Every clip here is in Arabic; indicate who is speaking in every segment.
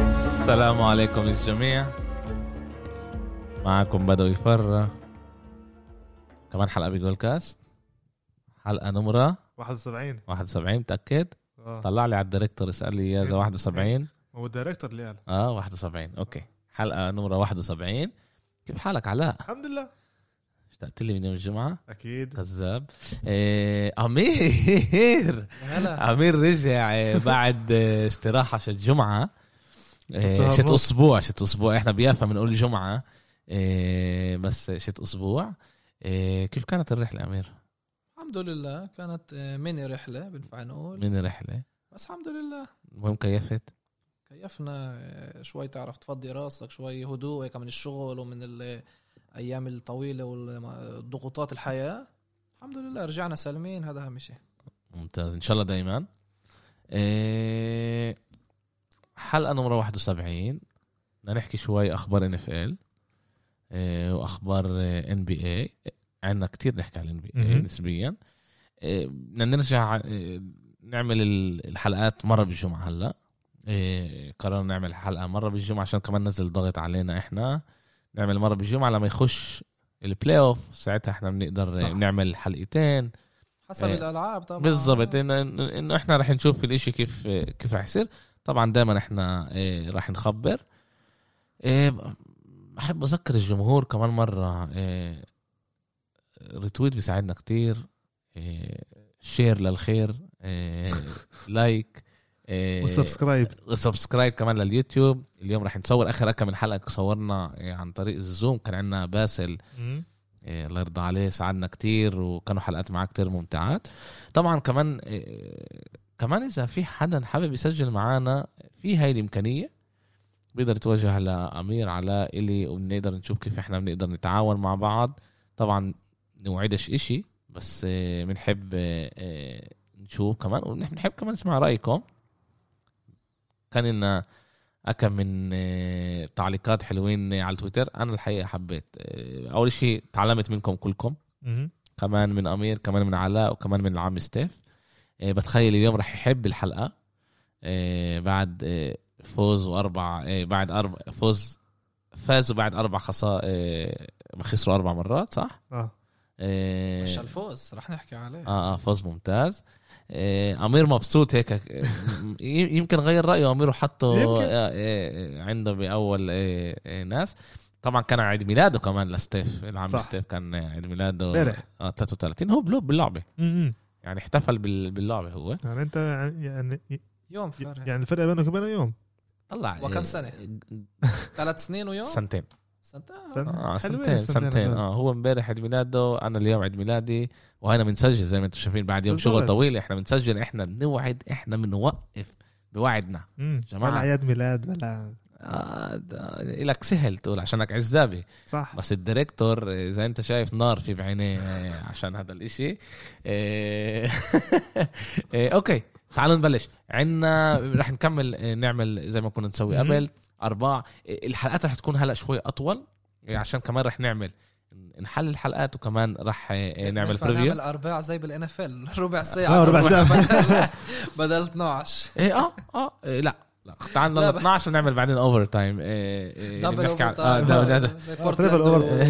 Speaker 1: السلام عليكم للجميع معكم بدوي فرة كمان حلقة بجول كاست حلقة نمرة
Speaker 2: 71
Speaker 1: 71 متأكد
Speaker 2: اه
Speaker 1: طلع لي على الديريكتور اسأل لي إياه إذا 71
Speaker 2: هو الدايركتور اللي قال
Speaker 1: اه 71 اوكي حلقة نمرة 71 كيف حالك علاء؟
Speaker 2: الحمد لله
Speaker 1: اشتقت لي من يوم الجمعة
Speaker 2: اكيد
Speaker 1: كذاب إيه أمير
Speaker 2: هلا
Speaker 1: أمير رجع آه، بعد آه، استراحة شت جمعة آه،
Speaker 2: شهر
Speaker 1: شت
Speaker 2: ونص.
Speaker 1: أسبوع شت أسبوع إحنا بيافا بنقول جمعة آه، بس شت أسبوع آه، كيف كانت الرحلة أمير؟
Speaker 3: الحمد لله كانت آه، ميني رحلة بنفع نقول
Speaker 1: من الرحلة؟
Speaker 3: بس الحمد لله
Speaker 1: المهم كيفت؟
Speaker 3: كيفنا آه، شوي تعرف تفضي راسك شوي هدوء هيك من الشغل ومن الأيام الطويلة والضغوطات الحياة الحمد لله رجعنا سالمين هذا أهم شيء
Speaker 1: ممتاز إن شاء الله دايما آه، حلقة نمرة 71 بدنا نحكي شوي أخبار ان اف ال إيه، وأخبار ان بي اي عندنا كتير نحكي على الان بي اي
Speaker 2: مهم.
Speaker 1: نسبيا آه، بدنا نرجع آه، نعمل ال- الحلقات مرة بالجمعة هلا آه، قررنا نعمل حلقة مرة بالجمعة عشان كمان نزل ضغط علينا احنا نعمل مرة بالجمعة لما يخش البلاي اوف ساعتها احنا بنقدر
Speaker 3: صح.
Speaker 1: آه، نعمل حلقتين
Speaker 3: حسب
Speaker 1: إيه.
Speaker 3: الألعاب طبعا
Speaker 1: بالضبط انه انه احنا رح نشوف الاشي كيف كيف رح يصير طبعا دائما احنا إيه، رح نخبر إيه، بحب اذكر الجمهور كمان مره إيه، ريتويت بيساعدنا كتير إيه، شير للخير إيه، لايك إيه،
Speaker 2: وسبسكرايب
Speaker 1: سبسكرايب كمان لليوتيوب اليوم رح نصور اخر كم من حلقه صورنا إيه، عن طريق الزوم كان عندنا باسل إيه، الله يرضى عليه ساعدنا كتير وكانوا حلقات معاه كتير ممتعات طبعا كمان إيه، كمان اذا في حدا حابب يسجل معانا في هاي الامكانيه بيقدر يتوجه لامير علاء الي وبنقدر نشوف كيف احنا بنقدر نتعاون مع بعض طبعا نوعدش اشي بس إيه، بنحب إيه، إيه، نشوف كمان وبنحب كمان نسمع رايكم كان لنا أكم من آه، تعليقات حلوين آه، على تويتر أنا الحقيقة حبيت آه، أول شيء تعلمت منكم كلكم كمان من أمير كمان من علاء وكمان من العم ستيف آه، بتخيل اليوم رح يحب الحلقة آه، بعد آه، فوز وأربع آه، بعد أربع فوز فازوا بعد أربع خسارة خسروا أربع مرات صح؟
Speaker 2: اه
Speaker 1: آه،
Speaker 3: مش الفوز رح نحكي عليه
Speaker 1: اه اه فوز ممتاز آه، امير مبسوط هيك آه، ي- يمكن غير رايه امير وحطه
Speaker 2: يمكن.
Speaker 1: آه، آه، عنده باول آه، آه، ناس طبعا كان عيد ميلاده كمان لستيف العم
Speaker 2: صح.
Speaker 1: ستيف كان آه، عيد ميلاده
Speaker 2: امبارح
Speaker 1: اه 33 هو بلوب باللعبه
Speaker 2: مم.
Speaker 1: يعني احتفل بال- باللعبه هو
Speaker 2: يعني انت يعني
Speaker 3: يوم فرق
Speaker 2: يعني الفرق بينك وبينه يوم
Speaker 1: طلع آه،
Speaker 3: وكم سنة؟ ثلاث سنين ويوم
Speaker 1: سنتين
Speaker 3: سنتين
Speaker 2: سنة.
Speaker 1: اه
Speaker 2: حلوين
Speaker 1: سنتين
Speaker 2: السنتين
Speaker 1: سنتين
Speaker 2: هذول.
Speaker 1: اه هو امبارح عيد ميلاده انا اليوم عيد ميلادي وهنا بنسجل زي ما انتم شايفين بعد يوم شغل
Speaker 2: بالضبط.
Speaker 1: طويل احنا بنسجل احنا بنوعد احنا بنوقف بوعدنا
Speaker 2: مم.
Speaker 1: جماعة.
Speaker 2: بلا اعياد ميلاد بلا
Speaker 1: آه، ده- لك سهل تقول عشانك عزابي
Speaker 2: صح
Speaker 1: بس الديريكتور آه، زي انت شايف نار في بعينيه آه، عشان هذا الاشي آه، آه، اوكي تعالوا نبلش عنا رح نكمل آه، نعمل زي ما كنا نسوي
Speaker 2: مهم.
Speaker 1: قبل اربع آه، الحلقات رح تكون هلا شوي اطول آه، عشان كمان رح نعمل نحل الحلقات وكمان رح آه، آه، نعمل
Speaker 3: ينفع
Speaker 1: بريفيو
Speaker 3: إيه، نعمل ارباع زي بالان اف ال ربع
Speaker 2: آه،
Speaker 3: ساعة
Speaker 2: ربع
Speaker 3: ساعة بدل 12
Speaker 1: ايه اه اه إيه، لا لا تعال
Speaker 3: لا،
Speaker 1: ل
Speaker 3: ب-
Speaker 1: 12 ونعمل بعدين اوفر تايم إيه، إيه،
Speaker 3: دبل
Speaker 1: بنحكي عن-
Speaker 3: اوفر
Speaker 1: آه، دبل- دبل-
Speaker 2: تريبل أوفر.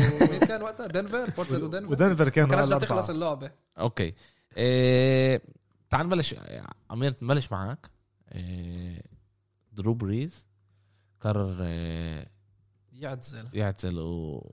Speaker 3: كان وقتها دنفر بورتلاند ودنفر
Speaker 2: ودنفر كانوا على
Speaker 3: كانت لازم
Speaker 2: الأربعة.
Speaker 3: تخلص اللعبه
Speaker 1: اوكي إيه تعال نبلش عمير نبلش معك إيه درو بريز قرر إيه
Speaker 3: يعتزل
Speaker 1: يعتل و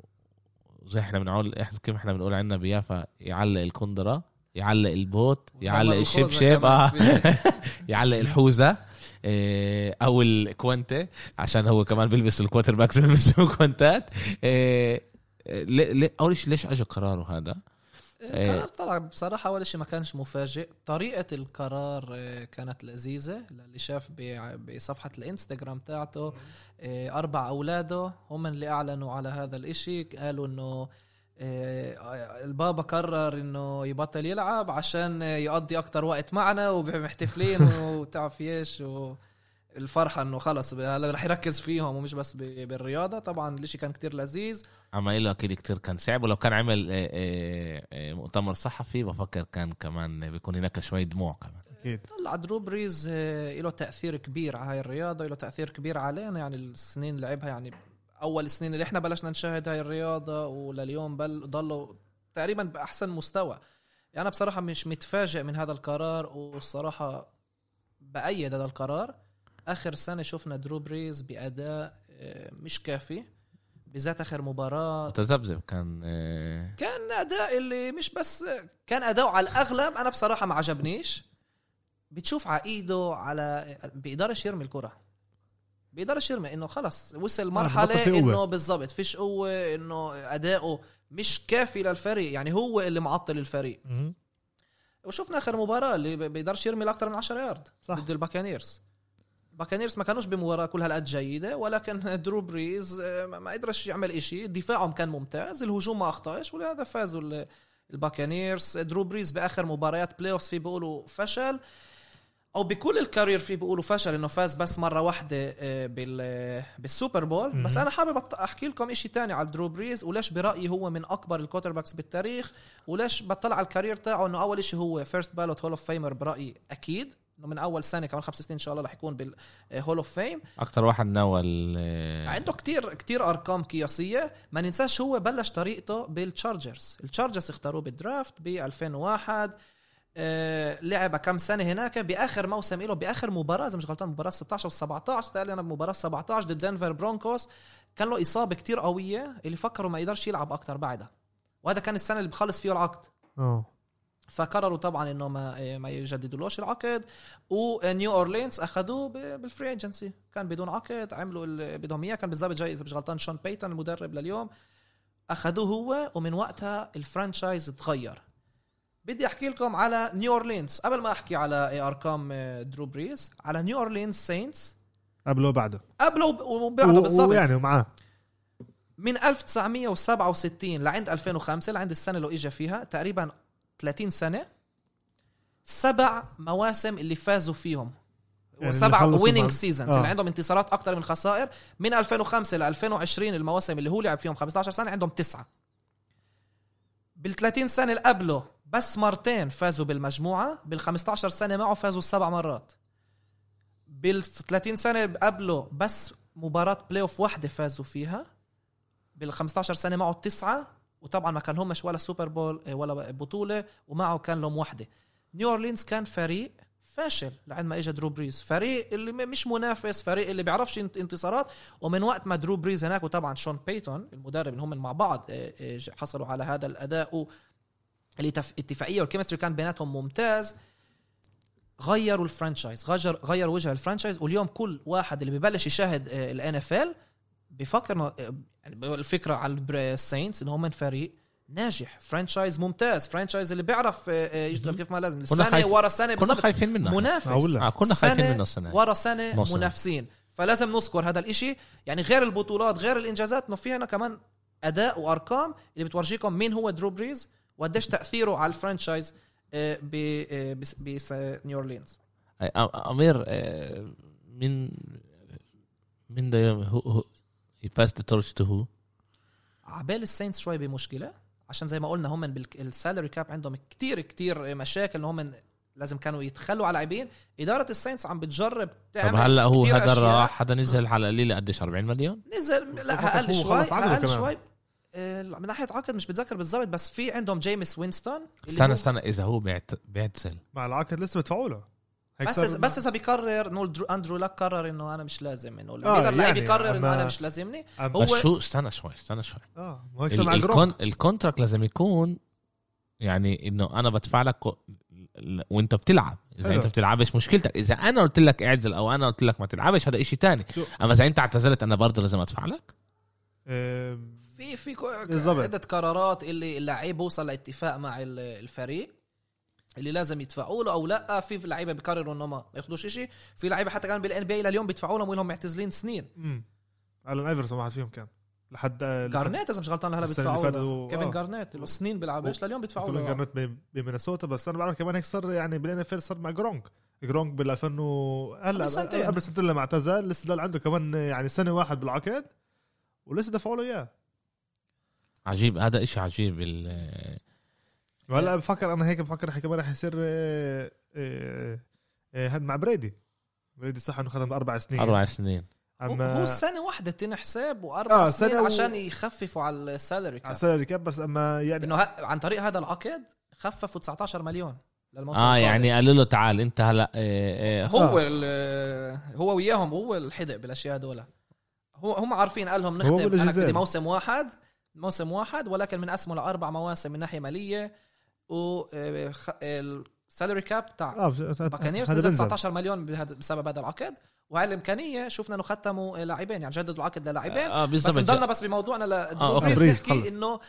Speaker 1: زي احنا بنقول إحنا- كيف احنا بنقول عنا بيافا يعلق الكندرة يعلق البوت يعلق
Speaker 3: وكمان
Speaker 1: الشبشب
Speaker 3: كمان
Speaker 1: آه.
Speaker 3: في-
Speaker 1: يعلق الحوزة إيه او الكوانتي عشان هو كمان بيلبس الكواتر باكس بيلبسوا كوانتات إيه ليه- ليه- اول شيء ليش اجى قراره هذا؟
Speaker 3: القرار إيه، طلع بصراحه اول شيء ما كانش مفاجئ طريقه القرار آه، كانت لذيذه اللي شاف ب- بصفحه الانستغرام تاعته آه، اربع اولاده هم اللي اعلنوا على هذا الاشي قالوا انه آه، البابا قرر انه يبطل يلعب عشان آه، يقضي اكتر وقت معنا ومحتفلين وتعرف ايش و... الفرحه انه خلص هلا رح يركز فيهم ومش بس ب- بالرياضه طبعا الاشي كان كتير لذيذ
Speaker 1: عم له اكيد كتير كان صعب ولو كان عمل آه، آه، آه، مؤتمر صحفي بفكر كان كمان بيكون هناك شوي دموع كمان
Speaker 2: اكيد
Speaker 3: طلع درو بريز آه، له تاثير كبير على هاي الرياضه له تاثير كبير علينا يعني السنين اللي لعبها يعني اول سنين اللي احنا بلشنا نشاهد هاي الرياضه ولليوم بل ضلوا تقريبا باحسن مستوى يعني انا بصراحه مش متفاجئ من هذا القرار والصراحه بايد هذا القرار اخر سنه شفنا درو بريز باداء آه، مش كافي بالذات اخر مباراه
Speaker 1: متذبذب كان آه،
Speaker 3: كان اداء اللي مش بس كان اداؤه على الاغلب انا بصراحه ما عجبنيش بتشوف على ايده على بيقدرش يرمي الكره بيقدرش يرمي انه خلص وصل مرحله
Speaker 2: بطل في آه، قوة.
Speaker 3: انه بالضبط فيش قوه انه اداؤه مش كافي للفريق يعني هو اللي معطل الفريق
Speaker 2: مم.
Speaker 3: وشفنا اخر مباراه اللي ب- بيقدرش يرمي لاكثر من 10 يارد
Speaker 2: صح.
Speaker 3: ضد الباكانيرز باكانيرز ما كانوش بمباراه كل هالقد جيده ولكن درو بريز آه، ما ما قدرش يعمل إشي دفاعهم كان ممتاز الهجوم ما اخطاش ولهذا فازوا ال- الباكانيرز درو بريز باخر مباريات بلاي اوفز في بيقولوا فشل او بكل الكارير في بيقولوا فشل انه فاز بس مره واحده آه، بال- بالسوبر بول بس
Speaker 2: مهم.
Speaker 3: انا حابب أط- احكي لكم إشي تاني على درو بريز وليش برايي هو من اكبر الكوتر باكس بالتاريخ وليش بطلع على الكارير تاعه انه اول إشي هو فيرست بالوت هول اوف فيمر برايي اكيد انه من اول سنه كمان خمس سنين ان شاء الله رح يكون آه، بالهول اوف فيم
Speaker 1: اكتر واحد نوى آه،
Speaker 3: عنده كتير كتير ارقام قياسيه ما ننساش هو بلش طريقته بالتشارجرز التشارجرز اختاروه بالدرافت ب 2001 آه، لعب كم سنه هناك باخر موسم له باخر مباراه اذا مش غلطان مباراه 16 و 17 تقريبا انا بمباراه 17 ضد دنفر برونكوس كان له اصابه كتير قويه اللي فكروا ما يقدرش يلعب اكتر بعدها وهذا كان السنه اللي بخلص فيه العقد
Speaker 2: اه
Speaker 3: فقرروا طبعا انه ما ما يجددولوش العقد ونيو اورلينز اخذوه ب- بالفري ايجنسي كان بدون عقد عملوا اللي بدهم اياه كان بالضبط جاي اذا مش غلطان شون بيتون المدرب لليوم اخذوه هو ومن وقتها الفرانشايز تغير بدي احكي لكم على نيو اورلينز قبل ما احكي على ارقام درو بريز آه، على نيو اورلينز سينتس
Speaker 2: قبله وبعده
Speaker 3: قبله وب- وبعده بالضبط
Speaker 2: يعني ومعاه
Speaker 3: من 1967 لعند 2005 لعند السنه اللي اجى فيها تقريبا 30 سنه سبع مواسم اللي فازوا فيهم
Speaker 2: يعني
Speaker 3: وسبع
Speaker 2: اللي خلصوا
Speaker 3: ويننج
Speaker 2: مع-
Speaker 3: سيزونز
Speaker 2: آه.
Speaker 3: اللي عندهم انتصارات اكثر من خسائر من 2005 ل 2020 المواسم اللي هو لعب فيهم 15 سنه عندهم تسعه بال 30 سنه اللي قبله بس مرتين فازوا بالمجموعه بال 15 سنه معه فازوا سبع مرات بال 30 سنه اللي قبله بس مباراه بلاي اوف واحده فازوا فيها بال 15 سنه معه تسعه وطبعا ما كان همش ولا سوبر بول آه، ولا بطوله ومعه كان لهم وحده نيو اورلينز كان فريق فاشل لعند ما اجى درو بريز فريق اللي م- مش منافس فريق اللي بيعرفش انت- انتصارات ومن وقت ما درو بريز هناك وطبعا شون بيتون المدرب اللي هم مع بعض آه، آه، حصلوا على هذا الاداء و- الاتف- الاتفاقيه والكيمستري كان بيناتهم ممتاز غيروا الفرانشايز غير غير وجه الفرانشايز واليوم كل واحد اللي ببلش يشاهد الان اف ال بفكر إنه- آه، يعني الفكره على البر- الساينتس ان هم فريق ناجح فرانشايز ممتاز فرانشايز اللي بيعرف آه، آه، يشتغل كيف ما لازم
Speaker 1: كنا
Speaker 3: سنه
Speaker 1: خايف-
Speaker 3: ورا سنه
Speaker 1: كنا
Speaker 3: بالضبط.
Speaker 1: خايفين منه
Speaker 3: منافس
Speaker 2: معقولة.
Speaker 1: آه، كنا خايفين
Speaker 3: سنة
Speaker 1: منه السنه
Speaker 3: ورا سنه
Speaker 1: موسم.
Speaker 3: منافسين فلازم نذكر هذا الاشي يعني غير البطولات غير الانجازات انه في هنا كمان اداء وارقام اللي بتورجيكم مين هو درو بريز وقديش تاثيره على الفرانشايز آه، ب آه، بس- بس- آه، نيو اورلينز
Speaker 1: أي، أ- امير آه، مين مين ده يوم- هو هو باس ذا تورش تو هو
Speaker 3: عبال الساينتس شوي بمشكله عشان زي ما قلنا هم بالسالري كاب عندهم كتير كتير مشاكل إن هم لازم كانوا يتخلوا على لاعبين اداره الساينتس عم بتجرب
Speaker 1: طب
Speaker 3: تعمل
Speaker 1: هلا هو
Speaker 3: كتير
Speaker 1: هذا
Speaker 3: أشياء.
Speaker 1: راح هذا نزل على القليله قديش 40 مليون
Speaker 3: نزل
Speaker 2: فقط
Speaker 3: لا اقل
Speaker 2: هو
Speaker 3: شوي
Speaker 2: خلص عقده
Speaker 3: اقل
Speaker 2: كمان.
Speaker 3: شوي آه، من ناحيه عقد مش بتذكر بالضبط بس في عندهم جيمس وينستون اللي
Speaker 1: استنى
Speaker 3: هو-
Speaker 1: استنى اذا هو بيعت- بيعتزل
Speaker 2: مع العقد لسه بدفعوا له هيك
Speaker 3: بس
Speaker 2: صار-
Speaker 3: إذا- بس اذا بيقرر انه درو- اندرو لك قرر انه انا مش لازم انه
Speaker 2: آه،
Speaker 3: بيقدر لعيب
Speaker 2: يعني
Speaker 3: يقرر انه
Speaker 2: أما-
Speaker 3: انا مش لازمني
Speaker 2: أم-
Speaker 3: هو-
Speaker 1: بس شو استنى شوي استنى شوي
Speaker 2: اه ما هيك صار
Speaker 1: ال-
Speaker 2: مع
Speaker 1: الكون
Speaker 2: جروك
Speaker 1: الكونتراكت لازم يكون يعني انه انا بدفع لك كو- ل- وانت بتلعب اذا
Speaker 2: حلو.
Speaker 1: انت بتلعبش مشكلتك اذا انا قلت لك اعزل او انا قلت لك ما تلعبش هذا إشي تاني
Speaker 2: شو-
Speaker 1: اما اذا انت اعتزلت انا برضه لازم ادفع لك
Speaker 2: آم،
Speaker 3: في في
Speaker 2: بالضبط.
Speaker 3: عده قرارات اللي اللعيب بوصل لاتفاق مع ال- الفريق اللي لازم يدفعوا له او لا في لعيبه بيقرروا انه ما ياخذوش شيء في لعيبه حتى كان بالان بي اي لليوم بيدفعوا لهم وإلهم معتزلين سنين
Speaker 2: أمم. الن ايفرسون واحد فيهم كان لحد لحد-
Speaker 3: جارنيت اذا مش غلطان لهلا
Speaker 2: السنة اللي
Speaker 3: بيدفعوا له
Speaker 2: فاتوا-
Speaker 3: كيفن
Speaker 2: آه.
Speaker 3: جارنيت له سنين بيلعبش لليوم بيدفعوا
Speaker 2: كولن
Speaker 3: له
Speaker 2: جارنيت ب- بمينيسوتا بس انا بعرف كمان هيك صار يعني بالان اف صار مع جرونك جرونك بال 2000 و- هلا
Speaker 3: قبل سنتين.
Speaker 2: قبل سنتين لما اعتزل لسه ضل عنده كمان يعني سنه واحد بالعقد ولسه دفعوا له اياه
Speaker 1: عجيب هذا إشي عجيب ال-
Speaker 2: وهلا بفكر انا هيك بفكر رح كمان رح يصير آه، آه، آه، هاد مع بريدي بريدي صح انه خدم اربع
Speaker 3: إيه.
Speaker 2: سنين
Speaker 1: اربع سنين
Speaker 3: أما هو
Speaker 2: اما
Speaker 3: سنه واحده تنحسب واربع
Speaker 2: آه،
Speaker 3: آه سنين
Speaker 2: سنة و- آه،
Speaker 3: عشان يخففوا على السالري
Speaker 2: على
Speaker 3: كاب
Speaker 2: السالري كاب بس اما يعني
Speaker 3: انه ه- عن طريق هذا العقد خففوا 19 مليون للموسم
Speaker 1: اه
Speaker 3: القادم.
Speaker 1: يعني قالوا له تعال انت هلا آه، آه،
Speaker 3: هو ال- هو وياهم هو الحدق بالاشياء هذول هو هم عارفين قال لهم
Speaker 2: هو
Speaker 3: نخدم
Speaker 2: ولا
Speaker 3: انا
Speaker 2: جزال.
Speaker 3: بدي موسم واحد موسم واحد ولكن بنقسمه لاربع مواسم من ناحيه ماليه و آه، السالري كاب تاع
Speaker 2: اه بس-
Speaker 3: باكانيرز
Speaker 2: هذا
Speaker 3: نزل
Speaker 2: بنزل.
Speaker 3: 19 مليون بهذا- بسبب هذا العقد وهي الامكانيه شفنا انه ختموا آه، لاعبين يعني جددوا العقد للاعبين
Speaker 1: اه
Speaker 3: بس نضلنا
Speaker 1: بالظبط
Speaker 3: بس بموضوعنا
Speaker 1: آه،
Speaker 3: لدرو
Speaker 1: أوكي.
Speaker 3: بريز
Speaker 2: بريز،
Speaker 3: نحكي
Speaker 2: خلص.
Speaker 3: انه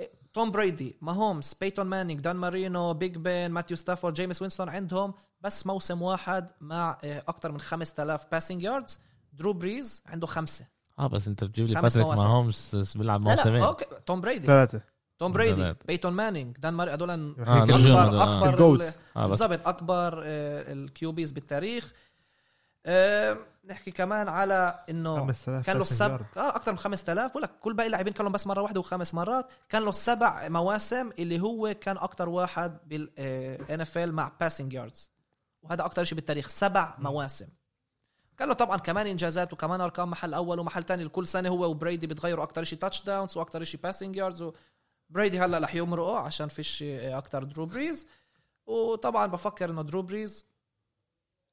Speaker 3: إيه، توم بريدي ماهومز بيتون مانينج دان مارينو بيج بين ماتيو ستافورد جيمس وينستون عندهم بس موسم واحد مع اكثر من 5000 باسنج ياردز درو بريز عنده خمسه
Speaker 1: اه بس انت بتجيب لي
Speaker 3: خمس
Speaker 1: باتريك
Speaker 3: مواسم.
Speaker 1: ماهومز بيلعب
Speaker 3: لا لا
Speaker 1: موسمين
Speaker 3: اوكي توم بريدي
Speaker 2: ثلاثة
Speaker 3: توم بريدي
Speaker 1: ثلاثة.
Speaker 3: بيتون مانينج دان ماري هذول
Speaker 1: آه،
Speaker 2: هيك
Speaker 1: نرجع.
Speaker 3: اكبر
Speaker 1: هدول، آه.
Speaker 3: اكبر
Speaker 2: الجولز.
Speaker 3: ال-
Speaker 1: اه بس
Speaker 3: بالضبط إيه، اكبر الكيوبيز بالتاريخ آه، نحكي كمان على انه
Speaker 2: 5000
Speaker 3: آه. كان له
Speaker 2: passing
Speaker 3: السب
Speaker 2: yard.
Speaker 3: اه اكثر من 5000 بقول لك كل باقي اللاعبين كان لهم بس مره واحده وخمس مرات كان له سبع مواسم اللي هو كان اكثر واحد آه، بالان اف ال مع باسنج ياردز وهذا اكثر شيء بالتاريخ سبع مواسم كان له طبعا كمان انجازات وكمان ارقام محل اول ومحل تاني لكل سنه هو وبريدي بتغيروا اكثر شيء تاتش داونز واكثر شيء باسنج ياردز بريدي هلا رح يمرقه عشان فيش آه، اكثر درو بريز وطبعا بفكر انه درو بريز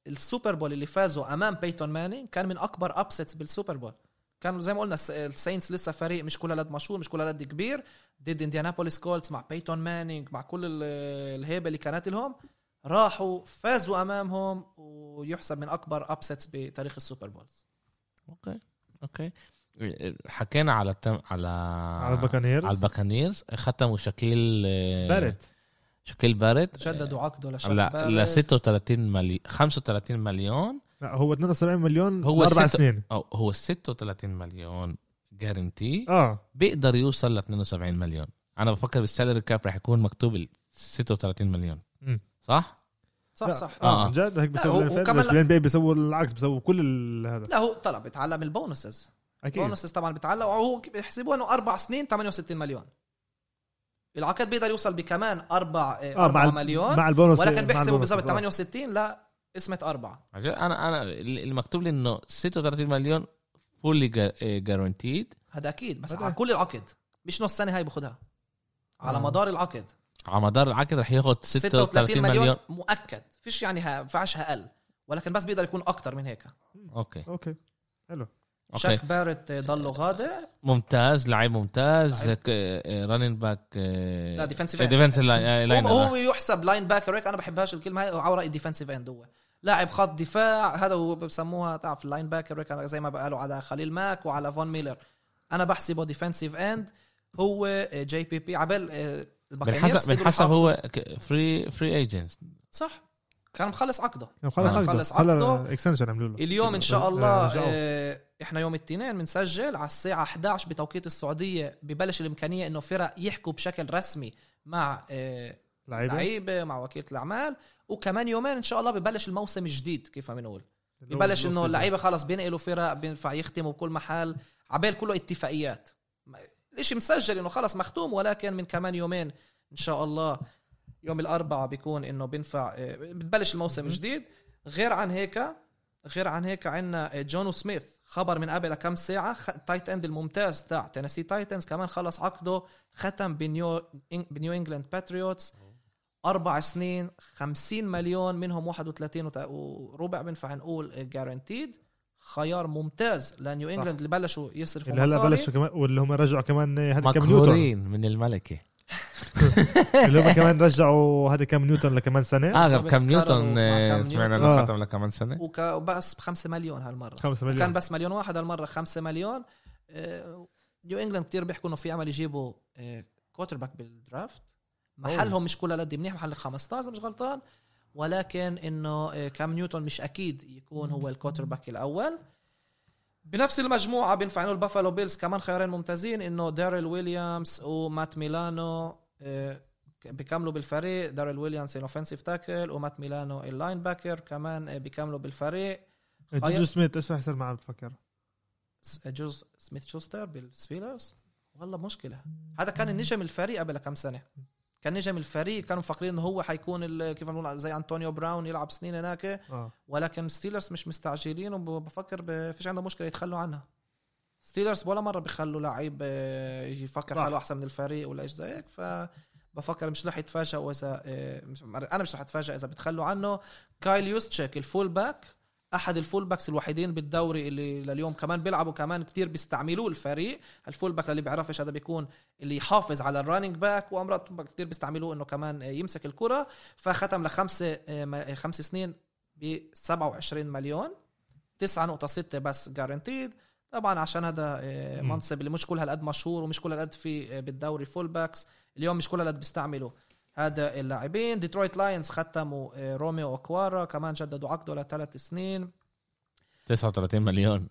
Speaker 3: السوبر بول اللي فازوا امام بيتون ماني كان من اكبر ابسيتس بالسوبر بول كانوا زي ما قلنا الس- الساينتس لسه فريق مش كل هالقد مشهور مش كل هالقد كبير ضد انديانابوليس كولتس مع بيتون مانينج مع كل ال- الهيبه اللي كانت لهم راحوا فازوا امامهم ويحسب من اكبر ابسيتس بتاريخ السوبر بولز
Speaker 1: اوكي اوكي حكينا على التم... على
Speaker 2: على الباكانيرز
Speaker 1: على الباكانيرز ختموا شكيل آه،
Speaker 2: بارت
Speaker 1: شكيل بارت
Speaker 3: جددوا عقده لشاب
Speaker 1: لا ل
Speaker 3: بارد.
Speaker 1: 36 مليون 35 مليون
Speaker 2: لا هو 72 مليون
Speaker 1: هو
Speaker 2: هو اربع
Speaker 1: ستة-
Speaker 2: سنين
Speaker 1: او هو 36 مليون جارنتي
Speaker 3: آه.
Speaker 2: اه
Speaker 1: بيقدر يوصل ل 72 مليون انا بفكر بالسالري كاب رح يكون مكتوب ال 36 مليون
Speaker 2: مم.
Speaker 1: صح
Speaker 3: صح
Speaker 2: لا،
Speaker 3: صح
Speaker 1: آه.
Speaker 2: اه عن جد هيك
Speaker 3: هو-
Speaker 2: بيسوي
Speaker 3: هو
Speaker 2: الان
Speaker 3: كمان-
Speaker 2: بس الان بي بيسووا العكس بيسووا كل ال- هذا
Speaker 3: لا هو طلع بيتعلم البونسز
Speaker 2: اكيد
Speaker 3: بونسز طبعا بتعلق وهو بيحسبوها انه اربع سنين 68 مليون العقد بيقدر يوصل بكمان اربع آه
Speaker 2: مع
Speaker 3: اربع
Speaker 2: ال-
Speaker 3: مليون
Speaker 2: مع آه. البونص
Speaker 3: ولكن بيحسبوا بالضبط 68 لا اسمة اربعه
Speaker 1: عشان انا انا المكتوب لي انه 36 مليون آه، فولي جارانتيد
Speaker 3: هذا اكيد بس
Speaker 2: هذا.
Speaker 3: على كل العقد مش نص سنه هاي باخذها على
Speaker 2: آه.
Speaker 3: مدار العقد
Speaker 1: على مدار العقد رح ياخد
Speaker 3: 36 مليون
Speaker 1: مليون
Speaker 3: مؤكد فيش يعني ها- فيهاش اقل ولكن بس بيقدر يكون اكثر من هيك
Speaker 1: اوكي
Speaker 2: اوكي حلو
Speaker 1: اوكي
Speaker 3: شاك بارت ضله غادة
Speaker 1: ممتاز لعيب ممتاز آه،
Speaker 3: لعيب.
Speaker 1: رننج باك آه،
Speaker 3: لا ديفنسيف اند
Speaker 1: ديفنس لاين
Speaker 3: هو, هو يحسب لاين باكر هيك انا بحبهاش الكلمه هاي عوراء الديفنسيف اند هو لاعب خط دفاع هذا هو بسموها تعرف اللاين باكر هيك زي ما قالوا على خليل ماك وعلى فون ميلر انا بحسبه ديفنسيف اند هو جي بي بي عبال آه، الباكانيرز
Speaker 1: بنحسب
Speaker 3: قدروا
Speaker 1: بنحسب
Speaker 3: يحافظوا.
Speaker 1: هو فري فري ايجنت
Speaker 3: صح كان مخلص عقده
Speaker 2: يعني
Speaker 1: آه.
Speaker 2: خلص
Speaker 3: خلص
Speaker 2: عقده
Speaker 3: عقده.
Speaker 2: هلا اكستنشن عملوا له
Speaker 3: اليوم ان شاء
Speaker 2: آه،
Speaker 3: الله
Speaker 2: رجعوه.
Speaker 3: آه، احنا يوم الاثنين بنسجل على الساعه 11 بتوقيت السعوديه ببلش الامكانيه انه فرق يحكوا بشكل رسمي مع آه،
Speaker 2: لعيبه
Speaker 3: لعيبه مع وكيله الاعمال وكمان يومين ان شاء الله ببلش الموسم الجديد كيف ما بنقول
Speaker 2: اللي هو
Speaker 3: ببلش انه
Speaker 2: بالأوف
Speaker 3: اللعيبه خلص بينقلوا فرق بينفع يختموا بكل محل عبال كله اتفاقيات ما- الاشي مسجل انه خلص مختوم ولكن من كمان يومين ان شاء الله يوم الاربعاء بيكون انه بينفع آه، بتبلش الموسم الجديد غير عن هيك غير عن هيك عندنا جون سميث خبر من قبل كم ساعة خ- تايت اند الممتاز تاع تينيسي تايتنز كمان خلص عقده ختم بنيو إن- بنيو انجلاند باتريوتس أربع سنين 50 مليون منهم 31 وت- وربع بنفع نقول جارانتيد خيار ممتاز لنيو انجلاند اللي بلشوا يصرفوا
Speaker 2: اللي هلا
Speaker 3: مصاري
Speaker 2: بلشوا كمان واللي هم رجعوا كمان آه، هذا كام نيوتن
Speaker 1: مقهورين من الملكه
Speaker 2: اللي هم كمان رجعوا هذا كام نيوتن لكمان سنه
Speaker 1: اه
Speaker 3: بالظبط،
Speaker 1: كم
Speaker 3: كارول
Speaker 1: نيوتن
Speaker 3: مع
Speaker 1: آه،
Speaker 3: كام
Speaker 1: سمعنا
Speaker 2: نيوتن.
Speaker 1: انه
Speaker 2: آه.
Speaker 1: ختم لكمان سنه
Speaker 3: وك- وبس بخمسة مليون هالمرة
Speaker 2: 5
Speaker 3: كان
Speaker 2: مليون
Speaker 3: بس مليون واحد هالمره 5 مليون آه، نيو انجلاند كتير بيحكوا انه في امل يجيبوا آه، كوتر باك بالدرافت محلهم مش كل قد منيح محل 15 إذا مش غلطان ولكن انه آه، كام نيوتن مش اكيد يكون هو الكوتر باك الاول بنفس المجموعه بينفع نقول بافالو بيلز كمان خيارين ممتازين انه داريل ويليامز ومات ميلانو آه، بيكملوا بالفريق داريل ويليامز الاوفنسيف تاكل ومات ميلانو اللاين باكر كمان آه، بيكملوا بالفريق
Speaker 2: إيه،
Speaker 3: آه،
Speaker 2: جوجو سميث ايش رح يصير معه بتفكر؟
Speaker 3: س- جوز سميث شوستر بالسبيلرز والله مشكله هذا كان النجم الفريق قبل كم سنه كان نجم الفريق كانوا مفكرين انه هو حيكون ال- كيف نقول زي انطونيو براون يلعب سنين هناك
Speaker 2: اه
Speaker 3: ولكن ستيلرز مش مستعجلين وبفكر ب- فيش عنده مشكله يتخلوا عنها ستيلرز ولا مره بيخلوا لعيب آه، يفكر
Speaker 2: صح.
Speaker 3: حاله احسن من الفريق ولا ايش زيك فبفكر مش رح يتفاجئوا اذا آه، مش انا مش رح اتفاجئ اذا بتخلوا عنه كايل يوستشيك الفول باك احد الفول باكس الوحيدين بالدوري اللي لليوم كمان بيلعبوا كمان كتير بيستعملوه الفريق الفول باك اللي بيعرفش هذا بيكون اللي يحافظ على الرانينج باك وامرات كتير بيستعملوه انه كمان آه، يمسك الكره فختم لخمسه آه، م- آه، خمس سنين ب 27 مليون 9.6 بس جارانتيد طبعا عشان هذا آه،
Speaker 2: مم.
Speaker 3: منصب اللي مش كل هالقد مشهور ومش كل هالقد في آه، بالدوري فول باكس اليوم مش كل هالقد بيستعملوا هذا اللاعبين ديترويت لاينز ختموا آه، روميو اوكوارا كمان جددوا عقده لثلاث سنين
Speaker 1: 39 مليون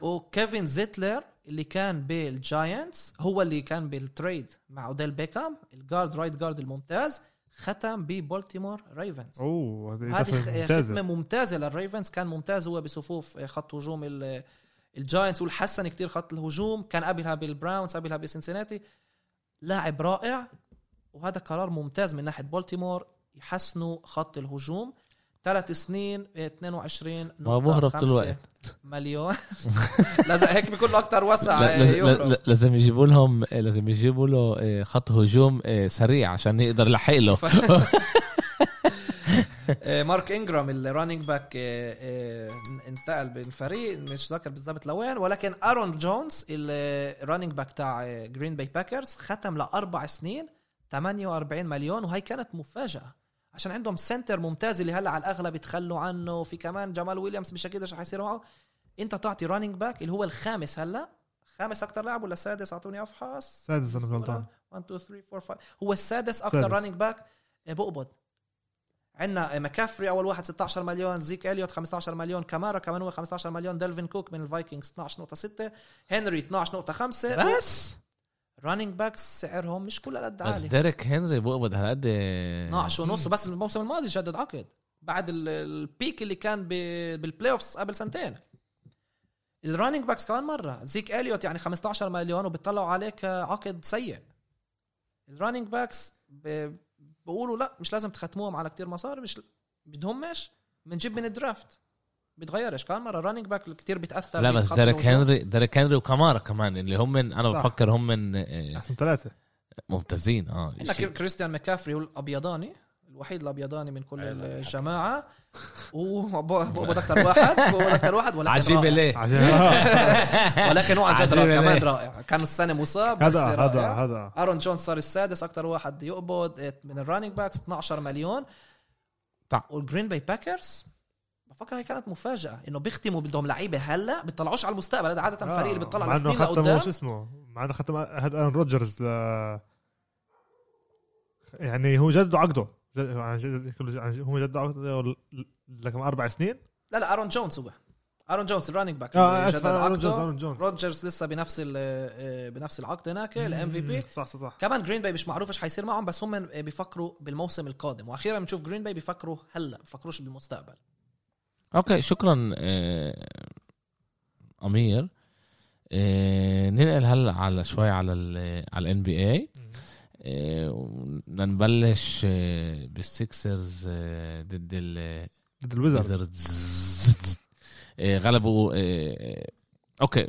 Speaker 3: وكيفن زيتلر اللي كان بالجاينتس هو اللي كان بالتريد مع اوديل بيكام الجارد رايت جارد الممتاز ختم ببولتيمور ريفنز
Speaker 2: اوه هذه
Speaker 3: هذه خ-
Speaker 2: دفعة ممتازه
Speaker 3: ختمه ممتازه للريفنز كان ممتاز هو بصفوف آه، خط هجوم ال- الجاينتس والحسن كتير خط الهجوم كان قبلها بالبراونز قبلها بسنسناتي لاعب رائع وهذا قرار ممتاز من ناحيه بولتيمور يحسنوا خط الهجوم ثلاث سنين إيه، 22
Speaker 1: ما هو مهرب
Speaker 3: خمسة
Speaker 1: طول الوقت
Speaker 3: مليون لا زي هيك بيكون له اكثر وسع
Speaker 1: لا-
Speaker 3: إيه،
Speaker 1: لا-
Speaker 3: يهرب
Speaker 1: لا- لازم يجيبوا لهم آه، لازم يجيبوا له آه، خط هجوم آه، سريع عشان يقدر يلحق له
Speaker 3: آه، مارك انجرام الرانينج باك آه، آه، انتقل بالفريق مش ذاكر بالضبط لوين ولكن ارون جونز الرانينج باك تاع آه، جرين باي باكرز ختم لاربع سنين 48 مليون وهي كانت مفاجاه عشان عندهم سنتر ممتاز اللي هلا على الاغلب يتخلوا عنه وفي كمان جمال ويليامز مش اكيد ايش حيصير معه انت تعطي رانينج باك اللي هو الخامس هلا خامس اكثر لاعب ولا سادس اعطوني افحص
Speaker 2: سادس انا مش غلطان
Speaker 3: 1 2 3 4 5 هو السادس اكثر
Speaker 2: سادس.
Speaker 3: رانينج باك بقبض آه، عندنا مكافري اول واحد 16 مليون زيك اليوت 15 مليون كامارا كمان هو 15 مليون دلفين كوك من الفايكنجز 12.6 هنري 12.5
Speaker 1: بس
Speaker 3: رانينج باكس سعرهم مش كل قد
Speaker 1: بس
Speaker 3: عالي
Speaker 1: ديريك هنري بقبض هالقد آه،
Speaker 3: 12 ونص بس الموسم الماضي جدد عقد بعد ال- البيك اللي كان ب- بالبلاي اوفز قبل سنتين الرانينج باكس كمان مره زيك اليوت يعني 15 مليون وبيطلعوا عليه كعقد سيء الرانينج باكس ب- بيقولوا لا مش لازم تختموهم على كتير مصاري مش بدهمش بنجيب من الدرافت بتغيرش كمان مره الرانينج باك كتير بيتاثر
Speaker 1: لا بس
Speaker 3: بالخط
Speaker 1: ديريك
Speaker 3: الهجومي.
Speaker 1: هنري ديريك هنري وكمارا كمان اللي هم من انا
Speaker 2: صح.
Speaker 1: بفكر هم من آه،
Speaker 2: احسن ثلاثه
Speaker 1: ممتازين اه
Speaker 3: عندنا
Speaker 1: شيء.
Speaker 3: كري- كريستيان مكافري هو الابيضاني الوحيد الابيضاني من كل الجماعه وبقبض اكثر واحد بقبض اكثر واحد ولكن
Speaker 1: عجيبه
Speaker 3: رائع.
Speaker 1: ليه
Speaker 2: عشان آه،
Speaker 3: ولكن هو عن جد رائع،
Speaker 1: عجيبة
Speaker 3: كمان
Speaker 1: ليه؟
Speaker 3: رائع كان السنه مصاب بس
Speaker 2: هذا هذا
Speaker 3: رائع.
Speaker 2: هذا
Speaker 3: ارون جونز صار السادس اكثر واحد يقبض من الرانينج باكس 12 مليون
Speaker 1: طع.
Speaker 3: والجرين باي باكرز بفكر هي كانت مفاجاه انه بيختموا بدهم لعيبه هلا بيطلعوش على المستقبل هذا عاده الفريق اللي بيطلع
Speaker 2: آه، مع انه
Speaker 3: لسنين
Speaker 2: ختم
Speaker 3: لقدام
Speaker 2: شو اسمه مع انه ختم هذا ارن روجرز ل يعني هو جدد عقده جد- عن جد- كل- عن جد- هو جدد عقده ل- لكم اربع سنين
Speaker 3: لا لا ارون جونز هو ارون جونز الرانينج باك
Speaker 2: اه
Speaker 3: اللي
Speaker 2: اسف
Speaker 3: جدد
Speaker 2: ارن
Speaker 3: عقده.
Speaker 2: جونز ارن جونز
Speaker 3: روجرز لسه بنفس ال- آه، بنفس العقد هناك الام في بي
Speaker 2: مم، صح صح صح
Speaker 3: كمان جرين باي مش معروف ايش حيصير معهم بس هم آه، بيفكروا بالموسم القادم واخيرا بنشوف جرين باي بيفكروا هلا بيفكروش بالمستقبل
Speaker 1: اوكي شكرا آه، امير آه، ننقل هلا على شوي على ال على الان بي اي بدنا نبلش آه، بالسيكسرز آه، ضد ال
Speaker 2: ضد الويزرد
Speaker 1: Wizards. آه، غلبوا آه، اوكي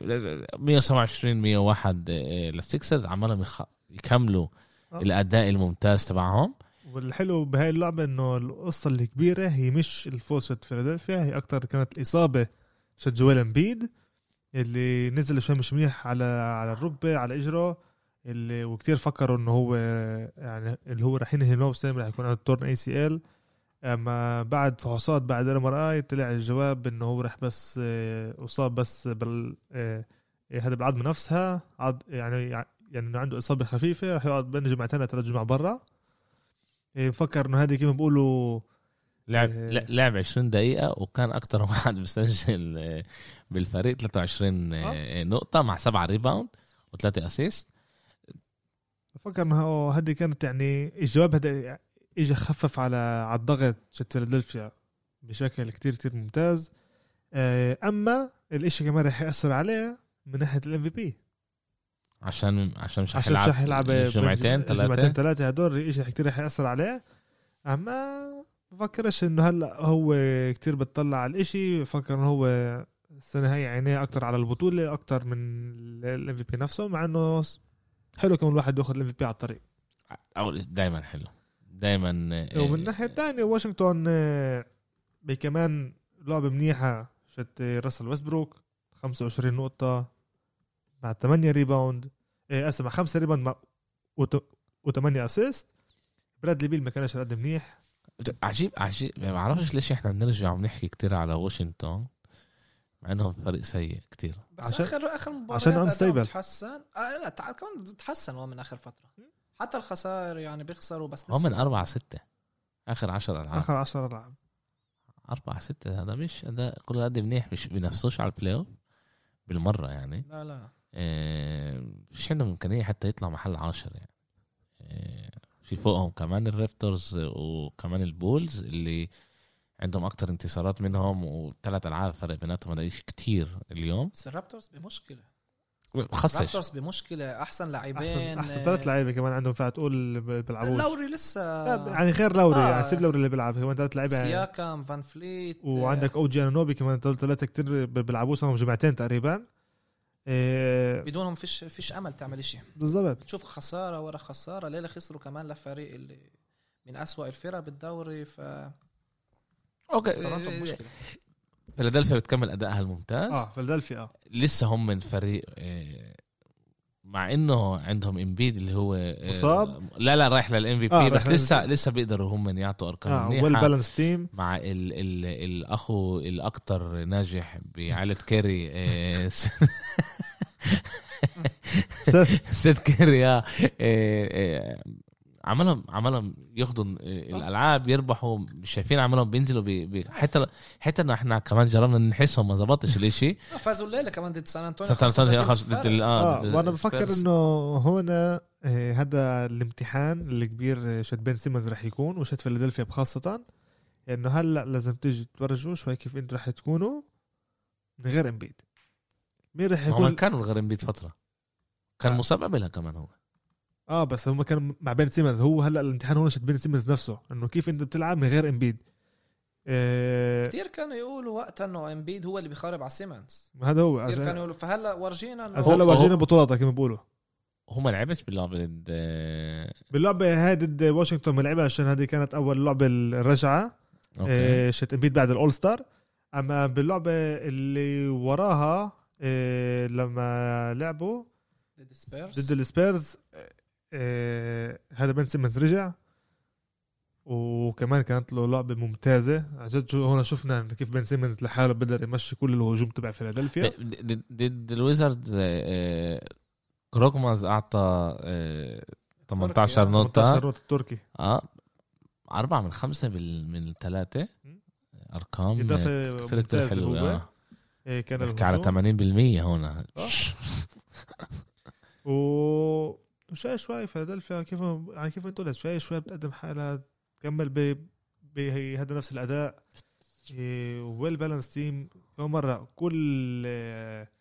Speaker 1: 127 101 آه، للسيكسرز عمالهم يخ- يكملوا
Speaker 2: آه.
Speaker 1: الاداء الممتاز تبعهم
Speaker 2: والحلو بهاي اللعبه انه القصه الكبيره هي مش الفوز شت فيلادلفيا هي اكثر كانت الاصابه شت جويل امبيد اللي نزل شوي مش منيح على على الركبه على اجره اللي وكتير فكروا انه هو يعني اللي هو رح ينهي الموسم رح يكون عنده تورن اي سي ال اما بعد فحوصات بعد ام ار اي طلع الجواب انه هو رح بس آه، اصاب بس بال آه، هذا بالعظم نفسها عض يعني يعني انه عنده اصابه خفيفه رح يقعد بين جمعتين ثلاث جمع برا إيه، بفكر انه هذه كيف بيقولوا
Speaker 1: لعب
Speaker 2: آه.
Speaker 1: لا- لعب 20 دقيقة وكان أكتر واحد بسجل آه، بالفريق 23 آه، نقطة مع سبعة ريباوند وثلاثة أسيست
Speaker 2: بفكر انه هذه كانت يعني الجواب هذا اجى خفف على على الضغط شت فيلادلفيا بشكل كتير كتير ممتاز إيه، آه، اما الاشي كمان رح ياثر عليه من ناحيه الام في بي
Speaker 1: عشان عشان مش
Speaker 2: عشان مش رح يلعب
Speaker 1: يعني جمعتين
Speaker 2: جمعتين
Speaker 1: ثلاثه
Speaker 2: ثلاثة هدول شيء كتير رح يأثر عليه أما بفكرش إنه هلا هو كتير بتطلع على الإشي بفكر إنه هو السنة هاي عينيه أكتر على البطولة أكتر من الام في بي نفسه مع إنه حلو كمان الواحد ياخذ الام في بي على الطريق
Speaker 1: دائما حلو إيه، دائما
Speaker 2: ومن الناحية الثانية واشنطن آه، بي كمان لعبة منيحة شت آه، راسل ويسبروك 25 نقطة مع 8 ريباوند آه، اسف مع 5 ريباوند مع و8 اسيست برادلي بيل ما كانش قد منيح
Speaker 1: عجيب عجيب يعني ما بعرفش ليش احنا بنرجع وبنحكي كتير على واشنطن مع انهم فريق سيء كتير
Speaker 3: بس
Speaker 2: عشان-
Speaker 3: اخر اخر مباراه
Speaker 2: عشان unstable.
Speaker 3: تحسن آه لا تع- كمان تحسن هو من اخر فتره حتى الخسائر يعني بيخسروا بس
Speaker 1: هم
Speaker 3: لسه-
Speaker 1: من أربعة ستة آخر عشر ألعاب
Speaker 2: اخر 10 العاب
Speaker 1: أربعة ستة هذا مش هذا كل قد منيح مش بينافسوش على البلاي أوف بالمرة يعني
Speaker 3: لا لا
Speaker 1: آه، فيش عندهم إمكانية حتى يطلع محل عشر يعني آه، في فوقهم كمان الريفترز وكمان البولز اللي عندهم أكتر انتصارات منهم وثلاث ألعاب فرق بيناتهم هذا شيء كتير اليوم
Speaker 3: بس الرابترز بمشكله
Speaker 1: خصش
Speaker 3: الرابترز بمشكله احسن
Speaker 2: احسن
Speaker 3: لاعبين آه،
Speaker 2: احسن ثلاث لعيبة كمان عندهم فيها تقول ب- بيلعبوش
Speaker 3: لوري
Speaker 2: لا،
Speaker 3: لسه
Speaker 2: يعني غير لوري
Speaker 3: آه.
Speaker 2: يعني سيب لوري اللي بيلعب كمان ثلاث لعيبة يعني.
Speaker 3: سياكام فان فليت
Speaker 2: وعندك اوجي انوبي كمان دول ثلاثة كتير ب- بيلعبوش صار لهم جمعتين تقريبا إيه،
Speaker 3: آه، بدونهم فيش فيش امل تعمل شيء
Speaker 2: بالضبط
Speaker 3: بتشوف خساره ورا خساره ليله خسروا كمان لفريق اللي من أسوأ الفرق بالدوري ف تورنتو
Speaker 1: أوكي
Speaker 3: مشكله
Speaker 1: فيلادلفيا بتكمل أدائها الممتاز
Speaker 2: اه فيلادلفيا اه
Speaker 1: لسه هم من فريق آه، مع انه عندهم امبيد اللي هو آه،
Speaker 2: مصاب؟
Speaker 1: لا لا رايح للام في
Speaker 2: آه،
Speaker 1: بي بس
Speaker 2: رايح
Speaker 1: لسه لسه بيقدروا هم يعطوا ارقام
Speaker 2: اه ويل
Speaker 1: منيحه
Speaker 2: بالانس تيم
Speaker 1: مع ال ال الاخو الاكثر ناجح بعائله كيري آه، سيد كيري آه، آه، آه، عملهم عملهم ياخدوا آه، الالعاب يربحوا مش شايفين عملهم بينزلوا بي- بي- حتى حتى إنه احنا كمان جربنا نحسهم ما ظبطش الاشي
Speaker 3: آه، فازوا الليله كمان ضد سان انطونيو
Speaker 1: سان أنطونيو
Speaker 3: خمسة
Speaker 1: أخذ ضد ال-
Speaker 3: فرق.
Speaker 1: اه
Speaker 2: اه
Speaker 1: ضد
Speaker 2: وانا بفكر
Speaker 1: السبيرز.
Speaker 2: انه هنا آه، هذا الامتحان الكبير آه، شت بين سيمنز رح يكون وشت فيلادلفيا بخاصة انه هلا لازم تيجي تورجوا شوي كيف انتم رح تكونوا من غير امبيد مين رح
Speaker 1: ما هم
Speaker 2: يكون
Speaker 1: كانوا الغريم بيت فتره كان
Speaker 2: آه.
Speaker 1: مسبب لها كمان هو
Speaker 2: اه بس هم كانوا مع بين سيمنز هو هلا الامتحان هون شت بين سيمنز نفسه انه كيف انت بتلعب من غير امبيد آه
Speaker 3: كثير كانوا يقولوا وقتها انه امبيد هو اللي بيخرب على سيمنز
Speaker 2: هذا هو
Speaker 3: كثير كانوا
Speaker 2: عشان
Speaker 3: يقولوا فهلا ورجينا انه
Speaker 2: عشان
Speaker 1: هو-
Speaker 2: لو ورجينا بطولاتك كما بيقولوا
Speaker 1: هم لعبش باللعبه ضد آه،
Speaker 2: باللعبة هاي ضد واشنطن بنلعبها عشان هذه كانت أول لعبة الرجعة
Speaker 1: اوكي
Speaker 2: إيه، شت امبيد بعد الأول ستار أما باللعبة اللي وراها إيه، لما لعبوا
Speaker 3: ضد
Speaker 2: ضد
Speaker 3: سبيرز
Speaker 2: السبيرز إيه، هذا بن سيمنز رجع وكمان كانت له لعبة ممتازة عن جد شو- هون شفنا إنه كيف بن سيمنز لحاله بقدر يمشي كل الهجوم تبع فيلادلفيا
Speaker 1: ب- ضد- ضد الويزرد آه، كروكماز اعطى آه، 18
Speaker 3: تركيا.
Speaker 2: 18
Speaker 1: نقطه
Speaker 2: نقطة التركي
Speaker 1: اه أربعة من خمسة بال- من الثلاثة أرقام آه،
Speaker 2: إضافة
Speaker 1: كتير كتير
Speaker 2: ممتازة
Speaker 1: حلوة
Speaker 2: هو.
Speaker 1: آه.
Speaker 2: إيه، كان
Speaker 1: بحكي على
Speaker 2: الهجوم
Speaker 1: 80% هون
Speaker 2: آه. و وشوي شوي فيلادلفيا كيف يعني كيف انت قلت شوي شوي بتقدم حالها تكمل ب بهذا نفس إيه، الاداء ويل بالانس تيم كم مره كل إيه،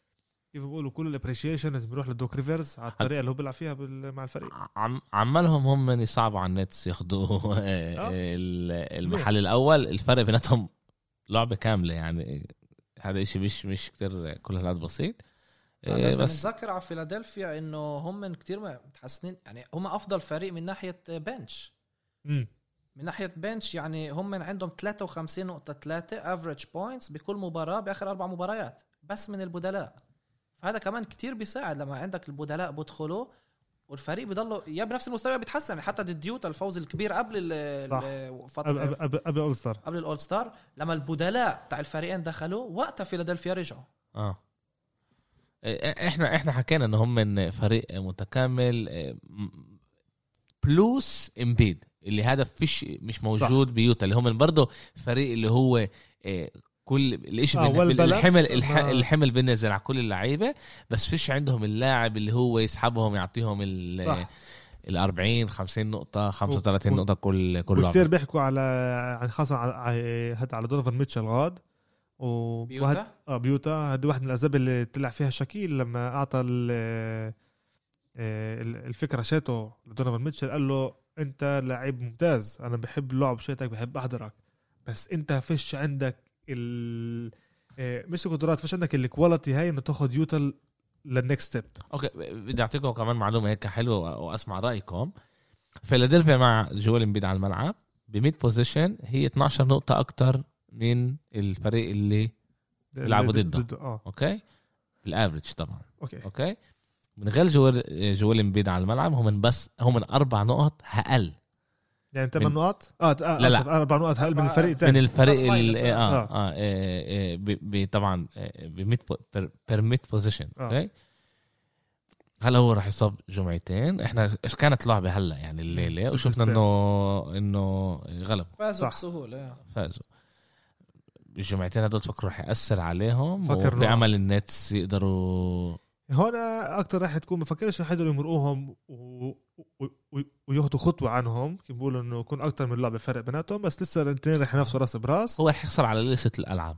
Speaker 2: كيف بيقولوا كل الابريشيشن لازم يروح لدوك ريفرز على الطريقه اللي هو بيلعب فيها بال- مع الفريق
Speaker 1: عم عمالهم هم من يصعبوا على النتس ياخدوا آه،
Speaker 2: آه.
Speaker 1: ال- المحل الاول الفرق بيناتهم لعبه كامله يعني هذا شيء مش مش كتير كل هالقد بسيط آه،
Speaker 3: لازم
Speaker 1: بس
Speaker 3: نتذكر على فيلادلفيا انه هم كثير متحسنين يعني هم افضل فريق من ناحيه بنش
Speaker 2: امم
Speaker 3: من ناحيه بنش يعني هم عندهم 53 نقطه 3 افريج بوينتس بكل مباراه باخر اربع مباريات بس من البدلاء فهذا كمان كتير بيساعد لما عندك البدلاء بدخلوا والفريق بضله يا بنفس المستوى بيتحسن حتى ضد يوتا الفوز الكبير قبل ال-
Speaker 2: صح.
Speaker 3: ال-
Speaker 2: قبل
Speaker 3: فترة-
Speaker 2: قبل قبل اول ستار
Speaker 3: قبل الاول ستار لما البدلاء بتاع الفريقين دخلوا وقتها فيلادلفيا رجعوا
Speaker 1: اه إيه، احنا احنا حكينا ان هم من فريق متكامل إيه، م- بلوس امبيد اللي هذا فيش مش موجود بيوتا اللي هم برضه فريق اللي هو إيه، كل الاشي
Speaker 2: آه،
Speaker 1: بين-
Speaker 2: well
Speaker 1: بين-
Speaker 2: balanced.
Speaker 1: الحمل الح-
Speaker 2: آه.
Speaker 1: الحمل بينزل على كل اللعيبه بس فيش عندهم اللاعب اللي هو يسحبهم يعطيهم ال
Speaker 2: صح.
Speaker 1: ال 40 50 نقطه 35
Speaker 2: و-
Speaker 1: نقطه كل كل
Speaker 2: وكثير
Speaker 1: لعبه
Speaker 2: بيحكوا على عن خاصه على على- هاد على دونوفان ميتشل غاد و- وهاد-
Speaker 3: بيوتا
Speaker 2: اه بيوتا هذه واحد من الاسباب اللي طلع فيها شاكيل لما اعطى ال- آه، الفكره شاته لدونوفان ميتشل قال له انت لعيب ممتاز انا بحب اللعب شيتك بحب احضرك بس انت فيش عندك ال آه، مش القدرات فيش عندك الكواليتي هاي انه تاخذ يوتا للنكست ستيب
Speaker 1: اوكي بدي اعطيكم كمان معلومه هيك حلوه واسمع رايكم فيلادلفيا مع جويل امبيد على الملعب بميد بوزيشن هي 12 نقطه اكتر من الفريق اللي بيلعبوا ضده.
Speaker 2: اه
Speaker 1: اوكي الافريج طبعا
Speaker 2: اوكي
Speaker 1: اوكي من غير جويل جويل امبيد على الملعب هم من بس هم من اربع نقط اقل
Speaker 2: يعني ثمان
Speaker 1: من-
Speaker 2: نقاط اه لا
Speaker 1: لا، لا.
Speaker 2: اربع نقاط هل من
Speaker 3: أربعة.
Speaker 2: الفريق
Speaker 1: من
Speaker 2: الثاني
Speaker 1: الفريق
Speaker 3: بلس ماينس،
Speaker 1: اللي اه
Speaker 2: آه.
Speaker 1: اه, آه, آه, آه ب- إيه، ب- طبعا بيرميت بوزيشن
Speaker 2: آه.
Speaker 1: اوكي هلا هو راح يصاب جمعتين احنا ايش كانت لعبه هلا يعني الليله
Speaker 2: ضد
Speaker 1: وشفنا
Speaker 2: السبيرز.
Speaker 1: انه انه غلب
Speaker 3: فازوا
Speaker 2: صح.
Speaker 3: بسهوله
Speaker 1: فازوا الجمعتين هدول تفكروا رح ياثر عليهم
Speaker 2: فكر
Speaker 1: وفي
Speaker 2: رعب.
Speaker 1: امل النتس يقدروا
Speaker 2: هون اكثر راح تكون بفكرش انه حيقدروا يمرقوهم و... و... و... وياخذوا خطوه عنهم كيف بيقولوا انه يكون اكثر من لعبه فرق بيناتهم بس لسه الاثنين رح ينافسوا راس براس اه
Speaker 1: هو رح يخسر على لسه الالعاب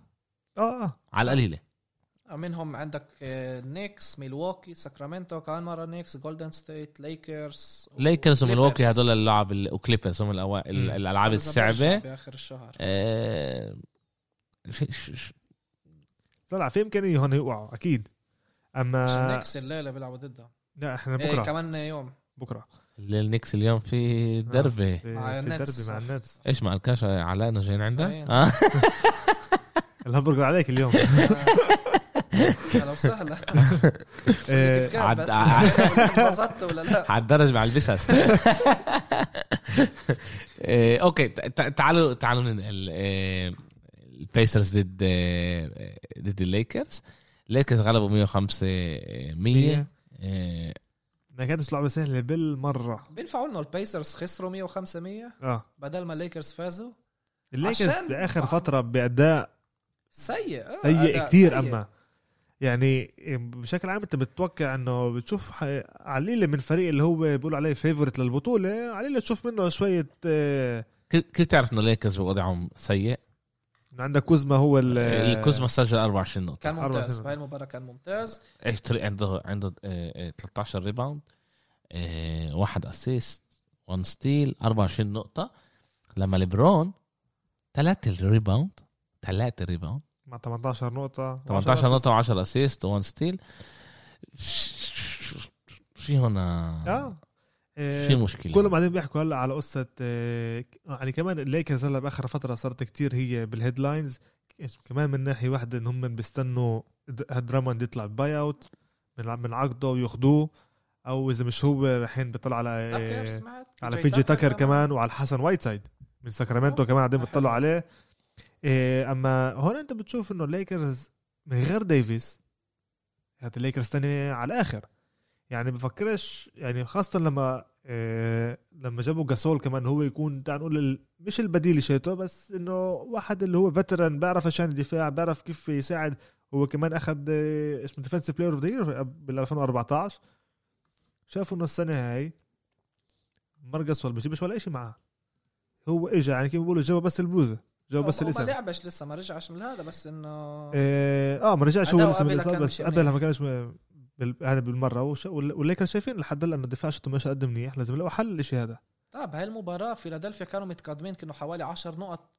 Speaker 2: اه
Speaker 1: على القليله
Speaker 3: منهم عندك آه، نيكس ميلواكي ساكرامنتو كمان مره نيكس جولدن ستيت ليكرز و-
Speaker 1: ليكرز وملواكي
Speaker 3: كليبرز.
Speaker 1: هدول اللعب ال- وكليبرز هم الأوا- ال-
Speaker 2: مم.
Speaker 1: الالعاب
Speaker 3: لازم
Speaker 1: الصعبه
Speaker 3: نرجع باخر الشهر
Speaker 1: آه، ش- ش- ش-
Speaker 2: طلع في امكانيه هون يوقعوا اكيد
Speaker 3: عشان
Speaker 2: اما
Speaker 3: نيكس الليله بيلعبوا ضدها
Speaker 2: لا احنا
Speaker 3: إيه
Speaker 2: بكره
Speaker 3: كمان يوم
Speaker 2: بكره
Speaker 1: النكس اليوم في دربه
Speaker 2: في
Speaker 3: مع
Speaker 2: في
Speaker 3: النتس.
Speaker 2: الدربي مع النتس
Speaker 1: ايش ما الكاش علاء جايين عندك؟
Speaker 3: جايين.
Speaker 1: آه.
Speaker 2: الهمبرجر عليك اليوم
Speaker 3: اهلا آه، وسهلا
Speaker 2: آه،
Speaker 3: كيف كان بس
Speaker 1: عد-
Speaker 3: اتبسطت ولا لا
Speaker 1: على الدرج مع البسس آه، اوكي ت- ت- تعالوا تعالوا ننقل آه، البيسرز ضد آه، ضد الليكرز الليكرز غلبوا 105
Speaker 3: إيه.
Speaker 1: 100 إيه،
Speaker 2: ما كانتش لعبه سهله بالمره
Speaker 3: بينفعوا انه البيسرز خسروا 105 100
Speaker 2: اه
Speaker 3: بدل ما الليكرز فازوا
Speaker 2: الليكرز
Speaker 3: عشان-
Speaker 2: باخر فتره باداء
Speaker 3: سيء آه،
Speaker 2: سيء
Speaker 3: أداء
Speaker 2: كتير
Speaker 3: سيء.
Speaker 2: اما يعني بشكل عام انت بتتوقع انه بتشوف ح- عليلة من فريق اللي هو بيقولوا عليه فيفورت للبطوله عليلة تشوف منه شويه آه،
Speaker 1: كيف كيف تعرف انه الليكرز وضعهم سيء؟
Speaker 2: إنه عندك كوزما هو ال-
Speaker 1: الكوزما سجل 24 نقطة
Speaker 3: كان ممتاز
Speaker 2: 24.
Speaker 3: بهاي المباراه كان ممتاز
Speaker 1: ايش إيه، طريق عنده عنده آه، آه، 13 ريباوند آه، واحد اسيست 1 ستيل 24 نقطة لما ليبرون ثلاثة الريباوند ثلاثة ريباوند
Speaker 2: مع 18 نقطه
Speaker 1: 18
Speaker 2: وعشرة
Speaker 1: نقطة و10 اسيست و1 ستيل في
Speaker 2: أسيست.
Speaker 1: هنا
Speaker 2: اه آه،
Speaker 1: في مشكلة
Speaker 2: كلهم قاعدين بيحكوا هلا على قصه آه، يعني كمان الليكرز هلا باخر فتره صارت كتير هي بالهيدلاينز كمان من ناحيه واحده ان هم بيستنوا د- هدراموند يطلع باي اوت من من عقده وياخدوه او اذا مش هو رايحين بيطلعوا على
Speaker 3: أوكي،
Speaker 2: آه،
Speaker 3: سمعت
Speaker 2: على بي جي تاكر كمان وعلى الحسن وايت سايد من ساكرامنتو
Speaker 3: أوه،
Speaker 2: كمان قاعدين
Speaker 3: آه،
Speaker 2: بيطلعوا
Speaker 3: حلو.
Speaker 2: عليه إيه، اما هون انت بتشوف انه الليكرز من غير ديفيس هات الليكرز تاني على الاخر يعني بفكرش يعني خاصة لما إيه لما جابوا جاسول كمان هو يكون تعال نقول ال- مش البديل شيتو بس انه واحد اللي هو فترن بيعرف ايش يعني دفاع بيعرف كيف يساعد هو كمان اخذ إيه، اسمه ديفنسيف بلاير اوف ذا يير بال 2014 شافوا انه السنة هاي مرقص ولا بجيبش ولا شيء معاه هو اجى يعني كيف بيقولوا جابوا بس البوزه جابوا بس
Speaker 3: بس ما
Speaker 2: الاسم
Speaker 3: لعبش لسه ما رجعش من هذا بس انه
Speaker 2: إيه، اه ما رجعش هو
Speaker 3: أداؤه
Speaker 2: لسه من الإصابة،
Speaker 3: قبلها كان
Speaker 2: بس
Speaker 3: مش
Speaker 2: قبلها ما كانش م- بال- يعني بالمره وش- وال- والليكرز شايفين لحد هلا انه دفاع شتو مش قد منيح لازم يلاقوا حل للشيء هذا
Speaker 3: طب طيب، هاي المباراة فيلادلفيا كانوا متقدمين كانوا حوالي 10 نقط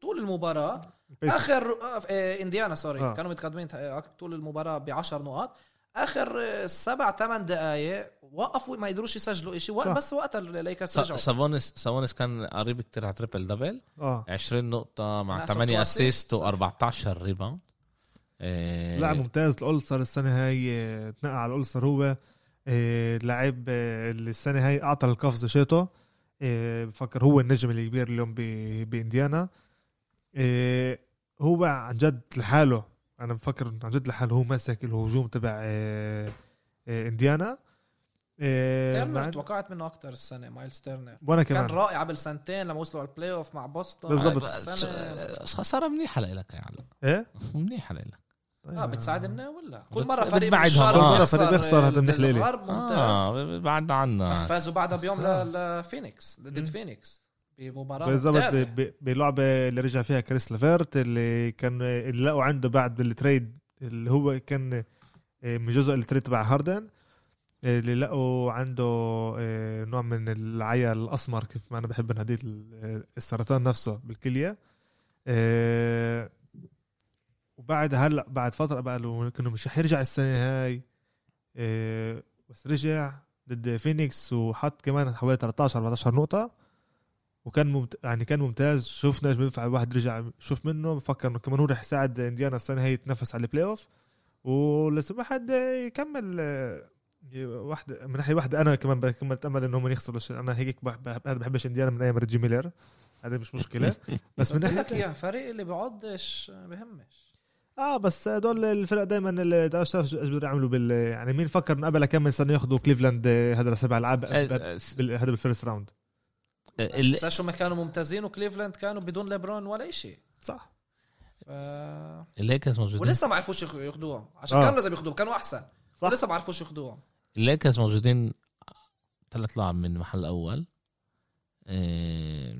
Speaker 3: طول المباراة
Speaker 2: بيس-
Speaker 3: اخر آه، آه، انديانا سوري
Speaker 2: آه.
Speaker 3: آه. كانوا متقدمين آه، طول المباراة ب 10 نقاط اخر آه، سبع ثمان دقائق وقفوا ما يقدروش يسجلوا شيء
Speaker 2: صح.
Speaker 3: بس وقت الليكرز رجعوا
Speaker 1: سابونس سابونس كان قريب كتير على تريبل دبل
Speaker 2: اه
Speaker 1: 20 نقطة مع
Speaker 3: ناقصه
Speaker 1: 8
Speaker 3: 2 assist،
Speaker 1: اسيست
Speaker 3: صح.
Speaker 1: و14 ريباوند آه،
Speaker 2: لاعب ممتاز الاولسر السنه هاي إيه، تنقى على الاولسر هو إيه، لاعب إيه، اللي السنه هاي اعطى القفز شيتو إيه، بفكر هو النجم الكبير اليوم ب- بانديانا إيه، هو عن جد لحاله انا بفكر عن جد لحاله هو ماسك الهجوم تبع إيه، إيه، انديانا إيه، مع-
Speaker 3: تيرنر توقعت منه اكثر السنة مايلز تيرنر
Speaker 2: وانا
Speaker 3: كان
Speaker 2: كمان
Speaker 3: رائع قبل سنتين لما وصلوا على البلاي اوف مع بوسطن
Speaker 2: بالضبط.
Speaker 3: السنة-
Speaker 1: آه، خسارة منيحة لإلك يعني. يا علاء
Speaker 2: ايه
Speaker 1: منيحة لإلك
Speaker 3: اه
Speaker 2: آه.
Speaker 3: بتساعد لنا ولا كل
Speaker 1: بت-
Speaker 3: مره فريق من
Speaker 1: بتبعدهم.
Speaker 3: الشرق
Speaker 1: كل مرة
Speaker 2: فريق بيخسر هذا منيح ليلي.
Speaker 3: الغرب ممتاز
Speaker 1: اه بعد عنا
Speaker 3: بس فازوا بعدها بيوم
Speaker 2: آه.
Speaker 3: ل- لفينيكس
Speaker 2: مم.
Speaker 3: ضد فينيكس بمباراه
Speaker 2: بالضبط
Speaker 3: ممتازه
Speaker 2: ب- بلعبه اللي رجع فيها كريس لافيرت اللي كان اللي لقوا آه، عنده بعد التريد اللي هو كان من جزء التريد تبع هاردن اللي لقوا عنده آه، نوع من العيا الاسمر كيف ما انا بحب نادي السرطان نفسه بالكليه آه، وبعد هلا بعد فتره بقى له كانوا مش رح يرجع السنه هاي آه، بس رجع ضد فينيكس وحط كمان حوالي 13 14 نقطه وكان ممت... يعني كان ممتاز شفنا ايش بينفع الواحد رجع شوف منه بفكر انه كمان هو رح يساعد انديانا السنه هي يتنافس على البلاي اوف ولسه واحد يكمل آه، واحدة من ناحيه واحده انا كمان بكمل اتامل انهم يخسروا عشان انا هيك بح- بح- انا بحبش انديانا من ايام ريجي ميلر هذا مش مشكله بس من
Speaker 3: قلت لك
Speaker 2: ناحيه
Speaker 3: يا فريق اللي بيعضش بهمش
Speaker 2: اه بس هدول الفرق دائما اللي تعرف شاف ايش بده يعملوا بال يعني مين فكر انه قبل كم من سنه ياخذوا كليفلاند آه، هذا السبع العاب بال- هذا بالفيرست راوند
Speaker 1: ال-
Speaker 3: بس شو ما كانوا ممتازين وكليفلاند كانوا بدون ليبرون ولا إشي
Speaker 2: صح
Speaker 3: ف...
Speaker 1: الليكرز موجودين
Speaker 3: ولسه ما عرفوش يخ- ياخدوهم عشان
Speaker 2: آه.
Speaker 3: كانوا لازم ياخدوهم كانوا احسن
Speaker 2: صح.
Speaker 3: ولسه ما عرفوش ياخدوهم
Speaker 1: الليكرز موجودين ثلاث لاعب من المحل الاول إيه،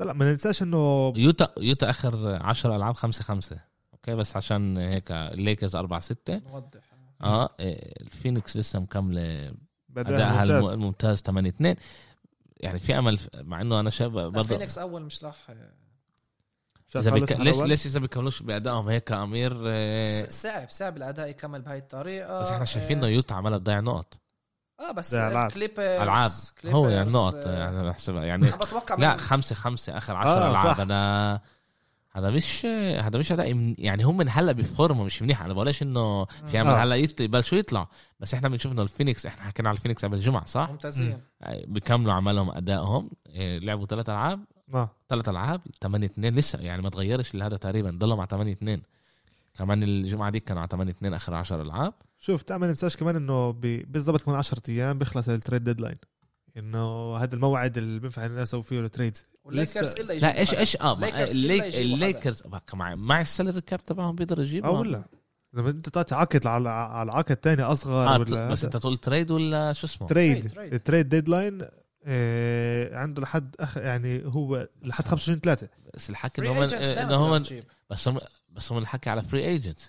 Speaker 2: لا ما ننساش انه
Speaker 1: يوتا يوتا اخر 10 العاب 5 5 اوكي بس عشان هيك الليكرز 4 6
Speaker 3: نوضح
Speaker 1: اه إيه، الفينيكس لسه مكمله
Speaker 2: بدأها
Speaker 1: ادائها الم-
Speaker 2: ممتاز
Speaker 1: الممتاز 8 2 يعني في امل ف- مع انه انا شاب برضه
Speaker 3: فينيكس اول مش راح آه،
Speaker 2: شاف
Speaker 1: اذا
Speaker 2: خلص
Speaker 1: بك... ليش
Speaker 2: الأول.
Speaker 1: ليش اذا بيكملوش بادائهم هيك امير إيه،
Speaker 3: س- صعب صعب الاداء يكمل بهاي الطريقه
Speaker 1: بس احنا شايفين انه
Speaker 3: آه،
Speaker 1: يوتا عماله تضيع نقط
Speaker 3: اه بس
Speaker 2: ده ألعاب.
Speaker 3: الكليبرز
Speaker 1: العاب هو يعني
Speaker 3: كليبرز،
Speaker 1: نقط
Speaker 3: آه،
Speaker 1: يعني بحسبها يعني
Speaker 3: أنا بتوقع
Speaker 1: لا
Speaker 3: من-
Speaker 1: خمسة خمسة آخر
Speaker 2: آه،
Speaker 1: عشر ألعاب
Speaker 2: صح.
Speaker 1: هذا هذا مش هذا مش أداء من- يعني هم من هلا بفورمه مش منيح انا بقولش انه في عمل
Speaker 2: آه.
Speaker 1: هلا يط- بلشوا يطلع بس احنا بنشوف انه الفينيكس احنا حكينا على الفينيكس قبل الجمعه صح؟
Speaker 3: ممتازين
Speaker 1: بكملوا عملهم ادائهم إيه، لعبوا ثلاث العاب
Speaker 2: آه.
Speaker 1: ثلاث العاب 8 2 لسه يعني ما تغيرش اللي هذا تقريبا ضلوا مع 8 2 كمان الجمعه دي كانوا على 8 2 اخر 10 العاب
Speaker 2: شوف تعال ما ننساش كمان انه بي- بالضبط كمان 10 ايام بيخلص التريد ديدلاين انه هذا الموعد اللي بينفع الناس يسوي فيه التريدز
Speaker 3: والليكرز الا يجيبوا
Speaker 1: لا ايش
Speaker 3: حدا.
Speaker 1: ايش اه ما-
Speaker 3: Lakers
Speaker 1: الليك-
Speaker 3: إلا يجيبوا حدا.
Speaker 1: الليكرز مع مع السالري كاب تبعهم بيقدروا يجيبوا
Speaker 2: اه ولا لما انت تعطي عقد على على عقد تاني
Speaker 1: آه
Speaker 2: اصغر ولا
Speaker 1: بس انت تقول تريد ولا شو اسمه؟
Speaker 2: تريد
Speaker 3: تريد.
Speaker 2: التريد ديدلاين آه عنده لحد أخ يعني هو لحد 25 3
Speaker 1: بس الحكي
Speaker 3: Free
Speaker 1: انه هم
Speaker 3: agents دايماً
Speaker 1: انه هم
Speaker 3: بتجيب.
Speaker 1: بس هم بس هم الحكي على فري ايجنت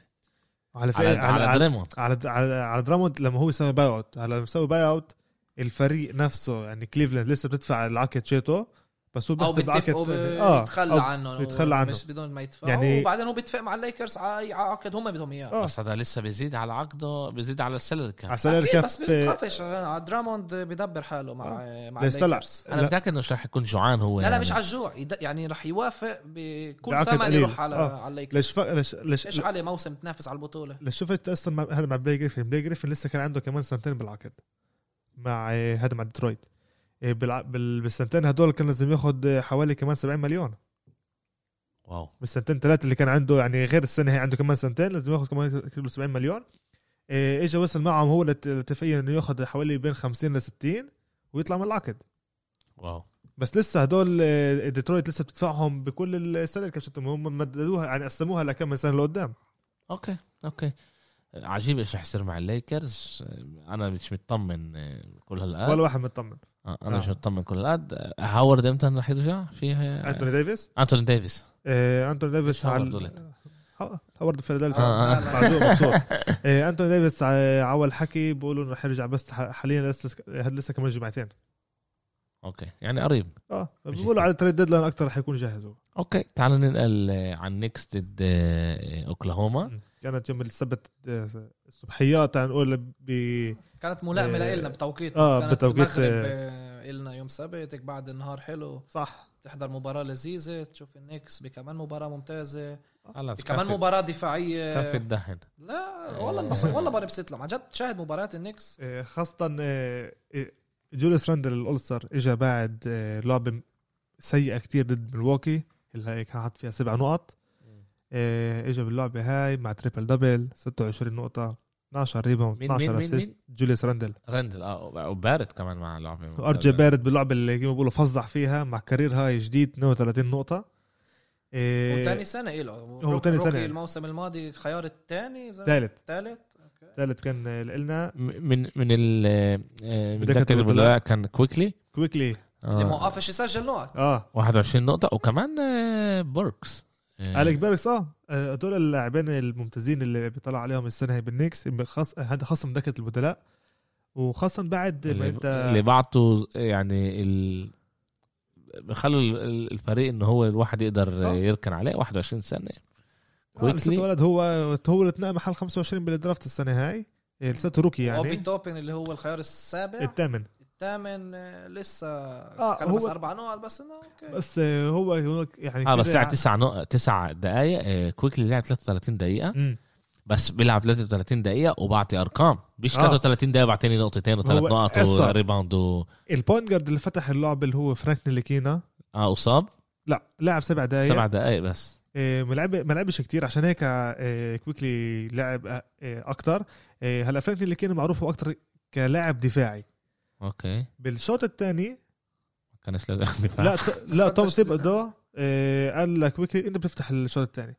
Speaker 1: على
Speaker 2: على فريق-
Speaker 1: على, على دريموند
Speaker 2: على على على دراموند لما هو يسوي باي اوت هلا لما يسوي باي اوت الفريق نفسه يعني كليفلاند لسه بتدفع العقد شيتو بس هو
Speaker 3: او
Speaker 2: بيحط العقد
Speaker 3: بيتفقوا
Speaker 2: اه
Speaker 3: بيتخلى
Speaker 2: أو
Speaker 3: عنه
Speaker 2: بيتخلى عنه
Speaker 3: مش بدون ما يدفعوا
Speaker 2: يعني-
Speaker 3: يعني وبعدين هو بيتفق مع الليكرز على أي عقد هم بدهم اياه
Speaker 2: آه.
Speaker 1: بس هذا لسه بيزيد على عقده بيزيد على السالري كاب
Speaker 2: على سالري
Speaker 3: اكيد
Speaker 2: كاب
Speaker 3: بس بيتخافش على دراموند بدبر حاله مع مع
Speaker 2: ليش آه. طلع
Speaker 3: الليكرز
Speaker 1: انا متاكد انه مش رح يكون جوعان هو
Speaker 3: لا لا
Speaker 1: يعني.
Speaker 3: مش على الجوع يد- يعني رح يوافق بكل
Speaker 2: بعقد
Speaker 3: ثمن
Speaker 2: قليل.
Speaker 3: يروح على
Speaker 2: آه.
Speaker 3: على الليكرز
Speaker 2: ليش ف... ليش ليش
Speaker 3: ايش عليه موسم تنافس على البطوله
Speaker 2: ليش شفت اصلا مع... هذا مع بلاي جريفن بلاي جريفن لسه كان عنده كمان سنتين بالعقد مع آه، هذا مع ديترويت آه، بالع... بال... بالسنتين هدول كان لازم ياخذ آه، حوالي كمان 70 مليون
Speaker 1: واو
Speaker 2: بالسنتين ثلاثه اللي كان عنده يعني غير السنه هي عنده كمان سنتين لازم ياخذ كمان كيلو 70 مليون إيه، اجى وصل معهم هو لت- لاتفاقيه انه ياخذ حوالي بين 50 ل 60 ويطلع من العقد
Speaker 1: واو
Speaker 2: بس لسه هدول إيه، ديترويت لسه بتدفعهم بكل السنه كشتهم هم مددوها يعني قسموها لكم سنه لقدام
Speaker 1: اوكي اوكي عجيب ايش رح يصير مع الليكرز انا مش مطمن آه، كل هالقد
Speaker 2: ولا واحد مطمن
Speaker 1: آه، انا مش
Speaker 2: آه.
Speaker 1: مطمن كل هالقد آه، هاورد امتى رح يرجع آه، فيها
Speaker 2: انتوني ديفيس
Speaker 1: انتوني ديفيس
Speaker 2: إيه، انتوني ديفيس
Speaker 1: هاورد
Speaker 2: عال-
Speaker 1: ضلت.
Speaker 2: ه- هاورد في فيلادلفيا
Speaker 1: آه.
Speaker 2: بعدوه مبسوط إيه، انتوني ديفيس ع- عول حكي بيقولوا انه رح يرجع بس ح- حاليا لسه هاد لسه كمان جمعتين
Speaker 1: اوكي يعني قريب
Speaker 2: اه بيقولوا على التريد ديدلاين اكثر رح يكون جاهز هو
Speaker 1: اوكي تعالوا ننقل آه، عن نيكست ضد آه، اوكلاهوما
Speaker 2: كانت يوم السبت آه، الصبحيات تعال نقول ب
Speaker 3: كانت ملائمه
Speaker 2: آه.
Speaker 3: لنا بتوقيت
Speaker 2: آه،
Speaker 3: كانت
Speaker 2: بتوقيت،
Speaker 3: المغرب
Speaker 2: آه.
Speaker 3: آه، النا يوم سبت هيك بعد النهار حلو
Speaker 2: صح
Speaker 3: تحضر مباراه لذيذه تشوف النكس بكمان مباراه ممتازه
Speaker 1: خلاص
Speaker 3: كمان
Speaker 1: كفي-
Speaker 3: مباراه دفاعيه
Speaker 1: كفي الدهن
Speaker 3: لا والله انبسط والله بنبسط لهم عن جد تشاهد مباريات النكس
Speaker 2: آه، خاصة آه، آه، جوليس راندل الأولستر إجا بعد آه، لعبة سيئة كتير ضد ملواكي اللي هي كان حاط فيها سبع نقط آه، إجا باللعبة هاي مع تريبل دبل 26 نقطة 12 ريباوند
Speaker 1: مين- مين-
Speaker 2: 12
Speaker 1: مين- مين؟
Speaker 2: اسيست جوليس راندل
Speaker 1: رندل اه وبارد كمان مع لعبه
Speaker 2: ار جي بارد باللعبة اللي كما بيقولوا فظع فيها مع كارير هاي جديد 32 نقطة آه،
Speaker 3: وتاني سنه له
Speaker 2: هو تاني سنة.
Speaker 3: الموسم الماضي خيار الثاني اذا
Speaker 2: ثالث
Speaker 3: الثالث
Speaker 2: ثالث كان آه، لنا
Speaker 1: من من ال آه، من
Speaker 2: بدك
Speaker 1: دكه
Speaker 2: تقول
Speaker 1: البدلاء كان كويكلي
Speaker 2: كويكلي
Speaker 1: آه.
Speaker 3: اللي موقفش يسجل نقط
Speaker 2: اه
Speaker 1: 21 نقطة وكمان آه، بوركس آه،
Speaker 2: اليك بيركس اه آه، هدول اللاعبين الممتازين اللي بيطلع عليهم السنه هي بالنيكس خاص هذا خاصه من دكه البدلاء وخاصة بعد ما آه،
Speaker 1: اللي,
Speaker 2: طيب، انت
Speaker 1: اللي بعته يعني ال... بخلوا ال- ال- الفريق ان هو الواحد يقدر
Speaker 2: آه.
Speaker 1: يركن عليه 21 سنه
Speaker 2: آه، لسه
Speaker 1: quickly.
Speaker 2: اتولد هو هو اللي اتنقى محل 25 بالدرافت السنة هاي إيه، لساته روكي
Speaker 3: اوبي
Speaker 2: يعني
Speaker 3: توبن اللي هو الخيار السابع
Speaker 2: الثامن
Speaker 3: الثامن آه، لسه
Speaker 2: آه،
Speaker 3: كان بس
Speaker 2: هو-
Speaker 3: اربع نقط بس انه اوكي
Speaker 2: بس آه، هو هو يعني
Speaker 1: اه بس
Speaker 2: كده
Speaker 1: لعب
Speaker 2: ع-
Speaker 1: تسع نق... تسع دقائق كويكلي لعب 33 دقيقه
Speaker 2: مم.
Speaker 1: بس بيلعب 33 دقيقه وبعطي ارقام مش
Speaker 2: آه.
Speaker 1: 33 دقيقه بعطيني نقطتين وثلاث
Speaker 2: هو
Speaker 1: نقط
Speaker 2: قصر.
Speaker 1: وريباوند و...
Speaker 2: البوينت جارد اللي فتح اللعب اللي هو فرانك نيليكينا
Speaker 1: اه اصاب
Speaker 2: لا لعب سبع دقائق
Speaker 1: سبع دقائق بس
Speaker 2: إيه، ما لعب ما لعبش كتير عشان هيك آه، كويكلي لعب آه، آه، اكتر آه، هلا فرانك نيليكينا معروف هو اكتر كلاعب دفاعي
Speaker 1: اوكي
Speaker 2: بالشوط الثاني
Speaker 1: ما كانش لازم ياخد دفاع
Speaker 2: لا لا توم
Speaker 3: فتش-
Speaker 2: سيبادو آه، قال لك ويكلي انت بتفتح الشوط الثاني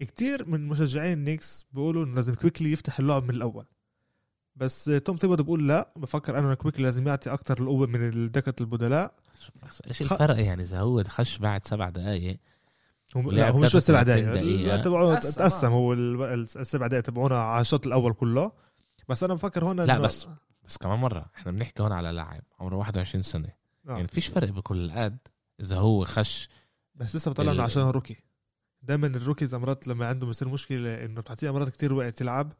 Speaker 2: كتير من مشجعين النكس بيقولوا انه لازم كويكلي يفتح اللعب من الاول بس آه، توم سيبادو بيقول لا بفكر انا إن كويكلي لازم يعطي اكتر القوه من الدكه البدلاء
Speaker 1: بس ايش الفرق يعني اذا هو خش بعد سبع دقائق
Speaker 2: هم لا
Speaker 1: ولعب
Speaker 2: هو مش بس سبع
Speaker 1: 33
Speaker 2: دقائق
Speaker 1: دقيقة.
Speaker 2: لا، تبعوه
Speaker 3: قسم،
Speaker 2: تقسم
Speaker 3: آه.
Speaker 2: هو ال- ال- السبع دقائق تبعونا على الشوط الاول كله بس انا بفكر هون
Speaker 1: لا
Speaker 2: إنه-
Speaker 1: بس بس كمان مره احنا بنحكي هون على لاعب عمره 21 سنه
Speaker 2: آه.
Speaker 1: يعني فيش فرق بكل القد اذا هو خش
Speaker 2: بس لسه بطلعنا
Speaker 1: ال-
Speaker 2: عشان روكي دائما الروكيز امرات لما عنده بصير مشكله انه بتعطيه امرات كتير وقت يلعب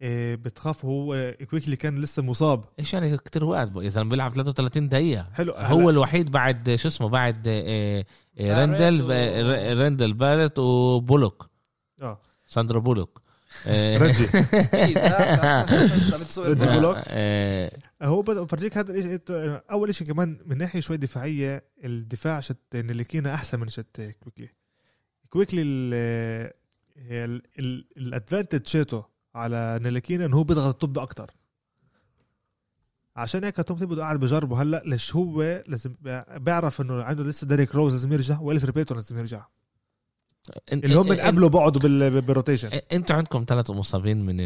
Speaker 2: إيه، بتخاف هو كويكلي كان لسه مصاب
Speaker 1: ايش يعني كتير وقت بقى؟ اذا بيلعب 33 دقيقه
Speaker 2: حلو
Speaker 1: هو
Speaker 2: هلا-
Speaker 1: الوحيد بعد شو اسمه بعد آه، آه،
Speaker 3: بارت
Speaker 1: رندل
Speaker 3: و-
Speaker 1: ب- رندل بارت وبولوك
Speaker 2: اه
Speaker 1: ساندرو بولوك آه،
Speaker 2: رجي
Speaker 3: سبيد، آه، لسه بتسوق
Speaker 2: رجل
Speaker 3: الباص.
Speaker 2: بلوك.
Speaker 1: آه،
Speaker 2: هو بد- بفرجيك هذا الشيء اول شيء كمان من ناحيه شوي دفاعيه الدفاع شت نليكينا احسن من شت كويكلي كويكلي الادفانتج شيته على نليكينا انه هو بيضغط الطب اكتر عشان هيك توم ثيبودو قاعد بجربه هلا ليش هو لازم بيعرف انه عنده لسه ديريك روز لازم يرجع والف ريبيتو لازم يرجع
Speaker 1: إن-
Speaker 2: اللي هم
Speaker 1: إن-
Speaker 2: من قبله بقعدوا بال- بالروتيشن
Speaker 1: إن- انتوا عندكم ثلاث مصابين من آه،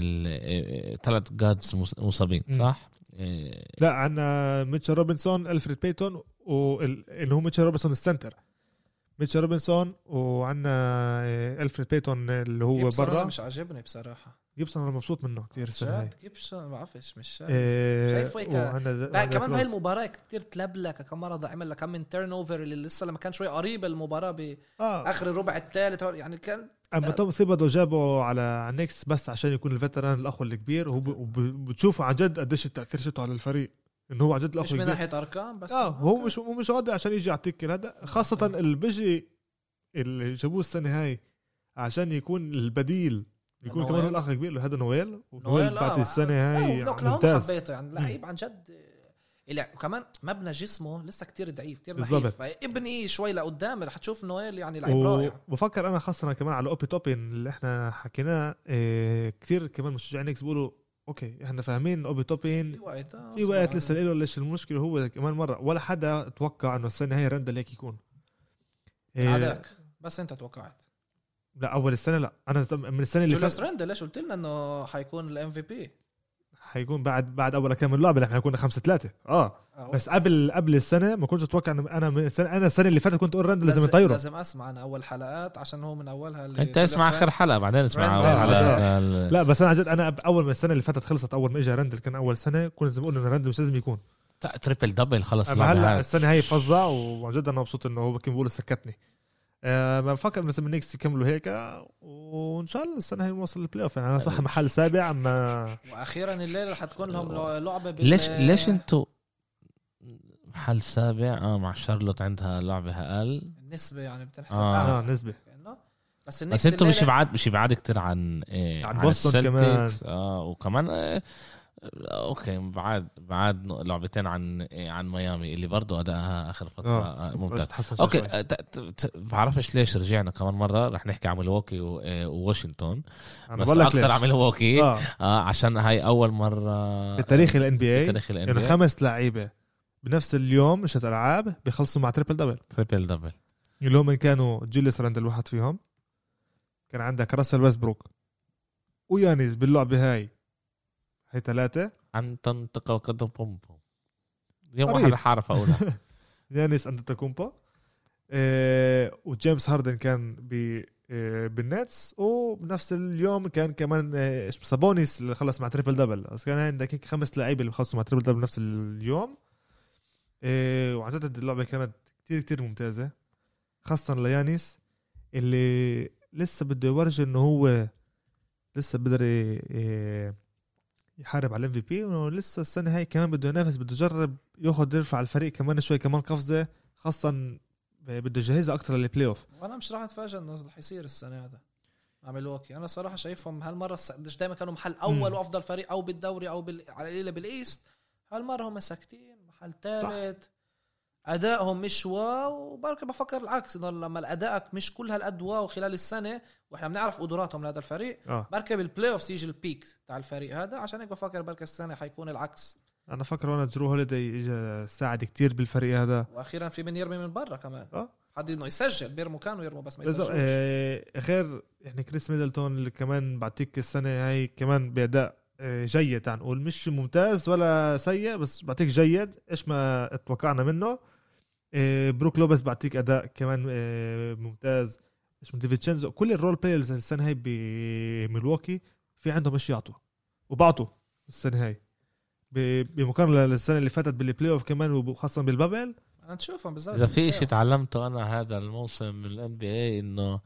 Speaker 1: الثلاث جادز مصابين
Speaker 2: مم.
Speaker 1: صح؟ آه،
Speaker 2: لا عندنا ميتشل روبنسون الفريد بيتون واللي هو ميتشل روبنسون السنتر ميتشل روبنسون وعندنا الفريد بيتون اللي هو
Speaker 3: جيبسون أنا
Speaker 2: برا
Speaker 3: مش عاجبني بصراحه
Speaker 2: جيبسون انا مبسوط منه كثير السنه هاي
Speaker 3: جد جيبسون ما بعرفش مش شايف
Speaker 2: إيه،
Speaker 3: شايفه هيك.
Speaker 2: وعنا د-
Speaker 3: لا
Speaker 2: وعنا
Speaker 3: كمان هاي
Speaker 2: كلوز.
Speaker 3: المباراة كتير تلبلك كم مرة عمل لها كم من تيرن اوفر اللي لسه لما كان شوي قريب المباراة
Speaker 2: اه
Speaker 3: بآخر الربع الثالث يعني كان
Speaker 2: اما توم سيبادو جابه على على نيكس بس عشان يكون الفتران الاخو الكبير وهو ب- وب- بتشوفه عن جد قديش التاثير شته على الفريق انه هو عن جد
Speaker 3: مش
Speaker 2: الاخو
Speaker 3: من
Speaker 2: الكبير
Speaker 3: ناحية ارقام بس
Speaker 2: اه هو مش هو مش قادر عشان يجي يعطيك هذا خاصة
Speaker 3: أيوة.
Speaker 2: اللي بيجي اللي جابوه السنة هاي عشان يكون البديل يكون
Speaker 3: نويل.
Speaker 2: كمان هو الاخ الكبير له هذا نويل
Speaker 3: نويل،
Speaker 2: ونويل
Speaker 3: آه.
Speaker 2: بعد إيه، السنة هاي
Speaker 3: اوكلاهوما
Speaker 2: ممتاز
Speaker 3: حبيته يعني لعيب عن جد إلي- وكمان مبنى جسمه لسه كتير ضعيف كتير
Speaker 2: بالضبط.
Speaker 3: ضعيف فابني شوي لقدام رح تشوف نويل يعني لعيب
Speaker 2: و-
Speaker 3: رائع
Speaker 2: وبفكر انا خاصة كمان على اوبي توبين اللي احنا حكيناه إيه كثير كمان مشجعين نيكس بيقولوا اوكي احنا فاهمين اوبي توبين
Speaker 3: في وقت آه،
Speaker 2: في
Speaker 3: أصبر
Speaker 2: وقت
Speaker 3: عليه.
Speaker 2: لسه له ليش المشكلة هو كمان مرة ولا حدا توقع انه السنة هاي رندل هيك يكون إيه
Speaker 3: عداك بس انت توقعت
Speaker 2: لا اول السنة لا انا من السنة اللي
Speaker 3: جوليوس
Speaker 2: فاتت
Speaker 3: رندل ليش قلت لنا انه حيكون الام في بي
Speaker 2: حيكون بعد بعد اول كام لعبه نحن كنا 5 3 اه
Speaker 3: آه،
Speaker 2: بس قبل قبل السنه ما كنتش اتوقع إن انا من السنه انا السنه اللي فاتت كنت اقول راندل لازم يطيره
Speaker 3: لازم اسمع انا اول حلقات عشان هو من اولها اللي
Speaker 1: انت اسمع
Speaker 3: جوليوس
Speaker 1: اخر حلقه بعدين اسمع
Speaker 3: رندل.
Speaker 1: أول حلقة.
Speaker 2: آه، لا بس انا عن جد انا أب- اول ما السنه اللي فاتت خلصت اول ما اجى راندل كان اول سنه كنت لازم اقول انه راندل مش لازم يكون
Speaker 1: لا، تريبل دبل خلص
Speaker 2: اما هلا
Speaker 1: هلا
Speaker 2: السنه هي فظع وعن جد انا مبسوط انه هو كان بيقول سكتني آه ما بفكر بس النكس يكملوا هيك وان شاء الله السنه هي نوصل للبلاي اوف يعني انا صح محل سابع اما
Speaker 3: واخيرا الليله رح تكون لهم لعبه بال...
Speaker 1: ليش ليش انتوا محل سابع اه مع شارلوت عندها لعبه اقل
Speaker 3: النسبه يعني بتنحسب
Speaker 1: آه.
Speaker 2: اه,
Speaker 3: آه.
Speaker 2: نسبه
Speaker 3: كأنه. بس النكس
Speaker 1: بس انتوا مش
Speaker 3: الليلة-
Speaker 1: بعاد مش بعاد كتير عن إيه
Speaker 2: عن بوسطن
Speaker 1: السلتكس، اه وكمان إيه اوكي بعاد بعاد لعبتين عن إيه عن ميامي اللي برضه ادائها اخر فتره
Speaker 2: آه.
Speaker 1: آه. ممتاز
Speaker 2: بس
Speaker 1: اوكي
Speaker 2: شوي.
Speaker 1: آه، ت- ت- ت- بعرفش ليش رجعنا كمان مره رح نحكي عن ملواكي و- إيه، وواشنطن
Speaker 2: انا
Speaker 1: بس
Speaker 2: بقول لك
Speaker 1: اكثر
Speaker 2: ليش
Speaker 1: عن ملواكي
Speaker 2: اه
Speaker 1: اه عشان هاي اول مره
Speaker 2: بتاريخ الان بي اي
Speaker 1: بتاريخ ال
Speaker 2: انه
Speaker 1: NBA
Speaker 2: خمس لعيبه بنفس اليوم شت العاب بيخلصوا مع تريبل دبل
Speaker 1: تريبل دبل
Speaker 2: اللي هم كانوا جيليس راندل واحد فيهم كان عندك راسل ويسبروك ويانيز باللعبه هاي هي ثلاثه
Speaker 1: عن تنطق وقدم بوم بوم يوم
Speaker 2: قريب.
Speaker 1: واحد حعرف اقولها
Speaker 2: يانيس اندتاكومبا إيه وجيمس هاردن آه، كان ب آه، بالنتس وبنفس اليوم كان كمان آه، سابونيس اللي خلص مع تريبل دبل بس كان عندك هيك خمس لعيبه اللي خلصوا مع تريبل دبل بنفس اليوم آه، وعن جد اللعبه كانت كتير كتير ممتازه خاصه ليانيس اللي لسه بده يورجي انه هو لسه بقدر ي- آه، يحارب على الام في بي ولسه السنه هاي كمان بده ينافس بده يجرب ياخذ يرفع الفريق كمان شوي كمان قفزه خاصه بده يجهزها اكثر للبلاي اوف
Speaker 3: وانا مش راح اتفاجئ انه رح يصير السنه هذا مع ميلواكي انا صراحه شايفهم هالمره الس- مش دائما كانوا محل اول
Speaker 2: مم.
Speaker 3: وافضل فريق او بالدوري او بال... على القليله بالايست هالمره هم ساكتين محل ثالث ادائهم مش واو وبركي بفكر العكس انه لما ادائك مش كل هالقد واو خلال السنه واحنا بنعرف قدراتهم لهذا الفريق
Speaker 2: اه
Speaker 3: بركي بالبلاي اوف يجي البيك تاع الفريق هذا عشان هيك بفكر بركي السنه حيكون العكس
Speaker 2: انا فاكر وانا جرو هوليدي اجى ساعد كتير بالفريق هذا
Speaker 3: واخيرا في من يرمي من برا كمان
Speaker 2: اه
Speaker 3: حد انه يسجل بيرموا كانوا يرموا بس ما
Speaker 2: بالضبط.
Speaker 3: يسجلوش
Speaker 2: آه، غير يعني كريس ميدلتون اللي كمان بعطيك السنه هاي كمان باداء آه، جيد تعال نقول مش ممتاز ولا سيء بس بعطيك جيد ايش ما اتوقعنا منه آه، بروك لوبيز بعطيك اداء كمان آه، ممتاز اسمه ديفيتشينزو كل الرول بلايرز السنه هاي بميلواكي في عندهم ايش يعطوا وبعطوا السنه هاي ب- بمقارنه للسنه اللي فاتت بالبلاي اوف كمان وخاصه بالبابل
Speaker 3: هنشوفهم بالظبط
Speaker 1: اذا في شيء تعلمته انا هذا الموسم من الان بي اي انه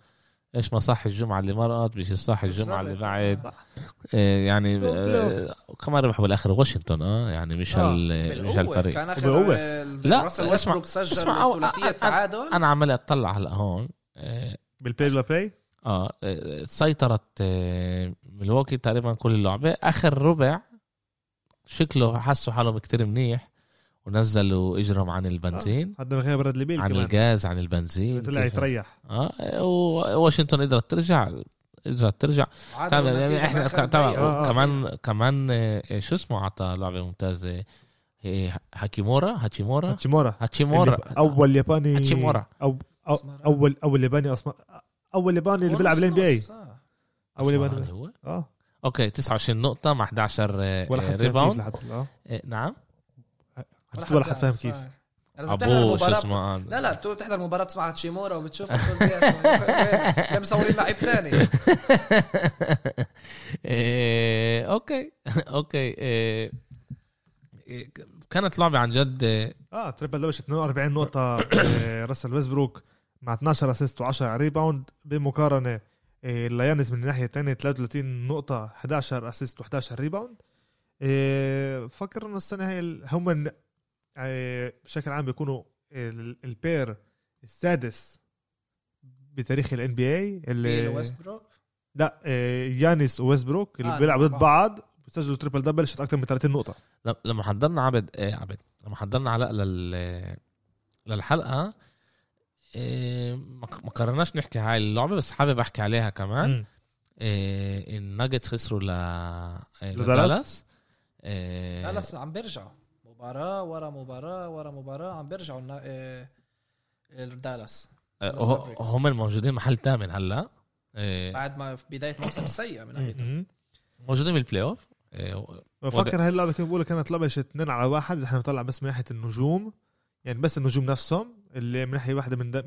Speaker 1: ايش ما صح الجمعه اللي مرقت مش صح الجمعه اللي
Speaker 3: بالظبط.
Speaker 1: بعد
Speaker 2: صح.
Speaker 1: إيه يعني
Speaker 2: بلاي أوف.
Speaker 1: آه، كمان ربحوا بالاخر واشنطن اه يعني مش
Speaker 2: آه،
Speaker 1: هال مش
Speaker 3: بالقوة.
Speaker 1: هالفريق
Speaker 3: كان اخر
Speaker 2: بالقوة.
Speaker 1: لا،
Speaker 3: لا راسل
Speaker 1: اسمع-
Speaker 3: ويستبروك سجل
Speaker 1: اسمع، أو-
Speaker 3: ثلاثية
Speaker 1: أ- أ-
Speaker 3: تعادل
Speaker 1: انا عمال اطلع هلا هون آه،
Speaker 2: بالبلاي لا بلاي
Speaker 1: اه آه، سيطرت آه، ملواكي تقريبا كل اللعبه اخر ربع شكله حسوا حالهم كتير منيح ونزلوا اجرهم عن البنزين
Speaker 2: حدا غير برادلي بيل
Speaker 1: عن
Speaker 2: آه، كمان
Speaker 1: الغاز عن البنزين
Speaker 2: طلع
Speaker 1: كيف-
Speaker 2: يتريح
Speaker 1: اه وواشنطن قدرت ترجع قدرت ترجع
Speaker 3: عادل
Speaker 1: تمام يعني
Speaker 3: النتيجة
Speaker 1: احنا
Speaker 3: بآخر
Speaker 1: تمام
Speaker 3: دقيقة.
Speaker 2: آه، آه.
Speaker 1: كمان كمان آه، شو اسمه عطى لعبه ممتازه آه، هاكيمورا هاتشيمورا
Speaker 2: هاتشيمورا
Speaker 1: هاتشيمورا
Speaker 2: اللي اول ياباني
Speaker 1: هاتشيمورا.
Speaker 2: أو أو
Speaker 3: أسمراني.
Speaker 2: اول اول ياباني اسمر اول ياباني اللي بيلعب الان بي اي
Speaker 3: نص، آه.
Speaker 2: اول
Speaker 1: اسمه
Speaker 2: ياباني
Speaker 1: هو
Speaker 2: اه
Speaker 1: اوكي 29 نقطه مع 11 آه،
Speaker 2: ولا
Speaker 1: آه،
Speaker 2: حد فاهم كيف
Speaker 1: ريباوند
Speaker 2: لحد اه
Speaker 1: آه، نعم
Speaker 3: ولا
Speaker 2: ولا حد فاهم
Speaker 3: يعرف،
Speaker 2: كيف
Speaker 3: آه. يعني لازم تحضر
Speaker 1: ابوه شو
Speaker 3: المباراة
Speaker 1: اسمه آه.
Speaker 3: لا لا بتقول بتحضر المباراة بتسمع تشيمورا وبتشوف بتقول ليه- ليه مصورين لعيب تاني
Speaker 1: إيه، اوكي اوكي إيه، إيه، كانت لعبه عن جد إيه،
Speaker 2: اه تريبل دبل 42 نقطة آه، راسل ويزبروك مع 12 اسيست و10 ريباوند بمقارنة آه، ليانس من الناحية الثانية 33 نقطة 11 اسيست و11 ريباوند آه، فكر انه السنة هاي ال- هم ال- آه، بشكل عام بيكونوا ال- البير السادس بتاريخ الان بي اي
Speaker 3: بيل
Speaker 2: اللي
Speaker 3: ويستبروك
Speaker 2: لا آه، يانس وويزبروك اللي
Speaker 3: آه،
Speaker 2: بيلعبوا ضد
Speaker 3: مع
Speaker 2: بعض بيسجلوا تريبل دبل شت اكثر من 30 نقطة
Speaker 1: لم- لما حضرنا عبد إيه، عبد لما حضرنا علاء لل للحلقه إيه، ما ما قررناش نحكي هاي اللعبه بس حابب احكي عليها كمان
Speaker 2: مم.
Speaker 1: إيه، الناجتس خسروا ل إيه،
Speaker 2: لدالاس؟
Speaker 1: لدالاس. إيه،
Speaker 3: خلص عم بيرجعوا مباراة ورا مباراة ورا مباراة عم بيرجعوا النا- آه، دالاس
Speaker 1: إيه،
Speaker 3: Dallas
Speaker 1: هو-
Speaker 3: Mavericks.
Speaker 1: هم الموجودين محل ثامن هلا إيه،
Speaker 3: بعد ما في بداية موسم سيء من ناحية
Speaker 2: مم.
Speaker 1: موجودين بالبلاي اوف إيه،
Speaker 2: بفكر هاي اللعبه كنت بقول كانت لعبه شت اثنين على واحد احنا بنطلع بس من ناحيه النجوم يعني بس النجوم نفسهم اللي من ناحيه واحده من, د... من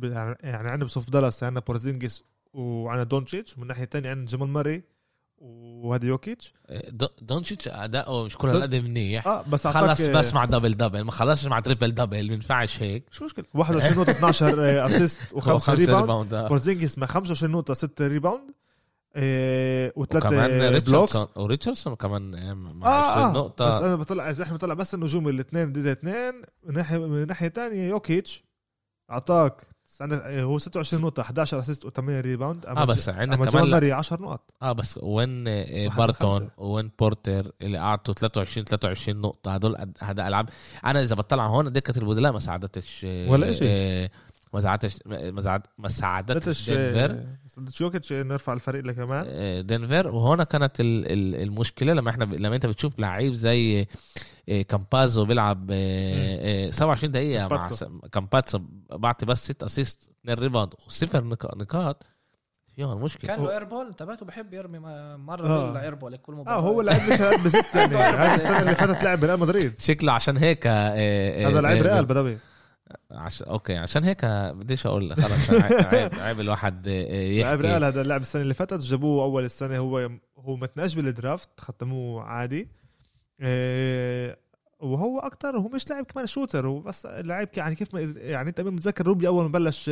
Speaker 2: ب- يعني عندنا بصف دالاس عندنا بورزينجس وعندنا دونتشيتش ومن الناحيه الثانيه عندنا جمال ماري وهذا يوكيتش
Speaker 1: دون- دونتشيتش اداؤه مش كل هالقد منيح
Speaker 2: اه بس
Speaker 1: خلص
Speaker 2: أعطاك-
Speaker 1: بس مع دبل دبل ما خلصش مع تريبل دبل ما ينفعش هيك
Speaker 2: شو مشكله 21 نقطه 12 اسيست وخمسه
Speaker 1: خمسة
Speaker 2: ريباوند
Speaker 1: ريباوند آه.
Speaker 2: بورزينجس مع 25 نقطه 6 ريباوند إيه
Speaker 1: وكمان
Speaker 2: وثلاثه بلوكس
Speaker 1: ريتشاردسون وريتشاردسون كمان آه، مع
Speaker 2: اه
Speaker 1: 20
Speaker 2: اه نقطة. بس
Speaker 1: نقطة
Speaker 2: انا بطلع اذا احنا بطلع بس النجوم الاثنين ضد اثنين من ناحيه من ناحيه ثانيه يوكيتش اعطاك عندك هو 26 نقطة 11 اسيست و8 ريباوند
Speaker 1: اه بس عندنا
Speaker 2: اما جون
Speaker 1: كمان لا-
Speaker 2: ماري 10 نقط
Speaker 1: اه بس وين آه، آه،
Speaker 2: واحد من
Speaker 1: بارتون
Speaker 2: خمسة.
Speaker 1: وين بورتر اللي قعدوا 23 23 نقطة هدول قد- هذا العاب انا اذا بطلع هون دكة البدلاء ما ساعدتش آه،
Speaker 2: ولا إشي.
Speaker 1: آه، ما ساعدتش ما ساعد- ما ساعدتش
Speaker 2: بدتش
Speaker 1: دنفر
Speaker 2: بدتش يوكيتش نرفع الفريق لكمان
Speaker 1: آه، دنفر وهنا كانت ال- ال- المشكله لما احنا ب... لما انت بتشوف لعيب زي آه، كامبازو بيلعب آه، آه، 27 دقيقه مع
Speaker 2: كامباتسو.
Speaker 1: س- كامباتسو بعطي بس 6 اسيست 2 ريباوند وصفر نق- نقاط فيها المشكله
Speaker 3: كان له ايربول تبعته بحب يرمي ما- مره
Speaker 2: آه.
Speaker 3: بالله ايربول كل مباراه
Speaker 2: اه هو لعب مش هاد بزت يعني هاي السنة اللي فاتت لعب بريال مدريد
Speaker 1: شكله عشان هيك
Speaker 2: هذا لعيب ريال بدوي
Speaker 1: آه، عش... اوكي عشان هيك بديش اقول خلص عيب- عيب عيب الواحد آه،
Speaker 2: لاعب
Speaker 1: يحكي
Speaker 2: ريال هذا اللاعب السنه اللي فاتت جابوه اول السنه هو هو ما تناش بالدرافت ختموه عادي إيه، وهو اكثر هو مش لاعب كمان شوتر هو بس لاعب ك- يعني كيف ما يعني انت متذكر روبي اول ما بلش
Speaker 3: في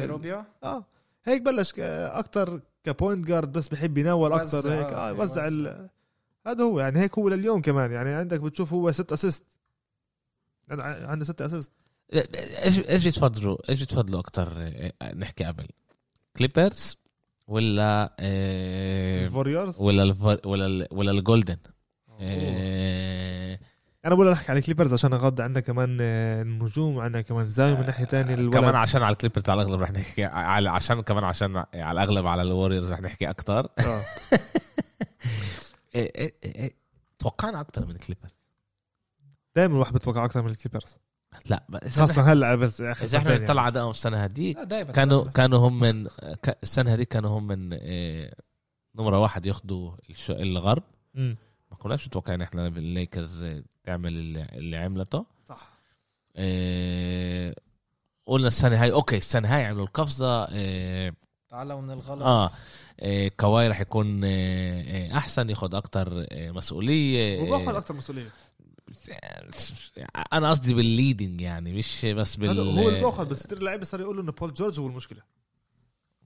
Speaker 2: إيه،
Speaker 3: روبيو
Speaker 2: اه هيك بلش اكثر كبوينت جارد بس بحب يناول اكثر
Speaker 3: وزع،
Speaker 2: هيك
Speaker 3: آه،
Speaker 2: اه يوزع ال-
Speaker 3: يوزع.
Speaker 2: هذا هو يعني هيك هو لليوم كمان يعني عندك بتشوف هو ست اسيست عنده ست اسيست
Speaker 1: آه، ايش ايش بتفضلوا ايش بتفضلوا اكثر نحكي قبل كليبرز ولا آه،
Speaker 2: الفوريورز
Speaker 1: ولا الفر... ولا ال... ولا الجولدن إيه. آه،
Speaker 2: انا بقول احكي على الكليبرز عشان اغض عندنا كمان آه، النجوم عندنا كمان زاوية من ناحيه ثانيه
Speaker 1: كمان
Speaker 2: الولد
Speaker 1: عشان على الكليبرز على الاغلب رح نحكي على عشان كمان عشان على الاغلب على الوريورز رح نحكي إيه، اكثر
Speaker 2: آه.
Speaker 1: توقعنا اكثر من الكليبرز
Speaker 2: دائما الواحد بتوقع اكثر من الكليبرز
Speaker 1: لا بس
Speaker 2: خاصه هلا بس اخر
Speaker 1: اذا احنا
Speaker 2: سنتين يعني.
Speaker 1: نطلع على ادائهم السنه هذيك
Speaker 3: لا دايما
Speaker 1: كانوا كانوا هم من ك- السنه هذيك كانوا هم من آه، نمره واحد ياخذوا الش- الغرب
Speaker 2: يعني. مم.
Speaker 1: ما كناش متوقعين احنا الليكرز آه، تعمل اللي- اللي عملته
Speaker 2: صح
Speaker 1: آه، قلنا السنه هاي اوكي السنه هاي عملوا القفزه اه,
Speaker 3: تعلموا من الغلط
Speaker 1: آه, آه كواي رح يكون آه آه، احسن ياخد اكتر آه مسؤوليه
Speaker 2: وباخذ
Speaker 1: آه،
Speaker 2: اكثر مسؤوليه
Speaker 1: انا قصدي بالليدنج يعني مش بس بال
Speaker 2: هذا هو اللي باخذ بس كثير لعيبه صار يقولوا انه بول جورج هو المشكله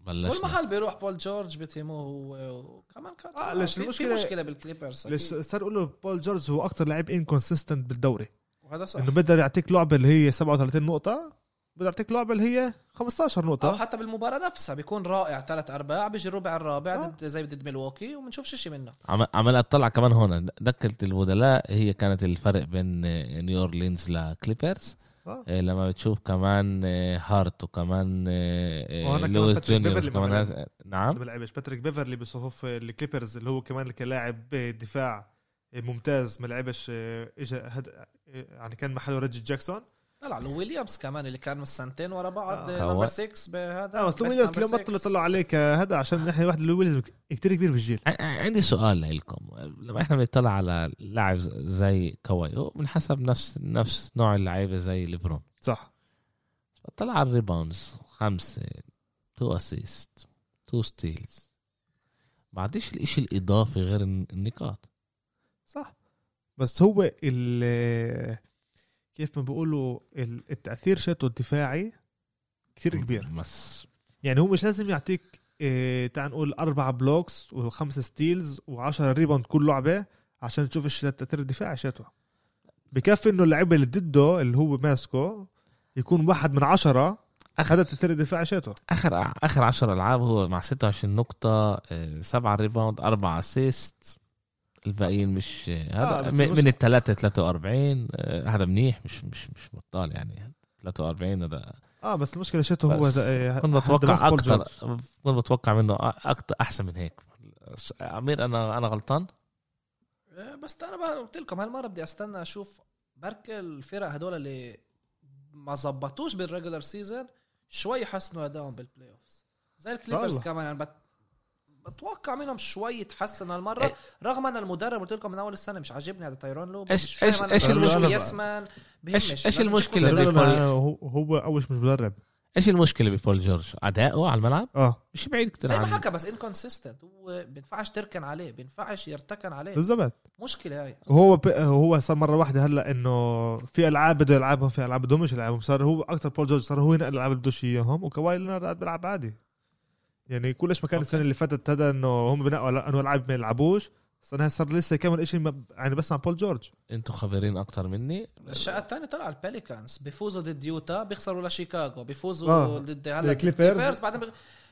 Speaker 1: بلشنا.
Speaker 3: كل محل بيروح بول جورج بيتهموه هو- وكمان كان
Speaker 2: آه، ليش
Speaker 3: في-
Speaker 2: المشكلة-
Speaker 3: في مشكله بالكليبرز أكيد.
Speaker 2: ليش صار يقولوا بول جورج هو اكثر لعيب انكونسيستنت بالدوري
Speaker 3: وهذا صح
Speaker 2: انه بقدر يعطيك لعبه اللي هي 37 نقطه بقدر يعطيك لعبه اللي هي 15
Speaker 3: او
Speaker 2: نقطه
Speaker 3: حتى بالمباراه نفسها بيكون رائع ثلاث ارباع بيجي الربع الرابع
Speaker 2: آه.
Speaker 3: ضد زي ضد ميلواكي وبنشوفش شيء منه
Speaker 1: عم- عمال اطلع كمان هون دكه البدلاء هي كانت الفرق بين آه، نيو اورلينز لكليبرز
Speaker 2: آه.
Speaker 1: آه، لما بتشوف كمان آه، هارت وكمان آه، آه،
Speaker 2: وهنا كمان
Speaker 1: لويس
Speaker 2: باتريك
Speaker 1: جونيور
Speaker 2: بيفرلي ما
Speaker 1: كمان
Speaker 2: بلعب.
Speaker 1: هاد- نعم
Speaker 2: ما لعبش باتريك بيفرلي بصفوف الكليبرز اللي هو كمان كلاعب دفاع ممتاز ما لعبش اجى هد... يعني كان محله ريجي جاكسون
Speaker 3: طلع لو ويليامز كمان اللي كان من سنتين ورا بعض
Speaker 2: آه.
Speaker 3: نمبر 6 بهذا
Speaker 2: لا آه، بس لو
Speaker 3: best
Speaker 2: ويليامز
Speaker 3: number
Speaker 2: اليوم
Speaker 3: six.
Speaker 2: بطلوا يطلعوا عليه كهذا آه، عشان نحن واحد لو ويليامز كثير كبير بالجيل
Speaker 1: ع- ع- عندي سؤال لكم لما احنا بنطلع على لاعب ز- زي كواي هو من حسب نفس نفس نوع اللعيبه زي ليبرون
Speaker 2: صح
Speaker 1: بطلع على الريباوندز خمسه تو اسيست تو ستيلز بعديش الاشي الاضافي غير الن- النقاط
Speaker 2: صح بس هو ال كيف ما بيقولوا ال- التاثير شاتو الدفاعي كثير كبير
Speaker 1: بس
Speaker 2: يعني هو مش لازم يعطيك إيه تعال نقول اربع بلوكس وخمس ستيلز و10 ريباوند كل لعبه عشان تشوف الش- التاثير الدفاعي شاته بكفي انه اللعيبه اللي ضده اللي هو ماسكه يكون واحد من عشرة
Speaker 1: أخ-
Speaker 2: اخذ التاثير الدفاعي شاته
Speaker 1: اخر اخر 10 العاب هو مع 26 نقطه 7 ريباوند 4 اسيست الباقيين مش
Speaker 2: آه،
Speaker 1: هذا
Speaker 2: بس
Speaker 1: من-
Speaker 2: بص-
Speaker 1: من الثلاثه 43 آه، هذا منيح مش مش مش بطال يعني 43 هذا
Speaker 2: اه بس المشكله شاته هو
Speaker 1: بس
Speaker 2: ذا- إيه،
Speaker 1: كنت
Speaker 2: حد بس
Speaker 1: بتوقع
Speaker 2: بول
Speaker 1: اكثر
Speaker 2: جورج.
Speaker 1: كنت بتوقع منه اكثر احسن من هيك امير انا انا غلطان
Speaker 3: آه، بس انا بقى قلت لكم هالمره بدي استنى اشوف بركي الفرق هدول اللي ما زبطوش بالريجولر سيزون شوي حسنوا ادائهم بالبلاي اوفز زي الكليبرز
Speaker 2: والله.
Speaker 3: كمان يعني بت... بتوقع منهم شوي تحسن هالمره
Speaker 1: إيه.
Speaker 3: رغم ان المدرب قلت لكم من اول السنه مش عاجبني هذا تايرون لو
Speaker 1: إيش- إيش- إيش
Speaker 2: المشكلة؟
Speaker 3: يسمن
Speaker 1: إيش- إيش المشكلة؟
Speaker 2: لا، لا، لا،
Speaker 1: بول-
Speaker 2: هو هو اول شيء مش مدرب
Speaker 1: ايش المشكله ببول جورج اداؤه على الملعب
Speaker 2: اه
Speaker 1: مش بعيد كثير
Speaker 3: زي ما
Speaker 1: عن
Speaker 3: حكى بس انكونسيستنت هو بينفعش تركن عليه بينفعش يرتكن عليه
Speaker 2: بالضبط
Speaker 3: مشكله هاي
Speaker 2: هو ب... هو صار مره واحده هلا انه في العاب بده يلعبهم في العاب بده مش يلعبهم صار هو اكثر بول جورج صار هو ينقل الالعاب اللي بدوش اياهم وكواي لينارد قاعد بيلعب عادي يعني كلش ما كان السنه اللي فاتت هذا انه هم بنقوا لا- انه العاب ما يلعبوش السنه هاي صار لسه كمان شيء ما... يعني بسمع بول جورج
Speaker 1: انتم خبيرين اكثر مني
Speaker 3: الشقه الثانيه طلع الباليكانز بيفوزوا ضد يوتا بيخسروا لشيكاغو بيفوزوا
Speaker 2: آه.
Speaker 3: آه. ضد هلا
Speaker 2: الكليبرز.
Speaker 3: الكليبرز بعدين بيغ...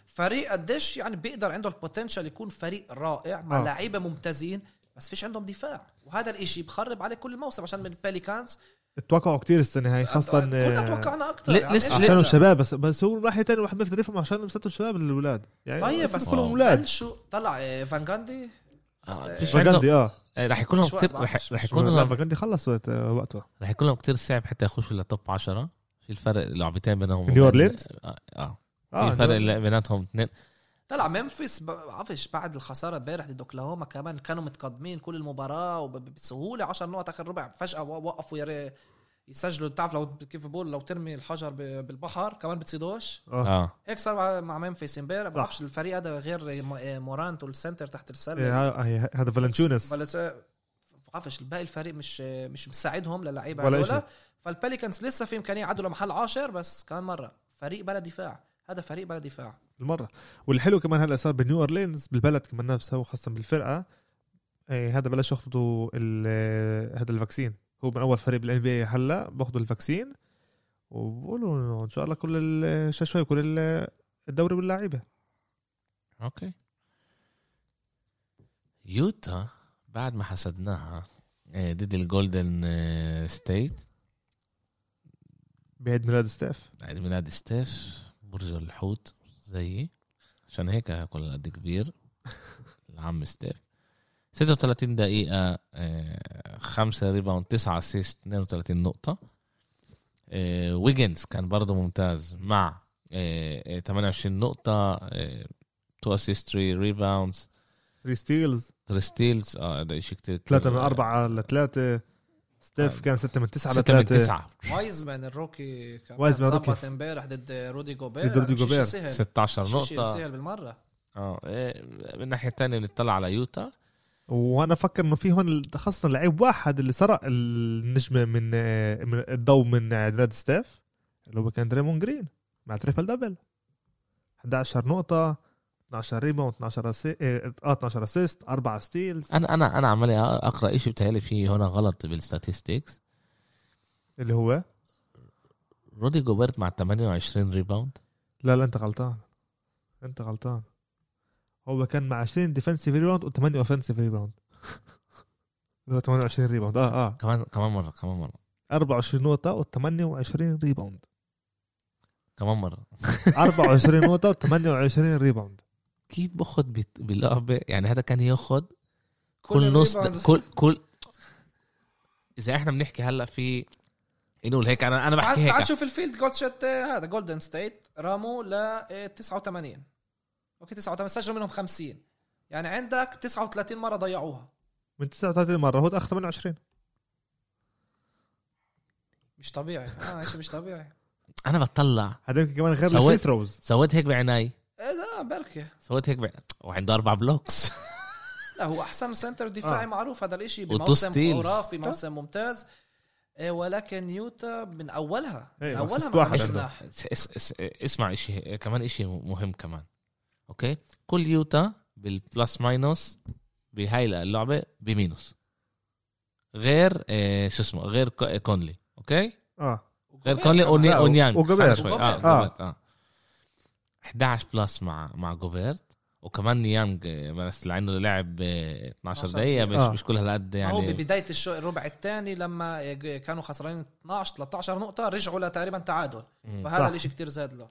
Speaker 3: فريق قديش يعني بيقدر عنده البوتنشال يكون فريق رائع مع
Speaker 2: آه.
Speaker 3: آه. لعيبه ممتازين بس فيش عندهم دفاع وهذا الاشي بخرب عليه كل الموسم عشان من الباليكانز
Speaker 2: توقعوا كثير السنه هاي خاصه
Speaker 3: كنا توقعنا اكثر
Speaker 1: ل- لسه-
Speaker 3: إيش
Speaker 2: عشانهم
Speaker 3: بدنا؟
Speaker 2: شباب بس بس هو راح تاني واحد ما يقدر يفهم عشان مساته الشباب الاولاد يعني
Speaker 3: طيب
Speaker 2: بس
Speaker 3: بس
Speaker 2: كلهم
Speaker 1: واو.
Speaker 2: اولاد
Speaker 3: شو طلع آه، فان جاندي
Speaker 1: آه،
Speaker 3: بس-
Speaker 1: فيش عندهم
Speaker 2: فاجندي اه
Speaker 1: رح يكون لهم
Speaker 3: شوي
Speaker 1: كثير
Speaker 3: بعد.
Speaker 1: رح رح يكون لهم
Speaker 2: فاجندي خلص وقت- آه، وقته
Speaker 1: رح يكون لهم كتير صعب حتى يخشوا للتوب 10 في الفرق لعبتين بينهم
Speaker 2: نيو أورلينز؟
Speaker 1: اه, آه.
Speaker 2: اه
Speaker 1: في فرق اللي بيناتهم اثنين
Speaker 3: طلع ممفيس ب- بعرفش بعد الخساره امبارح ضد اوكلاهوما كمان كانوا متقدمين كل المباراه وبسهوله 10 نقط اخر ربع فجاه و- وقفوا ير- يسجلوا بتعرف لو كيف بقول لو ترمي الحجر ب- بالبحر كمان بتصيدوش
Speaker 2: اه
Speaker 1: اه
Speaker 3: هيك صار مع- مع ممفيس امبارح بعرفش الفريق هذا غير م- مورانت والسنتر تحت
Speaker 2: إيه،
Speaker 3: السله
Speaker 2: هاي- هاي- هذا فالنتيونس
Speaker 3: فلس- بعرفش الباقي الفريق مش مش مساعدهم للعيبه
Speaker 2: ولا
Speaker 3: هذول
Speaker 2: إشي.
Speaker 3: فالبليكنز لسه في امكانيه يعدوا لمحل عاشر بس كمان مره فريق بلا دفاع هذا فريق بلا دفاع
Speaker 2: المره والحلو كمان هلا صار بنيو اورلينز بالبلد كمان نفسها وخاصه بالفرقه إيه هذا بلش ياخذوا ال- هذا الفاكسين هو من اول فريق بالان بي هلا باخذوا الفاكسين وبقولوا إنه ان شاء الله كل ال- شوي شوي كل ال- الدوري واللعيبه
Speaker 1: اوكي يوتا بعد ما حسدناها آه، ضد الجولدن آه، ستيت
Speaker 2: بعيد ميلاد ستاف
Speaker 1: عيد ميلاد ستيف برج الحوت زيي عشان هيك هاكل قد كبير العم ستيف 36 دقيقة آه، 5 ريباوند 9 اسيست 32 نقطة آه، ويجنز كان برضه ممتاز مع آه، آه، 28 نقطة آه، 2 اسيست 3 ريباوندز
Speaker 2: 3 ستيلز
Speaker 1: 3 ستيلز اه ده شيء كتير
Speaker 2: 3 من 4 ل 3 ستاف كان 6 من 9
Speaker 1: 9
Speaker 2: ل
Speaker 1: 6 من
Speaker 2: 3
Speaker 1: 9
Speaker 3: وايزمان الروكي كمان
Speaker 2: وايزمان الروكي.
Speaker 3: ظبط امبارح ضد رودي جوبير
Speaker 2: ضد رودي
Speaker 3: مش شي
Speaker 2: جوبير.
Speaker 3: سهل.
Speaker 1: 16
Speaker 3: مش شي
Speaker 1: نقطة
Speaker 3: سهل بالمره
Speaker 1: اه آه، من الناحية الثانية بنطلع على يوتا
Speaker 2: وانا افكر انه في هون خاصه لعيب واحد اللي سرق النجمه من آه، من الضوء من آه، ناد ستاف اللي هو كان دريمون جرين مع تريبل دبل 11 نقطة 12 ريباوند 12 اسي... آه، اه 12 اسيست 4 ستيلز
Speaker 1: انا انا انا عمال اقرا شيء بتهيألي فيه هنا غلط بالستاتستكس
Speaker 2: اللي هو
Speaker 1: رودي جوبرت مع 28 ريباوند
Speaker 2: لا لا انت غلطان انت غلطان هو كان مع 20 ديفنسيف ريباوند و8 اوفنسيف ريباوند اللي هو 28 ريباوند اه اه
Speaker 1: كمان كمان مره كمان مره
Speaker 2: 24 نقطة و28 ريباوند
Speaker 1: كمان مره
Speaker 2: 24 نقطة و28 ريباوند
Speaker 1: كيف باخد بت- باللعبه يعني هذا كان ياخد كل,
Speaker 3: ال
Speaker 1: نص
Speaker 3: rebounds.
Speaker 1: كل كل اذا احنا بنحكي هلا في نقول هيك انا انا
Speaker 3: تعال
Speaker 1: بحكي
Speaker 3: تعال
Speaker 1: هيك
Speaker 3: شوف الفيلد جول شوت آه، هذا جولدن ستيت راموا ل آه، 89 اوكي 89 سجلوا منهم 50 يعني عندك 39 مره ضيعوها
Speaker 2: من 39 مره هو اخذ 28
Speaker 3: مش طبيعي اه شيء مش طبيعي
Speaker 1: انا بطلع
Speaker 2: هذا يمكن كمان غير
Speaker 1: سويت.
Speaker 2: الفري ثروز
Speaker 1: سويت هيك بعيناي
Speaker 3: اذا بركي
Speaker 1: سويت هيك بع... وعنده اربع بلوكس
Speaker 3: لا هو احسن سنتر دفاعي
Speaker 2: آه. طيب.
Speaker 3: معروف هذا الاشي
Speaker 1: وتو
Speaker 3: بموسم
Speaker 1: steals.
Speaker 3: خرافي موسم ممتاز آه، ولكن يوتا من اولها من
Speaker 2: إيه،
Speaker 3: اولها
Speaker 2: assist
Speaker 3: ما
Speaker 2: واحد
Speaker 3: عملش
Speaker 2: عنده.
Speaker 3: ناح.
Speaker 1: اس- اس- اس- اسمع اشي كمان اشي مهم كمان اوكي كل يوتا بالبلس ماينس بهاي اللعبه بمينوس غير آه، شو اسمه غير كو- كونلي اوكي
Speaker 2: اه
Speaker 1: غير كونلي
Speaker 2: لا، و-
Speaker 1: اونيانج
Speaker 2: وجوبير.
Speaker 1: اه
Speaker 3: وجوبير.
Speaker 2: آه.
Speaker 1: جوبيرت، اه 11 بلس مع مع جوبيرت وكمان نيانج آه، بس لانه لعب آه، 12 دقيقه مش
Speaker 2: آه.
Speaker 1: مش كل هالقد
Speaker 3: يعني هو
Speaker 1: يعني
Speaker 3: ببدايه الشو الربع الثاني لما آه، كانوا خسرانين 12 13 نقطه رجعوا لتقريبا تعادل
Speaker 1: مم.
Speaker 2: صح.
Speaker 3: فهذا الاشي كتير زاد له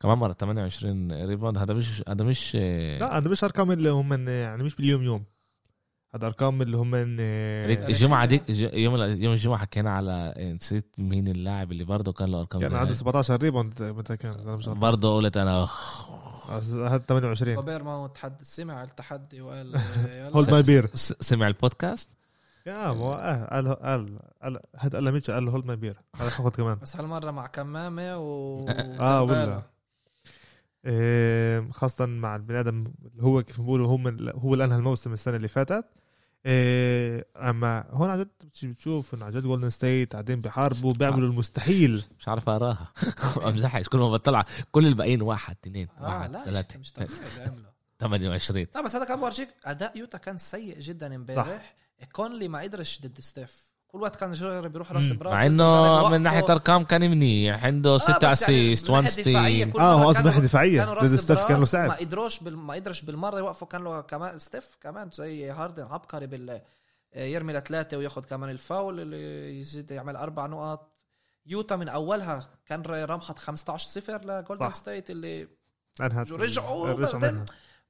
Speaker 1: كمان مره 28 ريباوند هذا مش هذا مش آه،
Speaker 2: لا انا مش ارقام اللي هم من- يعني مش باليوم يوم هذا ارقام اللي هم من
Speaker 1: ريك-
Speaker 3: ريك
Speaker 1: الجمعة
Speaker 3: شيلر.
Speaker 1: ديك ج- يوم ال- يوم الجمعة حكينا على آه، نسيت مين اللاعب اللي برضه كان له أرقام
Speaker 2: كان
Speaker 1: زي
Speaker 2: يعني عنده
Speaker 1: هاي.
Speaker 2: 17 ريبوند متى كان اذا أنا مش غلطان
Speaker 1: برضه قلت أنا
Speaker 2: هذا 28
Speaker 3: كوبير ما هو تحدي سمع التحدي وقال آه، يلا.
Speaker 2: هولد ماي بير
Speaker 1: س- سمع البودكاست
Speaker 2: يا ما هو آه، قال قال قال هذا قال ميتش قال هولد ماي بير هذا حاخذ كمان
Speaker 3: بس هالمره مع كمامه و
Speaker 2: آه، ولا. آه، خاصة مع البني ادم اللي هو كيف بنقولوا هو من هو اللي انهى الموسم السنة اللي فاتت آه، اما هون عن جد بتش- بتشوف انه عن جد جولدن ستيت قاعدين بيحاربوا بيعملوا المستحيل
Speaker 1: مش عارف أقراها ما بمزحش كل ما بطلع كل الباقيين واحد اثنين
Speaker 3: اه
Speaker 1: واحد
Speaker 3: لا
Speaker 1: ثلاثة
Speaker 3: شيء مش طبيعي اللي عمله
Speaker 1: 28
Speaker 3: لا بس هذا كان بورجيك اداء يوتا كان سيء جدا امبارح كونلي ما قدرش ضد ستيف كل وقت كان جرب بيروح راس
Speaker 2: مم.
Speaker 3: براس
Speaker 1: مع
Speaker 3: ضد
Speaker 1: إنه
Speaker 3: جارب
Speaker 1: من ناحية
Speaker 3: وقفه.
Speaker 1: أرقام كان منيح عنده ستة
Speaker 3: بس يعني
Speaker 1: أسيست
Speaker 3: من
Speaker 1: وان
Speaker 3: ناحية دفاعية
Speaker 1: ستيل
Speaker 3: كل
Speaker 2: اه
Speaker 3: مرة
Speaker 2: هو قصدي
Speaker 3: كانوا-
Speaker 2: ناحية دفاعية
Speaker 3: كانوا
Speaker 2: ضد
Speaker 3: راس
Speaker 2: ستيف كان له
Speaker 3: براس،
Speaker 2: صعب
Speaker 3: ما قدروش بال... ما قدرش بالمره يوقفوا كان له كمان ستيف كمان زي هاردن عبقري بال يرمي لثلاثه وياخذ كمان الفاول اللي يزيد يعمل اربع نقط يوتا من اولها كان رمحت 15 0 لجولدن
Speaker 2: صح.
Speaker 3: ستيت اللي
Speaker 2: انها
Speaker 3: رجعوا
Speaker 2: إيه، رجعوا
Speaker 3: وبعدين
Speaker 2: منها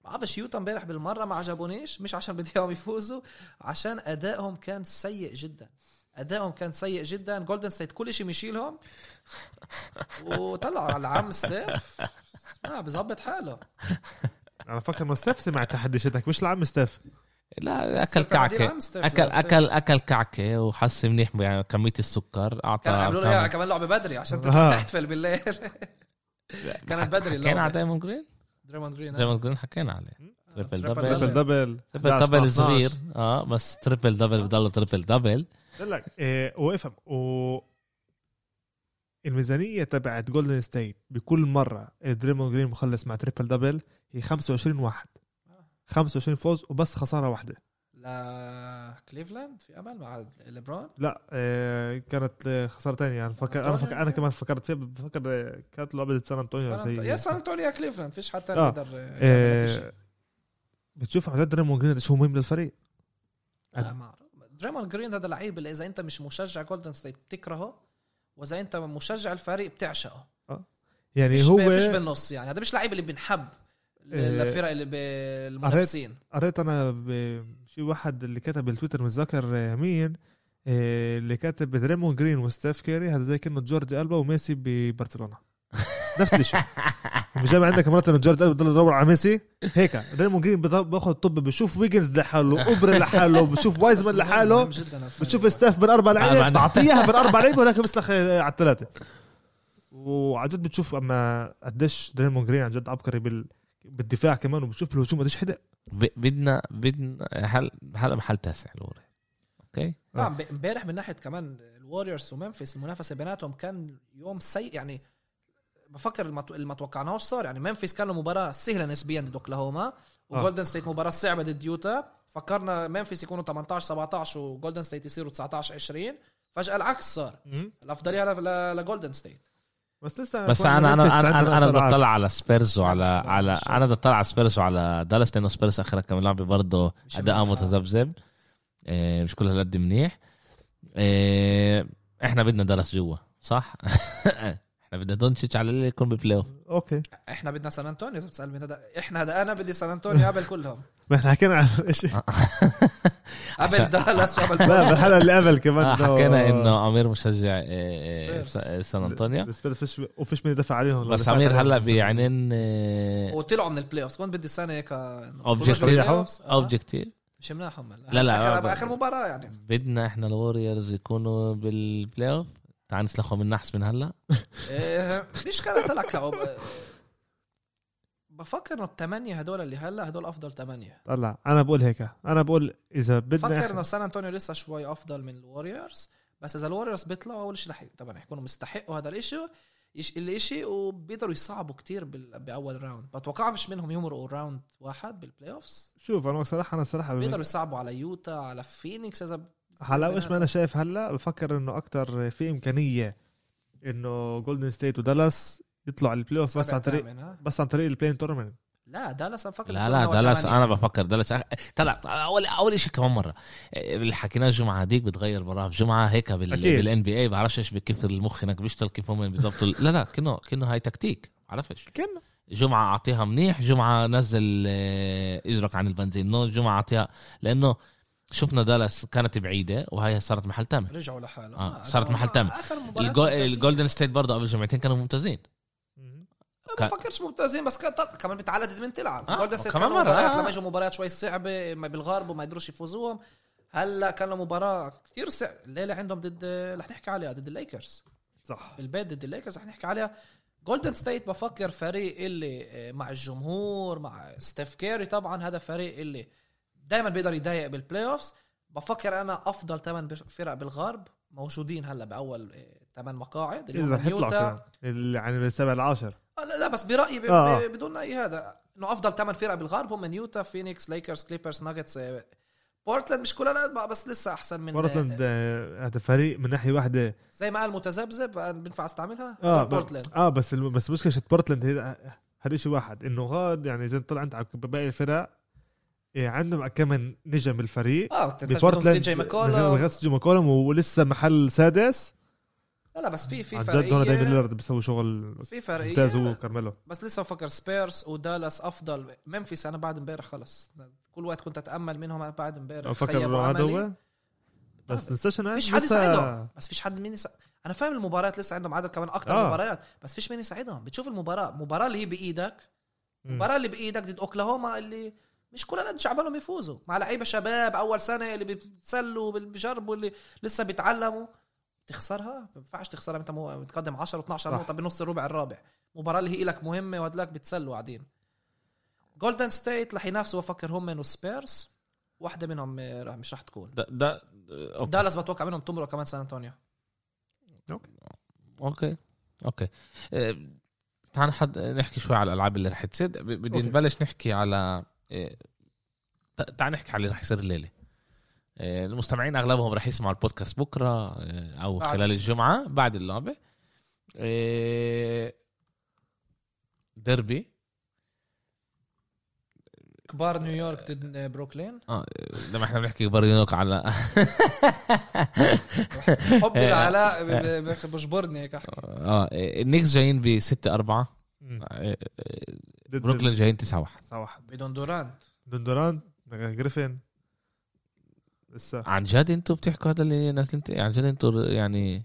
Speaker 3: ما بعرفش يوتا امبارح بالمره ما عجبونيش مش عشان بدهم يفوزوا عشان ادائهم كان سيء جدا ادائهم كان سيء جدا جولدن ستيت كل شيء مشيلهم وطلعوا على العم ستيف ما بظبط حاله
Speaker 2: انا فكر انه ستيف سمع تحدي شتك مش العم ستيف
Speaker 1: لا اكل كعكه اكل اكل اكل كعكه وحس منيح بكميه السكر اعطى
Speaker 3: كانوا عملوا له
Speaker 1: أعطى-
Speaker 3: اياها كمان لعبه بدري عشان
Speaker 2: آه.
Speaker 3: تطلع تحتفل بالليل كانت بدري
Speaker 1: حكينا على
Speaker 3: اللعبه
Speaker 1: دايموند جرين
Speaker 3: دريموند جرين آه.
Speaker 1: دايموند جرين حكينا عليه تريبل
Speaker 3: تريبل
Speaker 1: دبل
Speaker 2: دبل
Speaker 3: دبل.
Speaker 2: دبل
Speaker 1: تريبل
Speaker 2: 11
Speaker 1: دبل
Speaker 2: 12.
Speaker 1: صغير اه بس تريبل دبل بضل تريبل دبل
Speaker 2: قال لك إيه، وافهم و الميزانيه تبعت جولدن ستيت بكل مره دريمون جرين مخلص مع تريبل دبل هي 25 واحد 25 فوز وبس خساره واحده
Speaker 3: لكليفلاند في امل مع ليبرون
Speaker 2: لا إيه، كانت إيه، خساره تانية انا فكر انا فكر انا كمان فكرت فيها بفكر إيه، كانت لعبه سان انطونيو
Speaker 3: سان أنطو-
Speaker 2: زي
Speaker 3: يا سان انطونيو يا كليفلاند فيش حتى
Speaker 2: آه.
Speaker 3: يقدر آه، يعمل لك شيء.
Speaker 2: إيه، بتشوف عدد دريمون جرين قديش هو مهم للفريق
Speaker 3: لا، ما أعرف. دريموند جرين هذا لعيب اللي اذا انت مش مشجع جولدن ستيت بتكرهه واذا انت مشجع الفريق بتعشقه
Speaker 2: يعني
Speaker 3: مش
Speaker 2: هو
Speaker 3: مش بالنص يعني هذا مش لعيب اللي بنحب
Speaker 2: إيه.
Speaker 3: الفرق اللي بالمنافسين
Speaker 2: قريت انا ب- شي واحد اللي كتب بالتويتر متذكر آه، مين آه، اللي كاتب دريمون جرين وستيف كيري هذا زي كانه جورج البا وميسي ببرشلونه نفس الشيء بجمع عندك مرات انه جورج البا بضل يدور على ميسي هيك دريمون جرين بض- باخذ طب بشوف ويجنز لحاله اوبرا لحاله بشوف وايزمان لحاله بتشوف ستاف باربع
Speaker 1: أنا-
Speaker 2: لعيبه
Speaker 1: أنا-
Speaker 2: بعطيها باربع لعيبه ولكن بسلخ آه، على الثلاثه وعن جد بتشوف اما قديش دريمون جرين عن جد عبقري بال بالدفاع كمان وبتشوف الهجوم قديش حدق
Speaker 1: ب- بدنا بدنا هل هلا محل تاسع لوري اوكي
Speaker 3: طبعا ب- امبارح من ناحيه كمان الوريورز وممفيس المنافسه بيناتهم كان يوم سيء يعني بفكر الما- اللي ما توقعناهوش صار يعني ممفيس كان له مباراه سهله نسبيا ضد اوكلاهوما
Speaker 1: آه.
Speaker 3: وجولدن ستيت مباراه صعبه ضد يوتا فكرنا ممفيس يكونوا 18 17 وجولدن ستيت يصيروا 19 20 فجاه العكس صار الافضليه ل- ل- لجولدن ستيت
Speaker 2: بس لسه
Speaker 1: بس انا
Speaker 2: كنا
Speaker 1: انا
Speaker 2: ننافس
Speaker 1: انا
Speaker 2: عندنا
Speaker 1: انا, أنا بدي
Speaker 2: صراعات.
Speaker 1: اطلع على سبيرز وعلى
Speaker 3: شوف.
Speaker 1: على انا بدي اطلع على سبيرز وعلى دالاس لانه سبيرز اخر كم لعبه برضه
Speaker 3: مش
Speaker 1: اداء
Speaker 3: منيح.
Speaker 1: متذبذب إيه، مش كل هالقد منيح إيه، احنا بدنا دالاس جوا صح؟ احنا بدنا دونتشيتش على اللي يكون ببلاي اوف
Speaker 2: اوكي
Speaker 3: احنا بدنا سان انطونيو اذا بتسالني هذا احنا هذا انا بدي سان انطونيو قبل كلهم
Speaker 2: ما احنا حكينا عن شيء
Speaker 1: عشان-
Speaker 3: قبل دالاس وقبل
Speaker 2: لا
Speaker 3: كلهم.
Speaker 2: بالحلقه اللي قبل كمان
Speaker 1: آه،
Speaker 2: إنه-
Speaker 1: حكينا انه امير مشجع إيه،
Speaker 3: سبيرز.
Speaker 1: سان انطونيو
Speaker 2: بس بس فيش وفيش مين يدافع عليهم لو
Speaker 1: بس
Speaker 2: دفعت
Speaker 1: امير
Speaker 2: عليهم
Speaker 1: هلا
Speaker 2: بس-
Speaker 1: بعينين إيه،
Speaker 3: وطلعوا من البلاي اوف كنت بدي السنه هيك آه.
Speaker 1: Objective.
Speaker 3: اوبجكتيف
Speaker 1: اوبجكتيف
Speaker 3: مش مناحهم هلا.
Speaker 1: لا، لا،
Speaker 3: آخر-
Speaker 1: آه،
Speaker 3: اخر مباراه يعني
Speaker 1: بدنا احنا الوريورز يكونوا بالبلاي اوف تعال نسلخهم النحس من هلا
Speaker 3: إيه، مش كانت لك بفكر انه الثمانيه هدول اللي هلا هدول افضل ثمانيه
Speaker 2: طلع انا بقول هيك انا بقول اذا
Speaker 3: بفكر
Speaker 2: بدنا
Speaker 3: انه سان انطونيو لسه شوي افضل من الوريورز بس اذا الوريورز بيطلعوا اول شيء رح ي- طبعا رح يكونوا مستحقوا هذا الاشي يش- الاشي وبيقدروا يصعبوا كتير بال- باول راوند بتوقعش منهم يمرقوا راوند واحد بالبلاي اوفز
Speaker 2: شوف انا صراحه انا صراحه
Speaker 3: بيقدروا يصعبوا على يوتا على فينيكس اذا ب-
Speaker 2: هلا ايش ما انا شايف هلا بفكر انه اكثر في امكانيه انه جولدن ستيت ودالاس يطلعوا على البلاي اوف بس
Speaker 3: سبع
Speaker 2: عن طريق
Speaker 3: تامن، ها؟
Speaker 2: بس عن طريق البلاين تورمنت
Speaker 3: لا دالاس أنا بفكر
Speaker 1: لا
Speaker 3: بيكونوا
Speaker 1: لا
Speaker 3: أول
Speaker 1: دالاس
Speaker 3: تمانية.
Speaker 1: انا بفكر دالاس أخ... طلع اول اول شيء كمان مره إيه، اللي حكيناه الجمعه هذيك بتغير براها في جمعه هيك بال...
Speaker 2: أكيد.
Speaker 1: بالان بي اي بعرفش ايش كيف المخ هناك بيشتغل كيف هم بالضبط لا لا كنه كنه هاي تكتيك بعرفش
Speaker 2: كان
Speaker 1: جمعه اعطيها منيح جمعه نزل آه، اجرك عن البنزين نو جمعه اعطيها لانه شفنا دالاس كانت بعيده وهي صارت محل ثامن
Speaker 3: رجعوا لحالهم
Speaker 1: آه،
Speaker 3: آه،
Speaker 1: صارت
Speaker 3: آخر-
Speaker 1: محل تامن.
Speaker 3: آخر مباراة
Speaker 1: الجو...
Speaker 3: ممتازين.
Speaker 1: الجولدن ستيت برضه قبل جمعتين كانوا ممتازين
Speaker 3: ما بفكرش ممتازين بس كان طب كمان بتعلقت من تلعب
Speaker 1: آه،
Speaker 3: جولدن ستيت
Speaker 1: كمان
Speaker 3: كانوا
Speaker 1: مرة،
Speaker 3: مباريات
Speaker 1: آه.
Speaker 3: لما اجوا مباريات شوي صعبه ما بالغرب وما يقدروش يفوزوهم هلا كان له مباراه كثير صعبه الليله عندهم ضد رح نحكي عليها ضد الليكرز
Speaker 2: صح
Speaker 3: بالبيت ضد الليكرز رح نحكي عليها جولدن ستيت بفكر فريق اللي آه، مع الجمهور مع ستيف كيري طبعا هذا فريق اللي دائما بيقدر يضايق بالبلاي اوفز بفكر انا افضل ثمان فرق بالغرب موجودين هلا باول ثمان مقاعد اللي
Speaker 2: اذا
Speaker 3: هم
Speaker 2: حيطلعوا
Speaker 3: يوتا
Speaker 2: كمان اللي- يعني بالسابع العاشر
Speaker 3: آه، لا, لا بس برايي ب...
Speaker 2: آه.
Speaker 3: ب... بدون اي هذا انه افضل ثمان فرق بالغرب هم يوتا فينيكس ليكرز كليبرز ناجتس آه، بورتلاند مش كلها لا بس لسه احسن من
Speaker 2: بورتلاند
Speaker 3: آه،
Speaker 2: آه، هذا فريق من ناحيه واحده
Speaker 3: زي ما قال متذبذب آه، بينفع استعملها
Speaker 2: اه
Speaker 3: آه، بورتلاند
Speaker 2: ب- اه بس الم- بس مشكله بورتلاند هي هذا شيء واحد انه غاد يعني اذا طلع انت على باقي الفرق إيه عندهم كم من نجم الفريق
Speaker 3: اه بتنساش منهم سي جي ماكولا
Speaker 2: غاس جي ماكولم ولسه محل سادس
Speaker 3: لا لا بس في في
Speaker 2: عن جد هون دايما
Speaker 3: فرقيه
Speaker 2: ليلارد بيسوي شغل
Speaker 3: في
Speaker 2: ممتاز هو
Speaker 3: فرقيه
Speaker 2: وكارميلو
Speaker 3: بس لسه بفكر سبيرس ودالاس افضل ممفيس انا بعد امبارح خلص كل وقت كنت اتامل منهم أنا بعد امبارح
Speaker 2: بفكر
Speaker 3: خيبوا
Speaker 2: إنه هذا
Speaker 3: أملي.
Speaker 2: هو بس تنساش انه
Speaker 3: فيش حد
Speaker 2: لسه-
Speaker 3: يساعدهم بس فيش حد مين يساعد انا فاهم المباريات لسه عندهم عدد كمان اكتر
Speaker 2: آه.
Speaker 3: آه. مباريات بس فيش مين يساعدهم بتشوف المباراه المباراه اللي هي بايدك
Speaker 2: مم.
Speaker 3: المباراه اللي بايدك ضد اوكلاهوما اللي مش كل هالقد شعبانهم يفوزوا مع لعيبه شباب اول سنه اللي بيتسلوا اللي بيجربوا اللي لسه بيتعلموا تخسرها ما بينفعش تخسرها انت مو- متقدم 10 و12
Speaker 2: صح.
Speaker 3: نقطه بنص الربع الرابع مباراه اللي هي لك مهمه وهدلاك بتسلوا قاعدين جولدن ستيت رح ينافسوا بفكر هم وسبيرس واحده منهم آه، رح- مش رح تكون
Speaker 1: ده, ده اوكي
Speaker 3: دالاس بتوقع منهم تمرق كمان سان انطونيو
Speaker 1: اوكي اوكي آه، تعال نحد... نحكي شوي على الالعاب اللي رح تصير ب- بدي
Speaker 2: أوكي.
Speaker 1: نبلش نحكي على آه، ت- تعال نحكي على اللي رح يصير الليله آه، المستمعين اغلبهم رح يسمعوا البودكاست بكره آه، او
Speaker 3: بعد.
Speaker 1: خلال الجمعه بعد اللعبه آه، ديربي
Speaker 3: كبار نيويورك ضد بروكلين
Speaker 1: اه لما احنا بنحكي برينوك على آه، إيه.
Speaker 3: حبي العلاء ب- ب- بجبرني هيك احكي
Speaker 1: اه النكس جايين ب 6 4
Speaker 2: مم. ضد
Speaker 1: آه، بروكلين جايين 9 1
Speaker 2: تسعة واحد
Speaker 3: بدون دورانت
Speaker 2: دوندوران جريفن لسه
Speaker 1: عن جد انتوا بتحكوا هذا اللي نازلين ت- عن جد انتوا يعني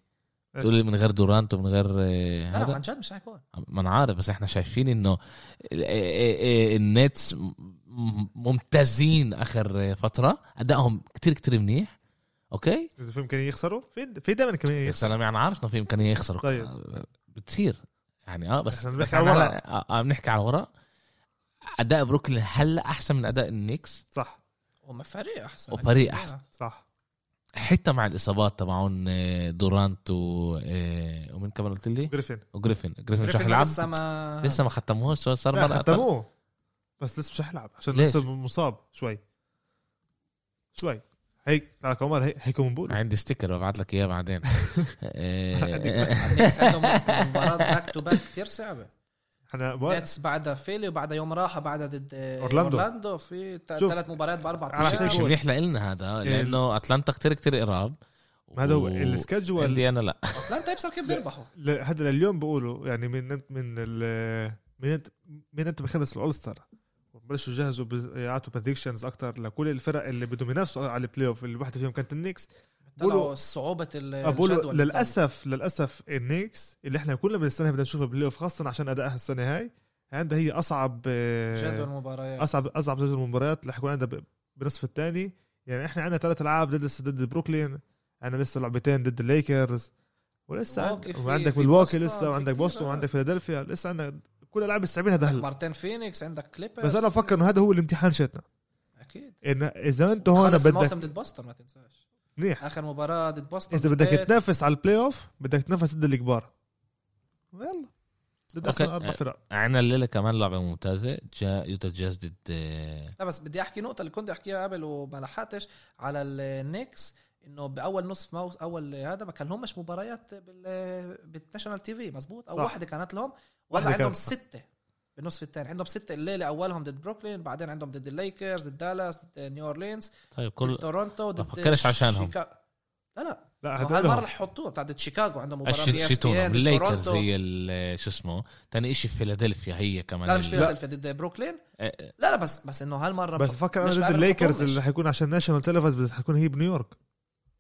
Speaker 1: تقول لي من غير دورانت ومن غير آه،
Speaker 3: لا عن
Speaker 1: هذا
Speaker 3: جد مش رح يكون
Speaker 1: ما انا عارف بس احنا شايفين انه ال- آه، آه، آه، النتس م- م- ممتازين اخر آه، فتره ادائهم كتير كتير منيح اوكي
Speaker 2: اذا في امكانيه يخسروا في في دائما امكانيه
Speaker 1: يا
Speaker 2: يخسروا
Speaker 1: سلام يعني عارف انه في امكانيه يخسروا
Speaker 2: طيب.
Speaker 1: بتصير يعني اه بس بس
Speaker 2: إحنا بنحكي على
Speaker 1: احنا
Speaker 2: الورق.
Speaker 1: هلا- آه آه، بنحكي على الورق اداء بروكلين هلا احسن من اداء النكس
Speaker 2: صح
Speaker 3: هم فريق احسن
Speaker 1: وفريق أحسن.
Speaker 2: صح
Speaker 1: حتى مع الاصابات تبعون آه، دورانت و آه، ومن كمان قلت لي
Speaker 2: جريفن
Speaker 1: وجريفن جريفن مش رح
Speaker 3: جريفن
Speaker 1: يلعب
Speaker 3: لسه ما
Speaker 1: لسه ما ختموهوش صار- صار
Speaker 2: لا
Speaker 1: مرة أقل.
Speaker 2: ختموه بس لسه مش هيلعب عشان
Speaker 1: ليش؟
Speaker 2: لسه مصاب شوي شوي هيك تعال كمان هيك هيك بنقول
Speaker 1: عندي ستيكر ببعث لك اياه بعدين آه،
Speaker 3: النكس عندهم مباراة باك تو باك كثير صعبة
Speaker 2: احنا بوقت-
Speaker 3: نتس بعدها فيلي وبعدها يوم راحة بعدها ضد
Speaker 2: أورلاندو.
Speaker 3: اورلاندو في
Speaker 2: شوف.
Speaker 3: ثلاث مباريات بأربع
Speaker 2: أنا
Speaker 3: أيام.
Speaker 2: عشان
Speaker 1: مش
Speaker 2: هيك-
Speaker 1: آه، منيح لنا هذا لانه اتلانتا كتير كتير قراب
Speaker 2: هذا هو
Speaker 1: و-
Speaker 2: السكجول
Speaker 1: عندي انا لا
Speaker 3: أتلانتا يبصر كيف بيربحوا
Speaker 2: ل- هذا لليوم بقولوا يعني من من ال من من انت بخلص الاولستر بلشوا يجهزوا بز- يعطوا بريدكشنز اكثر لكل الفرق اللي بدهم ينافسوا على البلاي اوف اللي واحده فيهم كانت النكس بقولوا- آه،
Speaker 3: طلعوا صعوبة ال-
Speaker 2: بقولوا
Speaker 3: الجدول
Speaker 2: للاسف للاسف النكس اللي احنا كلنا بنستنى بدنا نشوفها بالبلاي اوف خاصه عشان ادائها السنه هاي عندها هي اصعب آه،
Speaker 3: جدول مباريات
Speaker 2: اصعب اصعب جزء من المباريات اللي حيكون عندها ب- بنصف الثاني يعني احنا عندنا ثلاث العاب ضد ضد بروكلين عندنا لسه لعبتين ضد الليكرز ولسه
Speaker 3: ملواكي
Speaker 2: عند-
Speaker 3: في-
Speaker 2: وعندك
Speaker 3: في
Speaker 2: ملواكي
Speaker 3: بوسطن، في
Speaker 2: لسه وعندك
Speaker 3: كتير
Speaker 2: بوسطن
Speaker 3: ألعاب.
Speaker 2: وعندك فيلادلفيا لسه عندنا كل الالعاب بنستعملها ده هلا
Speaker 3: مرتين فينيكس عندك كليبرز
Speaker 2: بس انا بفكر انه هذا هو الامتحان شتنا
Speaker 3: أكيد
Speaker 2: إن اذا انت هون
Speaker 3: خلص
Speaker 2: بدك
Speaker 3: الموسم ضد بوسطن ما تنساش
Speaker 2: منيح
Speaker 3: آخر مباراة ضد بوسطن
Speaker 2: اذا بدك
Speaker 3: بالبيت.
Speaker 2: تنافس على البلاي اوف بدك تنافس ضد الكبار يلا ضد احسن
Speaker 1: أوكي.
Speaker 2: اربع فرق
Speaker 1: عنا الليله كمان لعبه ممتازه جا يوتا جاز ضد آه،
Speaker 3: لا بس بدي احكي نقطه اللي كنت احكيها قبل وما لحقتش على النكس انه باول نصف موس اول هذا ما كان لهمش مباريات بال بالناشونال تي في مزبوط او
Speaker 2: صح.
Speaker 3: واحده كانت لهم
Speaker 2: واحدة
Speaker 3: ولا عندهم
Speaker 2: كانت.
Speaker 3: سته بالنصف الثاني عندهم سته الليله اولهم ضد بروكلين بعدين عندهم ضد الليكرز ضد دالاس ضد نيو اورلينز
Speaker 1: طيب كل
Speaker 3: ضد تورونتو ضد
Speaker 1: بفكرش عشانهم.
Speaker 3: شيكا- لا لا
Speaker 2: لا
Speaker 3: هو هالمره
Speaker 2: هدول
Speaker 3: رح يحطوه بتاع ضد شيكاغو عندهم مباراه بي اس
Speaker 1: الشيتون
Speaker 3: بي
Speaker 1: الليكرز هي ال- شو اسمه تاني اشي فيلادلفيا هي كمان
Speaker 3: لا مش
Speaker 1: ال-
Speaker 3: فيلادلفيا ضد بروكلين
Speaker 1: آه، آه،
Speaker 3: لا لا بس بس انه هالمره
Speaker 2: بس بفكر انا
Speaker 3: مش
Speaker 2: ضد
Speaker 3: بقابل
Speaker 2: الليكرز
Speaker 3: الحكومة.
Speaker 2: اللي حيكون عشان ناشونال تلفاز بس حيكون هي بنيويورك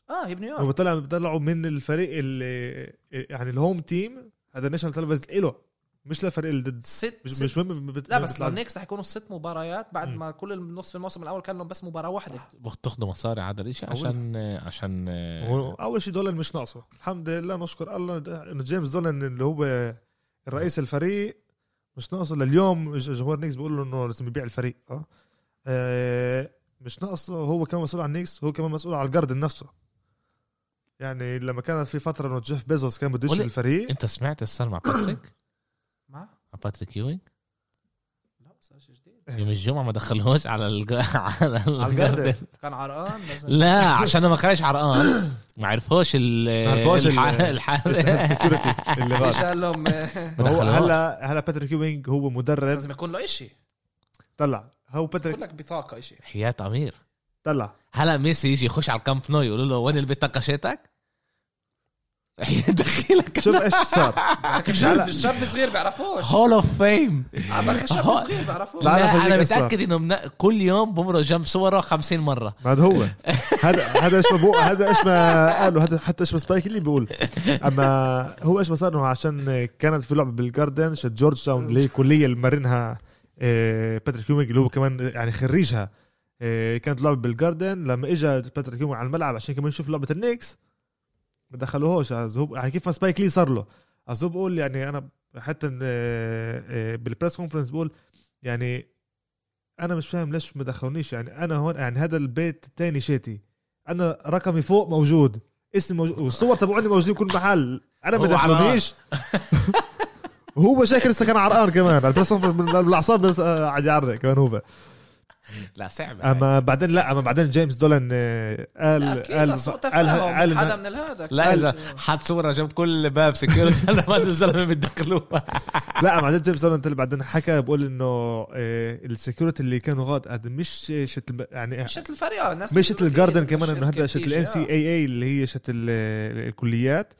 Speaker 3: اه هي بنيويورك
Speaker 2: هم طلعوا بيطلعوا من الفريق اللي يعني الهوم تيم هذا الناشونال تلفاز له مش للفريق اللي ضد
Speaker 3: ست
Speaker 2: مش,
Speaker 3: ست
Speaker 2: مش مهم بت-
Speaker 3: لا بس
Speaker 2: بتلعب.
Speaker 3: النكس رح يكونوا ست مباريات بعد
Speaker 2: مم.
Speaker 3: ما كل نصف الموسم الاول كان لهم بس مباراه واحده
Speaker 1: بتاخدوا مصاري على الاشي
Speaker 2: أقول.
Speaker 1: عشان آه، عشان آه،
Speaker 2: هو اول شيء دولن مش ناقصه الحمد لله نشكر الله ده- انه جيمس دولن اللي هو رئيس الفريق مش ناقصه لليوم ج- جمهور نيكس بيقول له انه لازم يبيع الفريق اه آه، مش ناقصه هو كمان مسؤول عن نيكس هو كمان مسؤول على الجاردن نفسه يعني لما كانت في فتره انه جيف بيزوس كان بده يشتري
Speaker 1: ولا-
Speaker 2: الفريق
Speaker 1: انت سمعت السنه مع باتريك
Speaker 3: مع
Speaker 1: مع باتريك يوينج
Speaker 3: لا بس هذا شيء جديد
Speaker 2: إيه.
Speaker 1: يوم الجمعه ما دخلوش على الج... على
Speaker 2: الجاردن.
Speaker 1: الجاردن
Speaker 3: كان عرقان بس
Speaker 1: لا عشان انا ما كانش عرقان ما عرفوش ال
Speaker 2: ما عرفوش ال-
Speaker 1: الح- الح-
Speaker 2: السكيورتي اللي غلط
Speaker 3: ليش قال لهم
Speaker 1: ما
Speaker 2: هو
Speaker 1: دخلوها.
Speaker 2: هلا هلا باتريك يوينج هو مدرب
Speaker 3: لازم يكون له شيء
Speaker 2: طلع هو باتريك
Speaker 3: يكون لك بطاقه شيء
Speaker 1: حياة امير
Speaker 2: طلع
Speaker 1: هلا ميسي يجي يخش على الكامب نو يقولوا له وين البطاقه شيتك؟ دخيلك
Speaker 2: شوف ايش صار
Speaker 3: الشاب الشاب الصغير بيعرفوش
Speaker 1: هول اوف فيم
Speaker 3: عمك الشاب
Speaker 1: هو-
Speaker 3: الصغير بيعرفوش
Speaker 2: لا،
Speaker 1: لا
Speaker 2: خليك
Speaker 1: انا
Speaker 2: أسرع.
Speaker 1: متاكد انه من... كل يوم بمرق جنب صوره 50 مره
Speaker 2: ما هذا هو هذا هذا ايش ما بو... هذا ايش ما قالوا هذا حتى ايش ما سبايك اللي بيقول اما هو ايش ما صار انه عشان كانت في لعبه بالجاردن شت جورج تاون اللي هي الكليه اللي مرنها آه، باتريك يومينج اللي هو كمان يعني خريجها آه، كانت لعبه بالجاردن لما اجى باتريك يومينج على الملعب عشان كمان يشوف لعبه النكس ما دخلوهوش عز هو- يعني كيف ما سبايك لي صار له عز هو بقول يعني انا حتى إن، آه، آه، بالبريس كونفرنس بقول يعني انا مش فاهم ليش ما دخلونيش يعني انا هون يعني هذا البيت الثاني شيتي انا رقمي فوق موجود اسمي موجود والصور تبعوني موجودين بكل محل انا ما
Speaker 1: هو عرقان.
Speaker 2: دخلونيش وهو شاكر لسه كان عرقان كمان البريس كونفرنس من الاعصاب بس آه، قاعد يعرق كمان هو
Speaker 1: لا صعبة هاي.
Speaker 2: اما بعدين لا اما بعدين جيمس دولان آه، قال
Speaker 3: اكيد
Speaker 2: قال
Speaker 3: سوء
Speaker 2: قال
Speaker 3: تفاهم
Speaker 2: قال
Speaker 3: حدا من هذا
Speaker 1: لا اذا حط صورة جنب كل باب سكيورتي هذا ما الزلمة بتدخلوها
Speaker 2: لا بعدين جيمس دولان طلع بعدين حكى بقول انه السكيورتي اللي كانوا غاد قد مش شت الب- يعني
Speaker 3: مشت الفريق الناس إيه،
Speaker 2: مشت الجاردن كمان انه هذا
Speaker 3: هذا
Speaker 2: شت الان سي إيه؟ اي اي اللي هي شت ال- ال- الكليات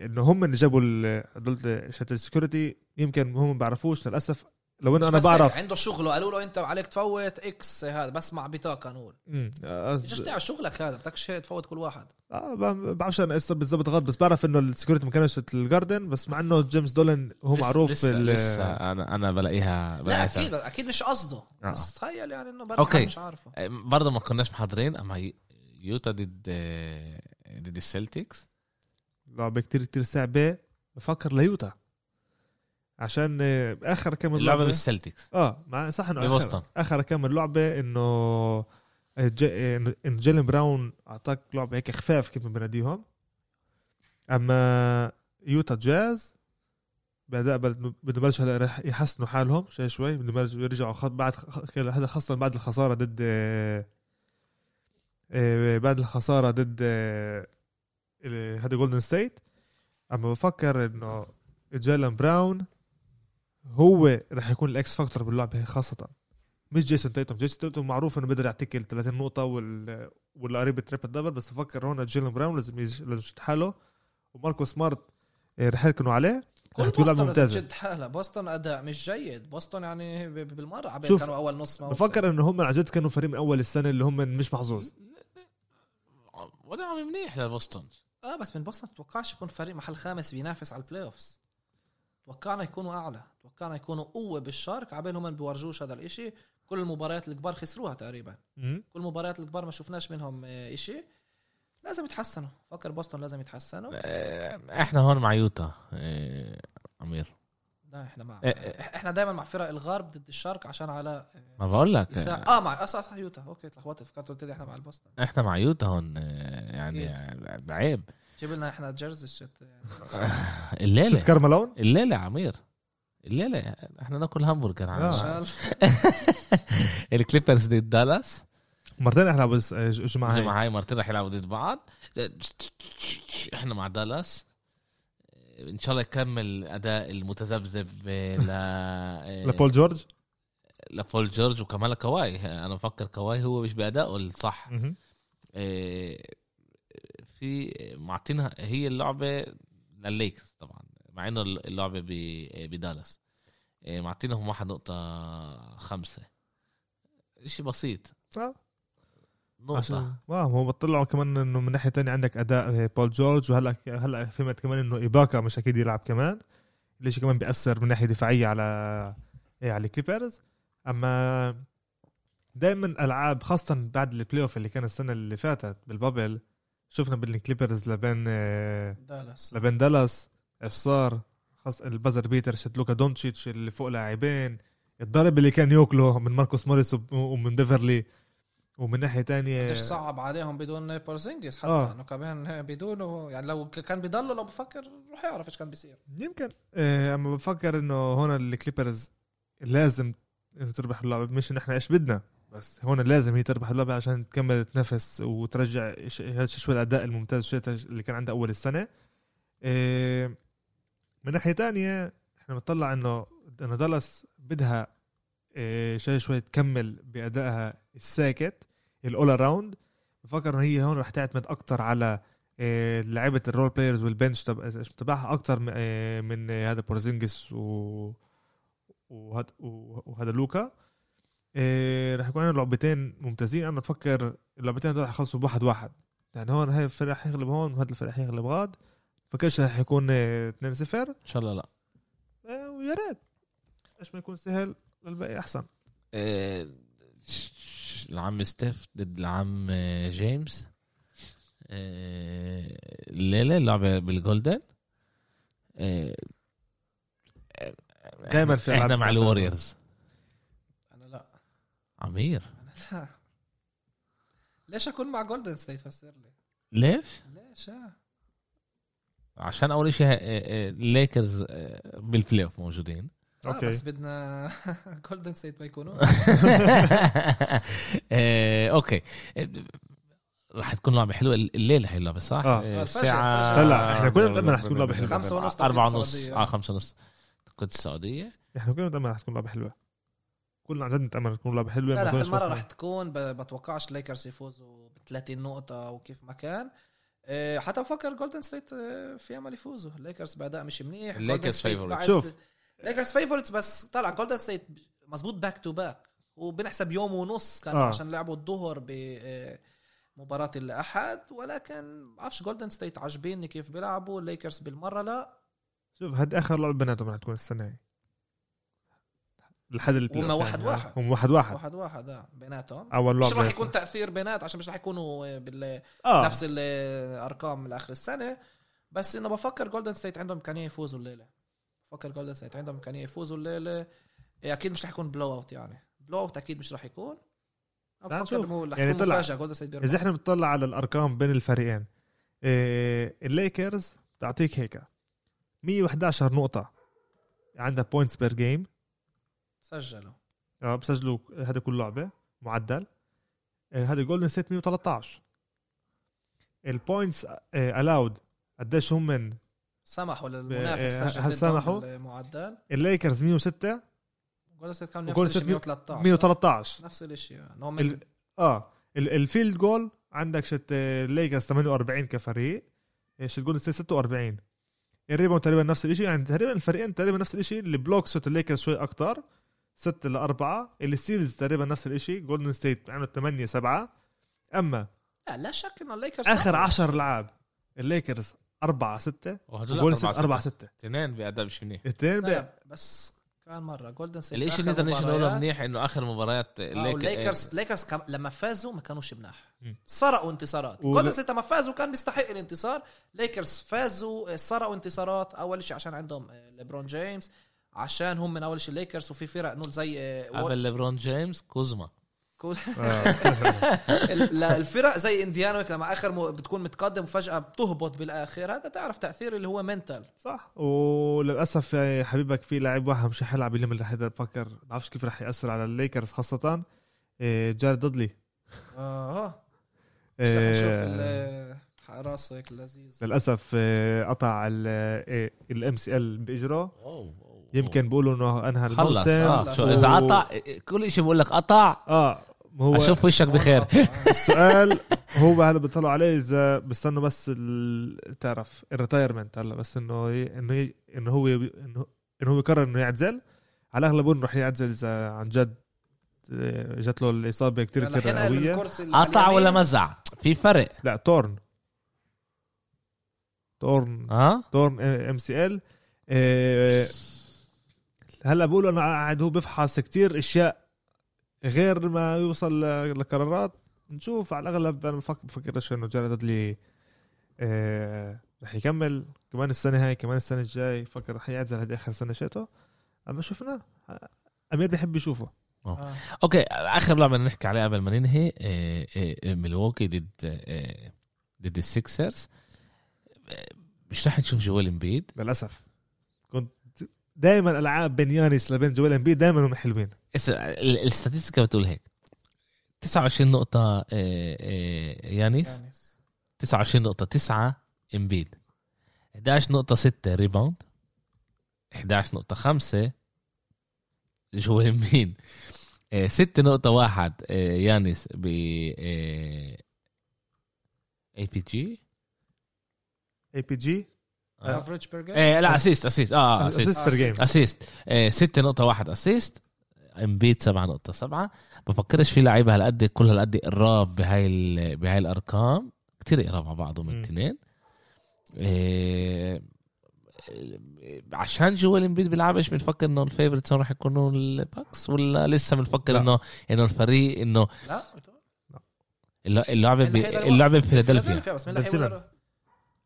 Speaker 2: انه هم اللي جابوا ال- هدول شت السكيورتي يمكن هم ما بعرفوش للاسف لو انه انا بعرف
Speaker 3: يعني عنده شغله قالوا له انت عليك تفوت اكس هذا بس مع بطاقه نقول
Speaker 2: مم.
Speaker 3: ايش تعمل شغلك هذا بدك شيء تفوت كل واحد
Speaker 2: آه ما ما بعرفش انا اسم بالضبط غلط بس بعرف انه السكيورتي ما كانش شت الجاردن بس مع انه جيمس دولان هو
Speaker 1: لسه-
Speaker 2: معروف
Speaker 1: لسه,
Speaker 2: ال-
Speaker 1: لسه انا انا بلاقيها
Speaker 3: لا
Speaker 1: بلاقيها
Speaker 3: اكيد
Speaker 1: صعبة.
Speaker 3: اكيد مش قصده
Speaker 1: آه.
Speaker 3: بس تخيل يعني انه برضه
Speaker 1: أوكي. يعني
Speaker 3: مش عارفه
Speaker 1: برضه ما كناش محضرين اما هي- يوتا ضد ضد السلتكس
Speaker 2: لعبه كتير كتير صعبه بفكر ليوتا عشان آه، اخر كم
Speaker 1: اللعبه
Speaker 2: لعبة-
Speaker 1: بالسلتكس
Speaker 2: اه مع صح انه
Speaker 1: ببوسطن.
Speaker 2: اخر, آخر كم لعبه انه ج- إن- ان جيلن براون اعطاك لعبه هيك خفاف كيف ما بناديهم اما يوتا جاز بدأ بدهم بلش هلا رح يحسنوا حالهم شوي شوي بدهم بلشوا يرجعوا خط بعد خ- هذا خاصه بعد الخساره ضد آه، آه، بعد الخساره ضد آه، ال- هذا جولدن ستيت اما بفكر انه جيلن براون هو رح يكون الاكس فاكتور باللعبه هي خاصه مش جيسون تيتوم جيسون تيتوم معروف انه بيقدر يعطيك ال 30 نقطه وال والقريب التريبل دبل بس بفكر هون جيلن براون لازم يج- لازم يشد حاله وماركو سمارت آه، رح يركنوا عليه رح
Speaker 3: كل
Speaker 2: تكون لعبه
Speaker 3: بوسطن لازم
Speaker 2: ممتازه
Speaker 3: تشد حالها بوسطن اداء مش جيد بوسطن يعني ب- ب- بالمره عبين
Speaker 2: شوف،
Speaker 3: كانوا اول نص موسم
Speaker 2: بفكر انه هم عن جد كانوا فريق من اول السنه اللي هم مش محظوظ
Speaker 1: وضعهم منيح لبوسطن
Speaker 3: اه بس من بوسطن تتوقعش يكون فريق محل خامس بينافس على البلاي اوفز توقعنا يكونوا اعلى توقعنا يكونوا قوه بالشرق عبين هم بيورجوش هذا الاشي كل المباريات الكبار خسروها تقريبا
Speaker 2: مم.
Speaker 3: كل المباريات الكبار ما شفناش منهم آه، اشي لازم يتحسنوا فكر بوسطن لازم يتحسنوا
Speaker 1: احنا هون مع يوتا آه، امير
Speaker 3: لا احنا مع
Speaker 1: إيه، إيه.
Speaker 3: احنا دايما مع فرق الغرب ضد الشرق عشان على
Speaker 1: ما بقول لك
Speaker 3: يسا... اه مع اه صح صح يوتا اوكي تلخبطت فكرت قلت لي احنا مع البوسطن
Speaker 1: احنا مع يوتا هون آه، يعني عيب
Speaker 3: جيب لنا احنا جيرزي شت
Speaker 1: آه.
Speaker 2: شفت
Speaker 1: الليله
Speaker 2: كارمالون
Speaker 1: الليله يا عمير الليله احنا ناكل همبرجر
Speaker 2: آه.
Speaker 3: ان
Speaker 1: عن-
Speaker 3: شاء الله
Speaker 1: الكليبرز ضد دالاس
Speaker 2: مرتين احنا بس آه، ج- جمعه هاي.
Speaker 1: الجماعة هاي مرتين رح يلعبوا ضد بعض احنا مع دالاس ان شاء الله يكمل اداء المتذبذب ل
Speaker 2: لبول جورج
Speaker 1: لبول جورج وكمان لكواي انا بفكر كواي هو مش بادائه الصح
Speaker 2: مهم.
Speaker 1: إيه، في معطينها هي اللعبه للليكرز طبعا مع انه اللعبه ب- بدالاس إيه، معطينهم واحد نقطة خمسة شيء بسيط
Speaker 2: آه.
Speaker 1: نقطة
Speaker 2: اه هم طلعوا كمان انه من ناحيه تانية عندك اداء بول جورج وهلا هلا فهمت كمان انه ايباكا مش اكيد يلعب كمان ليش كمان بياثر من ناحيه دفاعيه على إيه، على الكليبرز اما دائما العاب خاصه بعد البلاي اوف اللي كان السنه اللي فاتت بالبابل شفنا بين الكليبرز لبين آه،
Speaker 3: دالاس
Speaker 2: لبين دالاس ايش صار خاص البازر بيتر شت لوكا دونتشيتش اللي فوق لاعبين الضرب اللي كان ياكله من ماركوس موريس وب- ومن بيفرلي ومن ناحيه
Speaker 1: إيه.
Speaker 2: تانية
Speaker 3: ليش صعب عليهم بدون بورزينجيس حتى
Speaker 2: آه.
Speaker 3: انه كمان بدونه يعني لو ك- كان بضله لو بفكر روح يعرف ايش كان بيصير
Speaker 2: يمكن آه، اما بفكر انه هون الكليبرز لازم إنه تربح اللعبه مش إن احنا ايش بدنا بس هون لازم هي تربح اللعبه عشان تكمل تنافس وترجع ش- هذا شوي الاداء الممتاز شوي اللي كان عندها اول السنه آه، من ناحيه تانية احنا بنطلع انه انه دالاس بدها آه، شوي شوي تكمل بادائها الساكت الاول اراوند بفكر انه هي هون رح تعتمد اكتر على آه، لعيبه الرول بلايرز والبنش تب- تبعها اكتر م- آه، من آه، هذا بورزينجس و وهد- و- وهذا لوكا آه، رح يكون عندنا لعبتين ممتازين انا بفكر اللعبتين هدول رح يخلصوا بواحد واحد يعني هون هاي الفريق رح يغلب هون وهذا الفريق رح يغلب غاد فكرش رح يكون آه، 2-0
Speaker 1: ان شاء الله لا
Speaker 2: آه، ويا ريت ايش ما يكون سهل للباقي احسن
Speaker 1: آه، ش- ش- العم ستيف ضد العم آه، جيمس آه، الليله اللعبه بالجولدن آه،
Speaker 2: دايماً في
Speaker 1: احنا
Speaker 2: ألعاب
Speaker 1: مع
Speaker 2: جولدن.
Speaker 1: الوريورز
Speaker 3: انا لا
Speaker 1: عمير
Speaker 3: انا لا ليش اكون مع جولدن ستيت فسر لي
Speaker 1: ليش؟
Speaker 3: ليش آه.
Speaker 1: عشان آه، اول شيء الليكرز آه، بالبلاي اوف موجودين
Speaker 3: اوكي
Speaker 2: اوكي
Speaker 3: آه، بس بدنا جولدن ستيت ما يكونوا
Speaker 1: آه، اوكي آه، رح تكون لعبه حلوه الليله هي اللعبه صح؟
Speaker 2: آه.
Speaker 1: آه،
Speaker 3: الفجر،
Speaker 1: الساعه
Speaker 3: الفجر.
Speaker 2: لا، إحنا كنا بنتأمل رح تكون لعبة حلوة.
Speaker 3: خمسة ونص توقيت
Speaker 1: أربعة ونص
Speaker 3: السعودية.
Speaker 1: اه خمسة ونص كنت السعودية
Speaker 2: احنا كلنا بنتامل رح تكون لعبه حلوه كلنا عن جد نتامل تكون لعبه حلوه ما
Speaker 3: لا لا
Speaker 2: كناش
Speaker 3: هالمره
Speaker 2: واصلين.
Speaker 3: رح تكون ب- بتوقعش ليكرز يفوزوا ب 30 نقطة وكيف ما كان إيه، حتى بفكر جولدن ستيت إيه، في امل يفوزوا ليكرز باداء مش منيح
Speaker 1: Lakers
Speaker 3: Golden State
Speaker 1: favorites.
Speaker 3: بعد-
Speaker 2: شوف.
Speaker 3: ليكرز فيفورتس بس طلع جولدن ستيت مزبوط باك تو باك وبنحسب يوم ونص كانوا
Speaker 2: آه.
Speaker 3: آه. عشان لعبوا الظهر ب إيه، مباراة الأحد ولكن بعرفش جولدن ستيت عاجبيني كيف بيلعبوا ليكرز بالمرة لا
Speaker 2: شوف هاد اخر لعبه بناتهم رح تكون السنه هي لحد البلاي
Speaker 3: وهم
Speaker 2: أوف
Speaker 3: واحد
Speaker 2: يعني.
Speaker 3: واحد.
Speaker 2: هم واحد واحد
Speaker 3: واحد واحد آه، بيناتهم
Speaker 2: اول
Speaker 3: مش
Speaker 2: لعبه
Speaker 3: راح يكون تأثير بينات عشان مش راح يكونوا إيه، بال
Speaker 2: آه.
Speaker 3: نفس الارقام لاخر السنه بس انه بفكر جولدن ستيت عندهم امكانيه يفوزوا الليله بفكر جولدن ستيت عندهم امكانيه يفوزوا الليله إيه، اكيد مش رح يكون بلو اوت يعني بلو اوت اكيد مش رح يكون أنا
Speaker 2: تعال
Speaker 3: بفكر
Speaker 2: نشوف.
Speaker 3: إنه رح
Speaker 2: يعني
Speaker 3: يكون
Speaker 2: طلع.
Speaker 3: مفاجاه جولدن ستيت
Speaker 2: اذا
Speaker 3: بيربح
Speaker 2: احنا بنطلع على الارقام بين الفريقين إيه الليكرز تعطيك هيك 111 نقطة عندها بوينتس بير جيم
Speaker 3: سجلوا
Speaker 2: اه بسجلوا هذا كل لعبة معدل إيه، هذا جولدن ستيت 113 البوينتس الاود آه، قديش هم من
Speaker 3: سمحوا
Speaker 2: إيه،
Speaker 3: للمنافس
Speaker 2: هل
Speaker 3: سجل
Speaker 2: سمحوا؟
Speaker 3: سمحوا المعدل
Speaker 2: الليكرز 106
Speaker 3: جولدن ستيت كان
Speaker 2: وجولدن
Speaker 3: نفس
Speaker 2: ستيت
Speaker 3: الشيء
Speaker 2: مية-
Speaker 3: 113
Speaker 2: 113
Speaker 3: نفس الشيء يعني هم
Speaker 2: ال- اه ال- الفيلد جول عندك شت آه، الليكرز 48 كفريق إيه، شت جولدن ستيت 46 الريباوند تقريبا نفس الشيء يعني تقريبا الفريقين تقريبا نفس الشيء البلوك شوت الليكرز شوي اكثر 6 ل 4 الستيلز تقريبا نفس الشيء جولدن ستيت عملت 8 7 اما
Speaker 3: لا لا شك انه الليكرز
Speaker 2: اخر
Speaker 3: صعبوا.
Speaker 2: 10 لعاب الليكرز 4 6
Speaker 1: وهدول
Speaker 2: وجولدن ستيت 4
Speaker 1: أربعة
Speaker 2: 6
Speaker 1: اثنين بأداء مش منيح
Speaker 2: الاثنين
Speaker 3: لا، لا، بس كان مره جولدن ستيت
Speaker 1: الشيء اللي
Speaker 3: آخر
Speaker 1: نقدر نقوله
Speaker 3: مباريات-
Speaker 1: منيح انه اخر مباريات
Speaker 3: آه،
Speaker 1: الليك-
Speaker 2: إيه.
Speaker 3: والليكرز ليكرز كم... لما فازوا ما كانوش مناح
Speaker 2: مم.
Speaker 3: سرقوا انتصارات
Speaker 2: وال-
Speaker 3: جولدن ستيت لما فازوا كان بيستحق الانتصار ليكرز فازوا آه، سرقوا انتصارات اول شيء عشان عندهم آه، ليبرون جيمس عشان هم من اول شيء الليكرز وفي فرق نقول زي آه،
Speaker 1: آه، عمل ليبرون جيمس كوزما
Speaker 3: كو-
Speaker 2: آه.
Speaker 3: ال- لا، الفرق زي انديانا هيك لما اخر م... بتكون متقدم وفجاه بتهبط بالاخر هذا تعرف تاثير اللي هو منتال
Speaker 2: صح وللاسف يا حبيبك في لاعب واحد مش رح يلعب اليوم اللي رح يقدر بفكر بعرفش كيف رح ياثر على الليكرز خاصه إيه، جارد دودلي
Speaker 3: اه
Speaker 2: إيه،
Speaker 3: شوف ال- راسه هيك لذيذ
Speaker 2: للاسف إيه، قطع الام سي ال باجره يمكن بيقولوا انه انهى
Speaker 1: خلص
Speaker 2: الموسم
Speaker 1: اه شو
Speaker 3: و-
Speaker 1: اذا قطع إيه، كل شيء بقول لك قطع
Speaker 2: اه هو
Speaker 1: اشوف وشك بخير
Speaker 3: آه.
Speaker 2: السؤال هو هلا بيطلعوا عليه اذا بستنوا بس ال- تعرف الريتايرمنت هلا بس انه ي- انه ي- انه هو انه انه هو قرر انه يعتزل على الاغلب انه رح يعتزل اذا عن جد آه، جت له الاصابه كثير كثير قويه
Speaker 1: قطع ولا مزع في فرق
Speaker 2: لا تورن تورن
Speaker 1: ها
Speaker 2: تورن ام سي ال آه، هلا بقولوا انه قاعد هو بفحص كتير اشياء غير ما يوصل ل- لقرارات نشوف على الاغلب انا بفكر بفكرش انه جاري دادلي آه، رح يكمل كمان السنه هاي كمان السنه الجاي فكر رح يعزل هذه اخر سنه شيته اما شفناه امير بيحب يشوفه
Speaker 3: آه،
Speaker 1: آه. اوكي اخر لعبه بدنا نحكي عليها قبل ما ننهي آه، آه، آه، ميلواukee ضد آه، ضد السكسرز آه، مش رح نشوف جوال امبيد
Speaker 2: للاسف كنت دائما العاب بين يانس لبين جويل امبيد دائما هم حلوين
Speaker 1: اسا- ال- الاستاتستيكا بتقول هيك 29 نقطة آه، آه، يانيس
Speaker 3: يعني.
Speaker 1: 29 نقطة 9 امبيد 11 نقطة 6 ريباوند 11 نقطة 5 جوال امبيد 6 آه، نقطة 1 يانيس ب آه، اي بي جي
Speaker 2: اي بي جي
Speaker 3: افريج بيرجر
Speaker 1: إيه، لا اسيست اسيست اه اسيست
Speaker 2: اسيست بير جيم
Speaker 1: اسيست 6 آه، نقطة 1 اسيست امبيد 7 نقطة 7 بفكرش في لعيبة هالقد كل هالقد قراب بهاي ال- بهاي الارقام كتير قراب على بعضهم
Speaker 2: مم.
Speaker 1: الاثنين إيه، عشان جوال امبيد بيلعبش بنفكر انه الفيفورتس راح يكونوا الباكس ولا لسه بنفكر
Speaker 2: لا.
Speaker 1: انه انه الفريق انه
Speaker 3: لا يعني
Speaker 1: الل- اللعبه ب- اللعبه بفيلادلفيا
Speaker 3: بس مين اللي
Speaker 2: بن
Speaker 3: حيقدر؟
Speaker 2: سيمنز.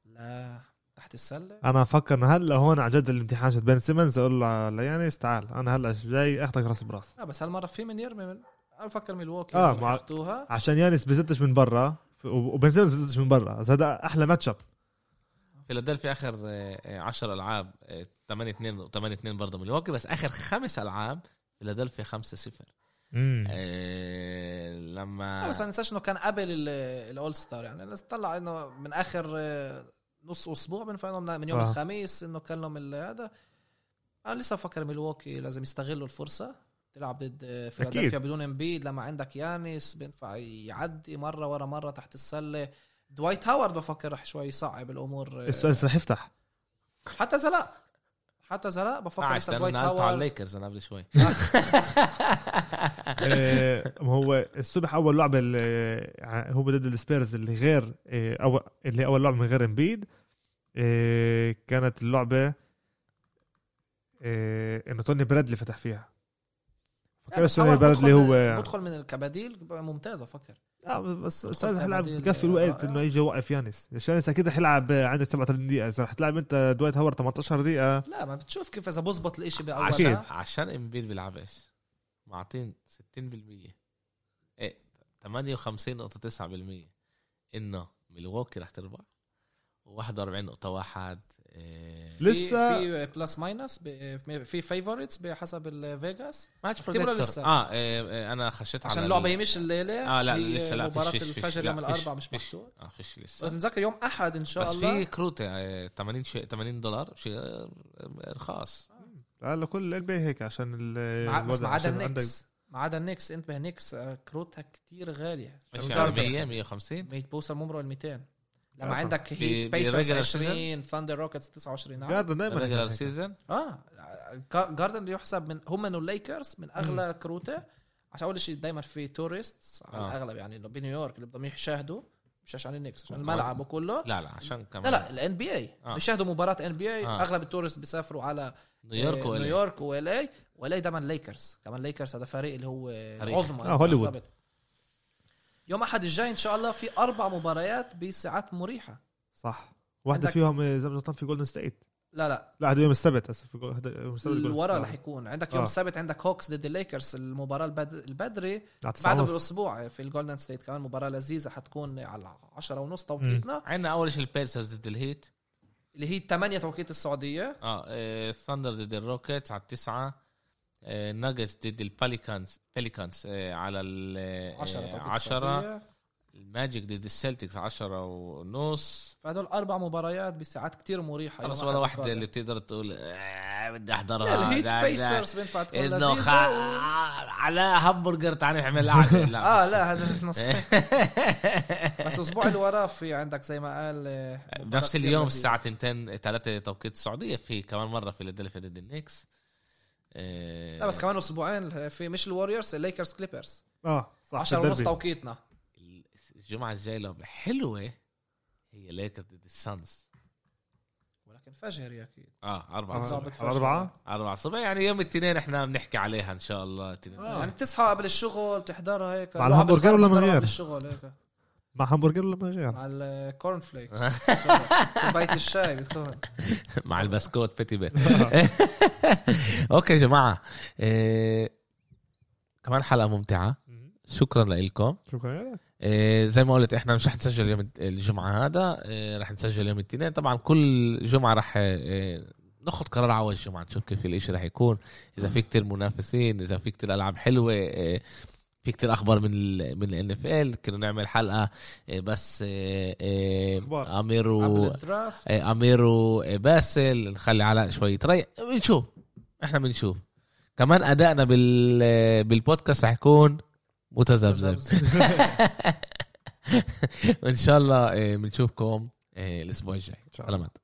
Speaker 3: لا تحت السله
Speaker 2: انا افكر انه هلا هون على جد الامتحان شت بن سيمنز اقول له ليانيس تعال انا هلا جاي اخذك راس براس
Speaker 3: اه بس هالمره في من يرمي من انا بفكر ميلواكي
Speaker 2: آه،
Speaker 3: آه
Speaker 2: مع-
Speaker 3: مع... ياخذوها
Speaker 2: عشان يانيس بزتش من برا ف- وبن سيمنز بزتش من برا بس هذا احلى ماتش اب
Speaker 1: فيلادلفيا آه، اخر 10 العاب 8 2 8 2 برضه ملواكي بس اخر خمس العاب فيلادلفيا 5 0
Speaker 3: آه.
Speaker 1: إيه، لما
Speaker 3: بس ما ننساش انه كان قبل ال- الاول ستار يعني الناس طلع انه من اخر آه، نص اسبوع بنفع إنه من من يوم
Speaker 2: آه.
Speaker 3: آه. الخميس انه كان لهم ال- هذا انا لسه بفكر ميلواكي لازم يستغلوا الفرصه تلعب ضد آه، فيلادلفيا بدون امبيد لما عندك يانس بينفع يعدي مره ورا مره تحت السله دوايت هاورد بفكر رح شوي يصعب الامور آه،
Speaker 2: السؤال رح يفتح
Speaker 3: حتى اذا لا حتى اذا لا بفكر
Speaker 1: آه،
Speaker 3: لسه
Speaker 1: استنى
Speaker 3: دوايت
Speaker 1: انا قلت على
Speaker 3: هاورد
Speaker 1: الليكرز انا قبل شوي
Speaker 2: آه، ما هو الصبح اول لعبه اللي- ع- آه، هو ضد السبيرز اللي غير آه، أول اللي اول لعبه من غير امبيد آه، كانت اللعبه آه، انه توني برادلي فتح فيها فكان توني
Speaker 3: يعني هاورد
Speaker 2: برادلي
Speaker 3: بدخل-
Speaker 2: هو
Speaker 3: بدخل من الكباديل ممتاز بفكر
Speaker 2: آه، بس
Speaker 3: بدخل
Speaker 2: السؤال رح يلعب
Speaker 3: كبديل،
Speaker 2: بكفي
Speaker 3: آه،
Speaker 2: الوقت
Speaker 3: آه.
Speaker 2: انه يجي يوقف يانس يانس اكيد رح يلعب عندك 37 دقيقه اذا رح تلعب انت دويت هاور 18 دقيقه
Speaker 3: لا ما بتشوف كيف اذا بزبط الاشي باول
Speaker 1: عشان
Speaker 3: عشان
Speaker 1: عشان امبيد بيلعبش معطين 60% ايه 58.9% انه ميلواكي رح تربح و41.1 إيه،
Speaker 2: لسه-
Speaker 3: في آه، بلس ماينس آه، في فيفورتس بحسب آه، الفيجاس
Speaker 1: ماتش
Speaker 3: اعتبره
Speaker 1: بريدكتور
Speaker 3: لسه.
Speaker 1: اه إيه، إيه، انا خشيت
Speaker 3: عشان
Speaker 1: على
Speaker 3: اللعبه هي
Speaker 1: ال-
Speaker 3: مش الليله
Speaker 1: اه لا
Speaker 3: هي
Speaker 1: لسه لا
Speaker 3: مباراه
Speaker 1: فيش- فيش-
Speaker 3: الفجر
Speaker 1: لا،
Speaker 3: يوم
Speaker 1: فيش-
Speaker 3: الاربعاء مش
Speaker 1: فيش.
Speaker 3: محسوب
Speaker 1: اه فيش لسه
Speaker 3: لازم نذاكر يوم احد ان شاء
Speaker 1: بس
Speaker 3: الله
Speaker 1: في كروته إيه، 80 شيء 80 دولار شيء آه، رخاص
Speaker 2: على كل البي هيك عشان ال-
Speaker 3: مع- بس
Speaker 2: الوضع
Speaker 3: ما عدا
Speaker 2: إيه، عشان عندك-
Speaker 3: النكس ما عدا النكس انتبه نكس آه، كروتها كتير غاليه
Speaker 1: مش
Speaker 3: عشان
Speaker 1: يعني
Speaker 3: تعرف
Speaker 1: 100 150
Speaker 3: ميت بوصل عمره ال 200 لما
Speaker 2: آه.
Speaker 3: عندك هيت
Speaker 1: ب-
Speaker 3: بيسرز
Speaker 1: بالregular
Speaker 3: 20 ثاندر روكيتس 29 عام.
Speaker 2: قاعد دائما
Speaker 1: ريجلر سيزون
Speaker 3: اه جا- جاردن يحسب من هم من الليكرز من اغلى كروته عشان اول شيء دائما في تورستس على
Speaker 1: آه.
Speaker 3: الاغلب يعني انه بنيويورك اللي بدهم يشاهدوا مش عشان النكس عشان
Speaker 1: وكمان-
Speaker 3: الملعب وكله
Speaker 1: آه. لا لا عشان كمان
Speaker 3: لا لا الان بي اي
Speaker 1: آه.
Speaker 3: بيشاهدوا مباراه ان بي اي
Speaker 1: آه.
Speaker 3: اغلب التورست بيسافروا على
Speaker 1: نيويورك
Speaker 3: آه،
Speaker 1: ولا
Speaker 3: نيويورك وال اي وال اي دايما ليكرز كمان ليكرز هذا فريق اللي هو
Speaker 1: تاريخ.
Speaker 3: العظمى
Speaker 2: آه، هوليوود.
Speaker 3: بالضبط. يوم احد الجاي ان شاء الله في اربع مباريات بساعات مريحه
Speaker 2: صح واحده
Speaker 3: عندك-
Speaker 2: فيهم آه، زي ما غلطان في جولدن ستيت
Speaker 3: لا لا
Speaker 2: لا هذا يوم السبت هسه في جو- هذا يوم السبت
Speaker 3: اللي ورا رح يكون عندك يوم
Speaker 2: آه.
Speaker 3: السبت عندك هوكس ضد الليكرز المباراه البد- البدري
Speaker 2: نعم،
Speaker 3: بعده
Speaker 2: بعد
Speaker 3: باسبوع في الجولدن ستيت كمان مباراه لذيذه حتكون على 10 ونص توقيتنا
Speaker 1: عندنا اول شيء البيرسرز ضد الهيت
Speaker 3: اللي هي 8 توقيت السعوديه
Speaker 1: اه آه، ثاندر ضد الروكيتس على التسعة آه، ناجتس ضد الباليكانز بليكانز آه، على ال
Speaker 3: 10 توقيت
Speaker 1: 10
Speaker 3: السعوديه
Speaker 1: الماجيك ضد السلتكس 10 ونص
Speaker 3: فهدول اربع مباريات بساعات كتير مريحه
Speaker 1: خلص
Speaker 3: يوم
Speaker 1: ولا
Speaker 3: أحد
Speaker 1: واحدة
Speaker 3: القادم.
Speaker 1: اللي بتقدر تقول آه، بدي
Speaker 3: لا،
Speaker 1: احضرها
Speaker 3: الهيت
Speaker 1: ده- ده-
Speaker 3: بيسرز بينفع تكون
Speaker 1: انه خ... آه،
Speaker 3: لذيذه و...
Speaker 1: على همبرجر تعال نعمل قعدة
Speaker 3: اه
Speaker 1: لا
Speaker 3: لا هذا في النص بس الاسبوع اللي وراه في عندك زي ما قال آه، مباراة
Speaker 1: بنفس
Speaker 3: كتير
Speaker 1: اليوم
Speaker 3: لذيذة.
Speaker 1: الساعة 2 3 توقيت السعودية في كمان مرة فيلادلفيا ضد النكس آه،
Speaker 3: لا بس كمان اسبوعين في مش الوريورز الليكرز كليبرز
Speaker 2: اه صح
Speaker 3: 10 ونص
Speaker 2: الدربي.
Speaker 3: توقيتنا
Speaker 1: الجمعة الجاية لعبة حلوة هي ليكرز ضد السانز
Speaker 3: ولكن فجر يا اكيد
Speaker 1: اه أربعة
Speaker 2: آه،
Speaker 1: الصبح
Speaker 3: صعبة
Speaker 2: على أربعة
Speaker 1: أربعة الصبح يعني يوم الاثنين احنا بنحكي عليها إن شاء الله الاثنين
Speaker 2: آه.
Speaker 3: يعني بتصحى قبل الشغل بتحضرها هيك
Speaker 2: مع
Speaker 3: لو قبل
Speaker 2: الهمبرجر ولا من
Speaker 3: بتحضرها
Speaker 2: غير؟
Speaker 3: قبل الشغل هيك
Speaker 2: مع همبرجر ولا من غير؟
Speaker 3: مع الكورن فليكس كوبايه الشاي بتكون
Speaker 1: مع البسكوت بيتي بيت
Speaker 3: إيه.
Speaker 1: أوكي يا جماعة إيه... كمان حلقة ممتعة شكرا لكم
Speaker 2: شكرا
Speaker 1: إيه زي ما قلت احنا مش رح نسجل يوم الت- الجمعه هذا إيه رح نسجل يوم الاثنين طبعا كل جمعه رح إيه ناخذ قرار على اول الجمعه نشوف كيف الاشي رح يكون اذا في كتير منافسين اذا في كتير العاب حلوه إيه في كتير اخبار من ال من الان اف ال كنا نعمل حلقه إيه بس إيه إيه
Speaker 2: أخبار.
Speaker 1: امير
Speaker 3: قبل
Speaker 1: و
Speaker 3: الدرافت
Speaker 1: إيه امير وباسل نخلي علاء شوي تريح بنشوف احنا بنشوف كمان ادائنا بال آه، بالبودكاست رح يكون متذبذب אה, وان شاء الله آه، بنشوفكم آه، الاسبوع الجاي אה,
Speaker 2: شاء الله.
Speaker 1: سلامات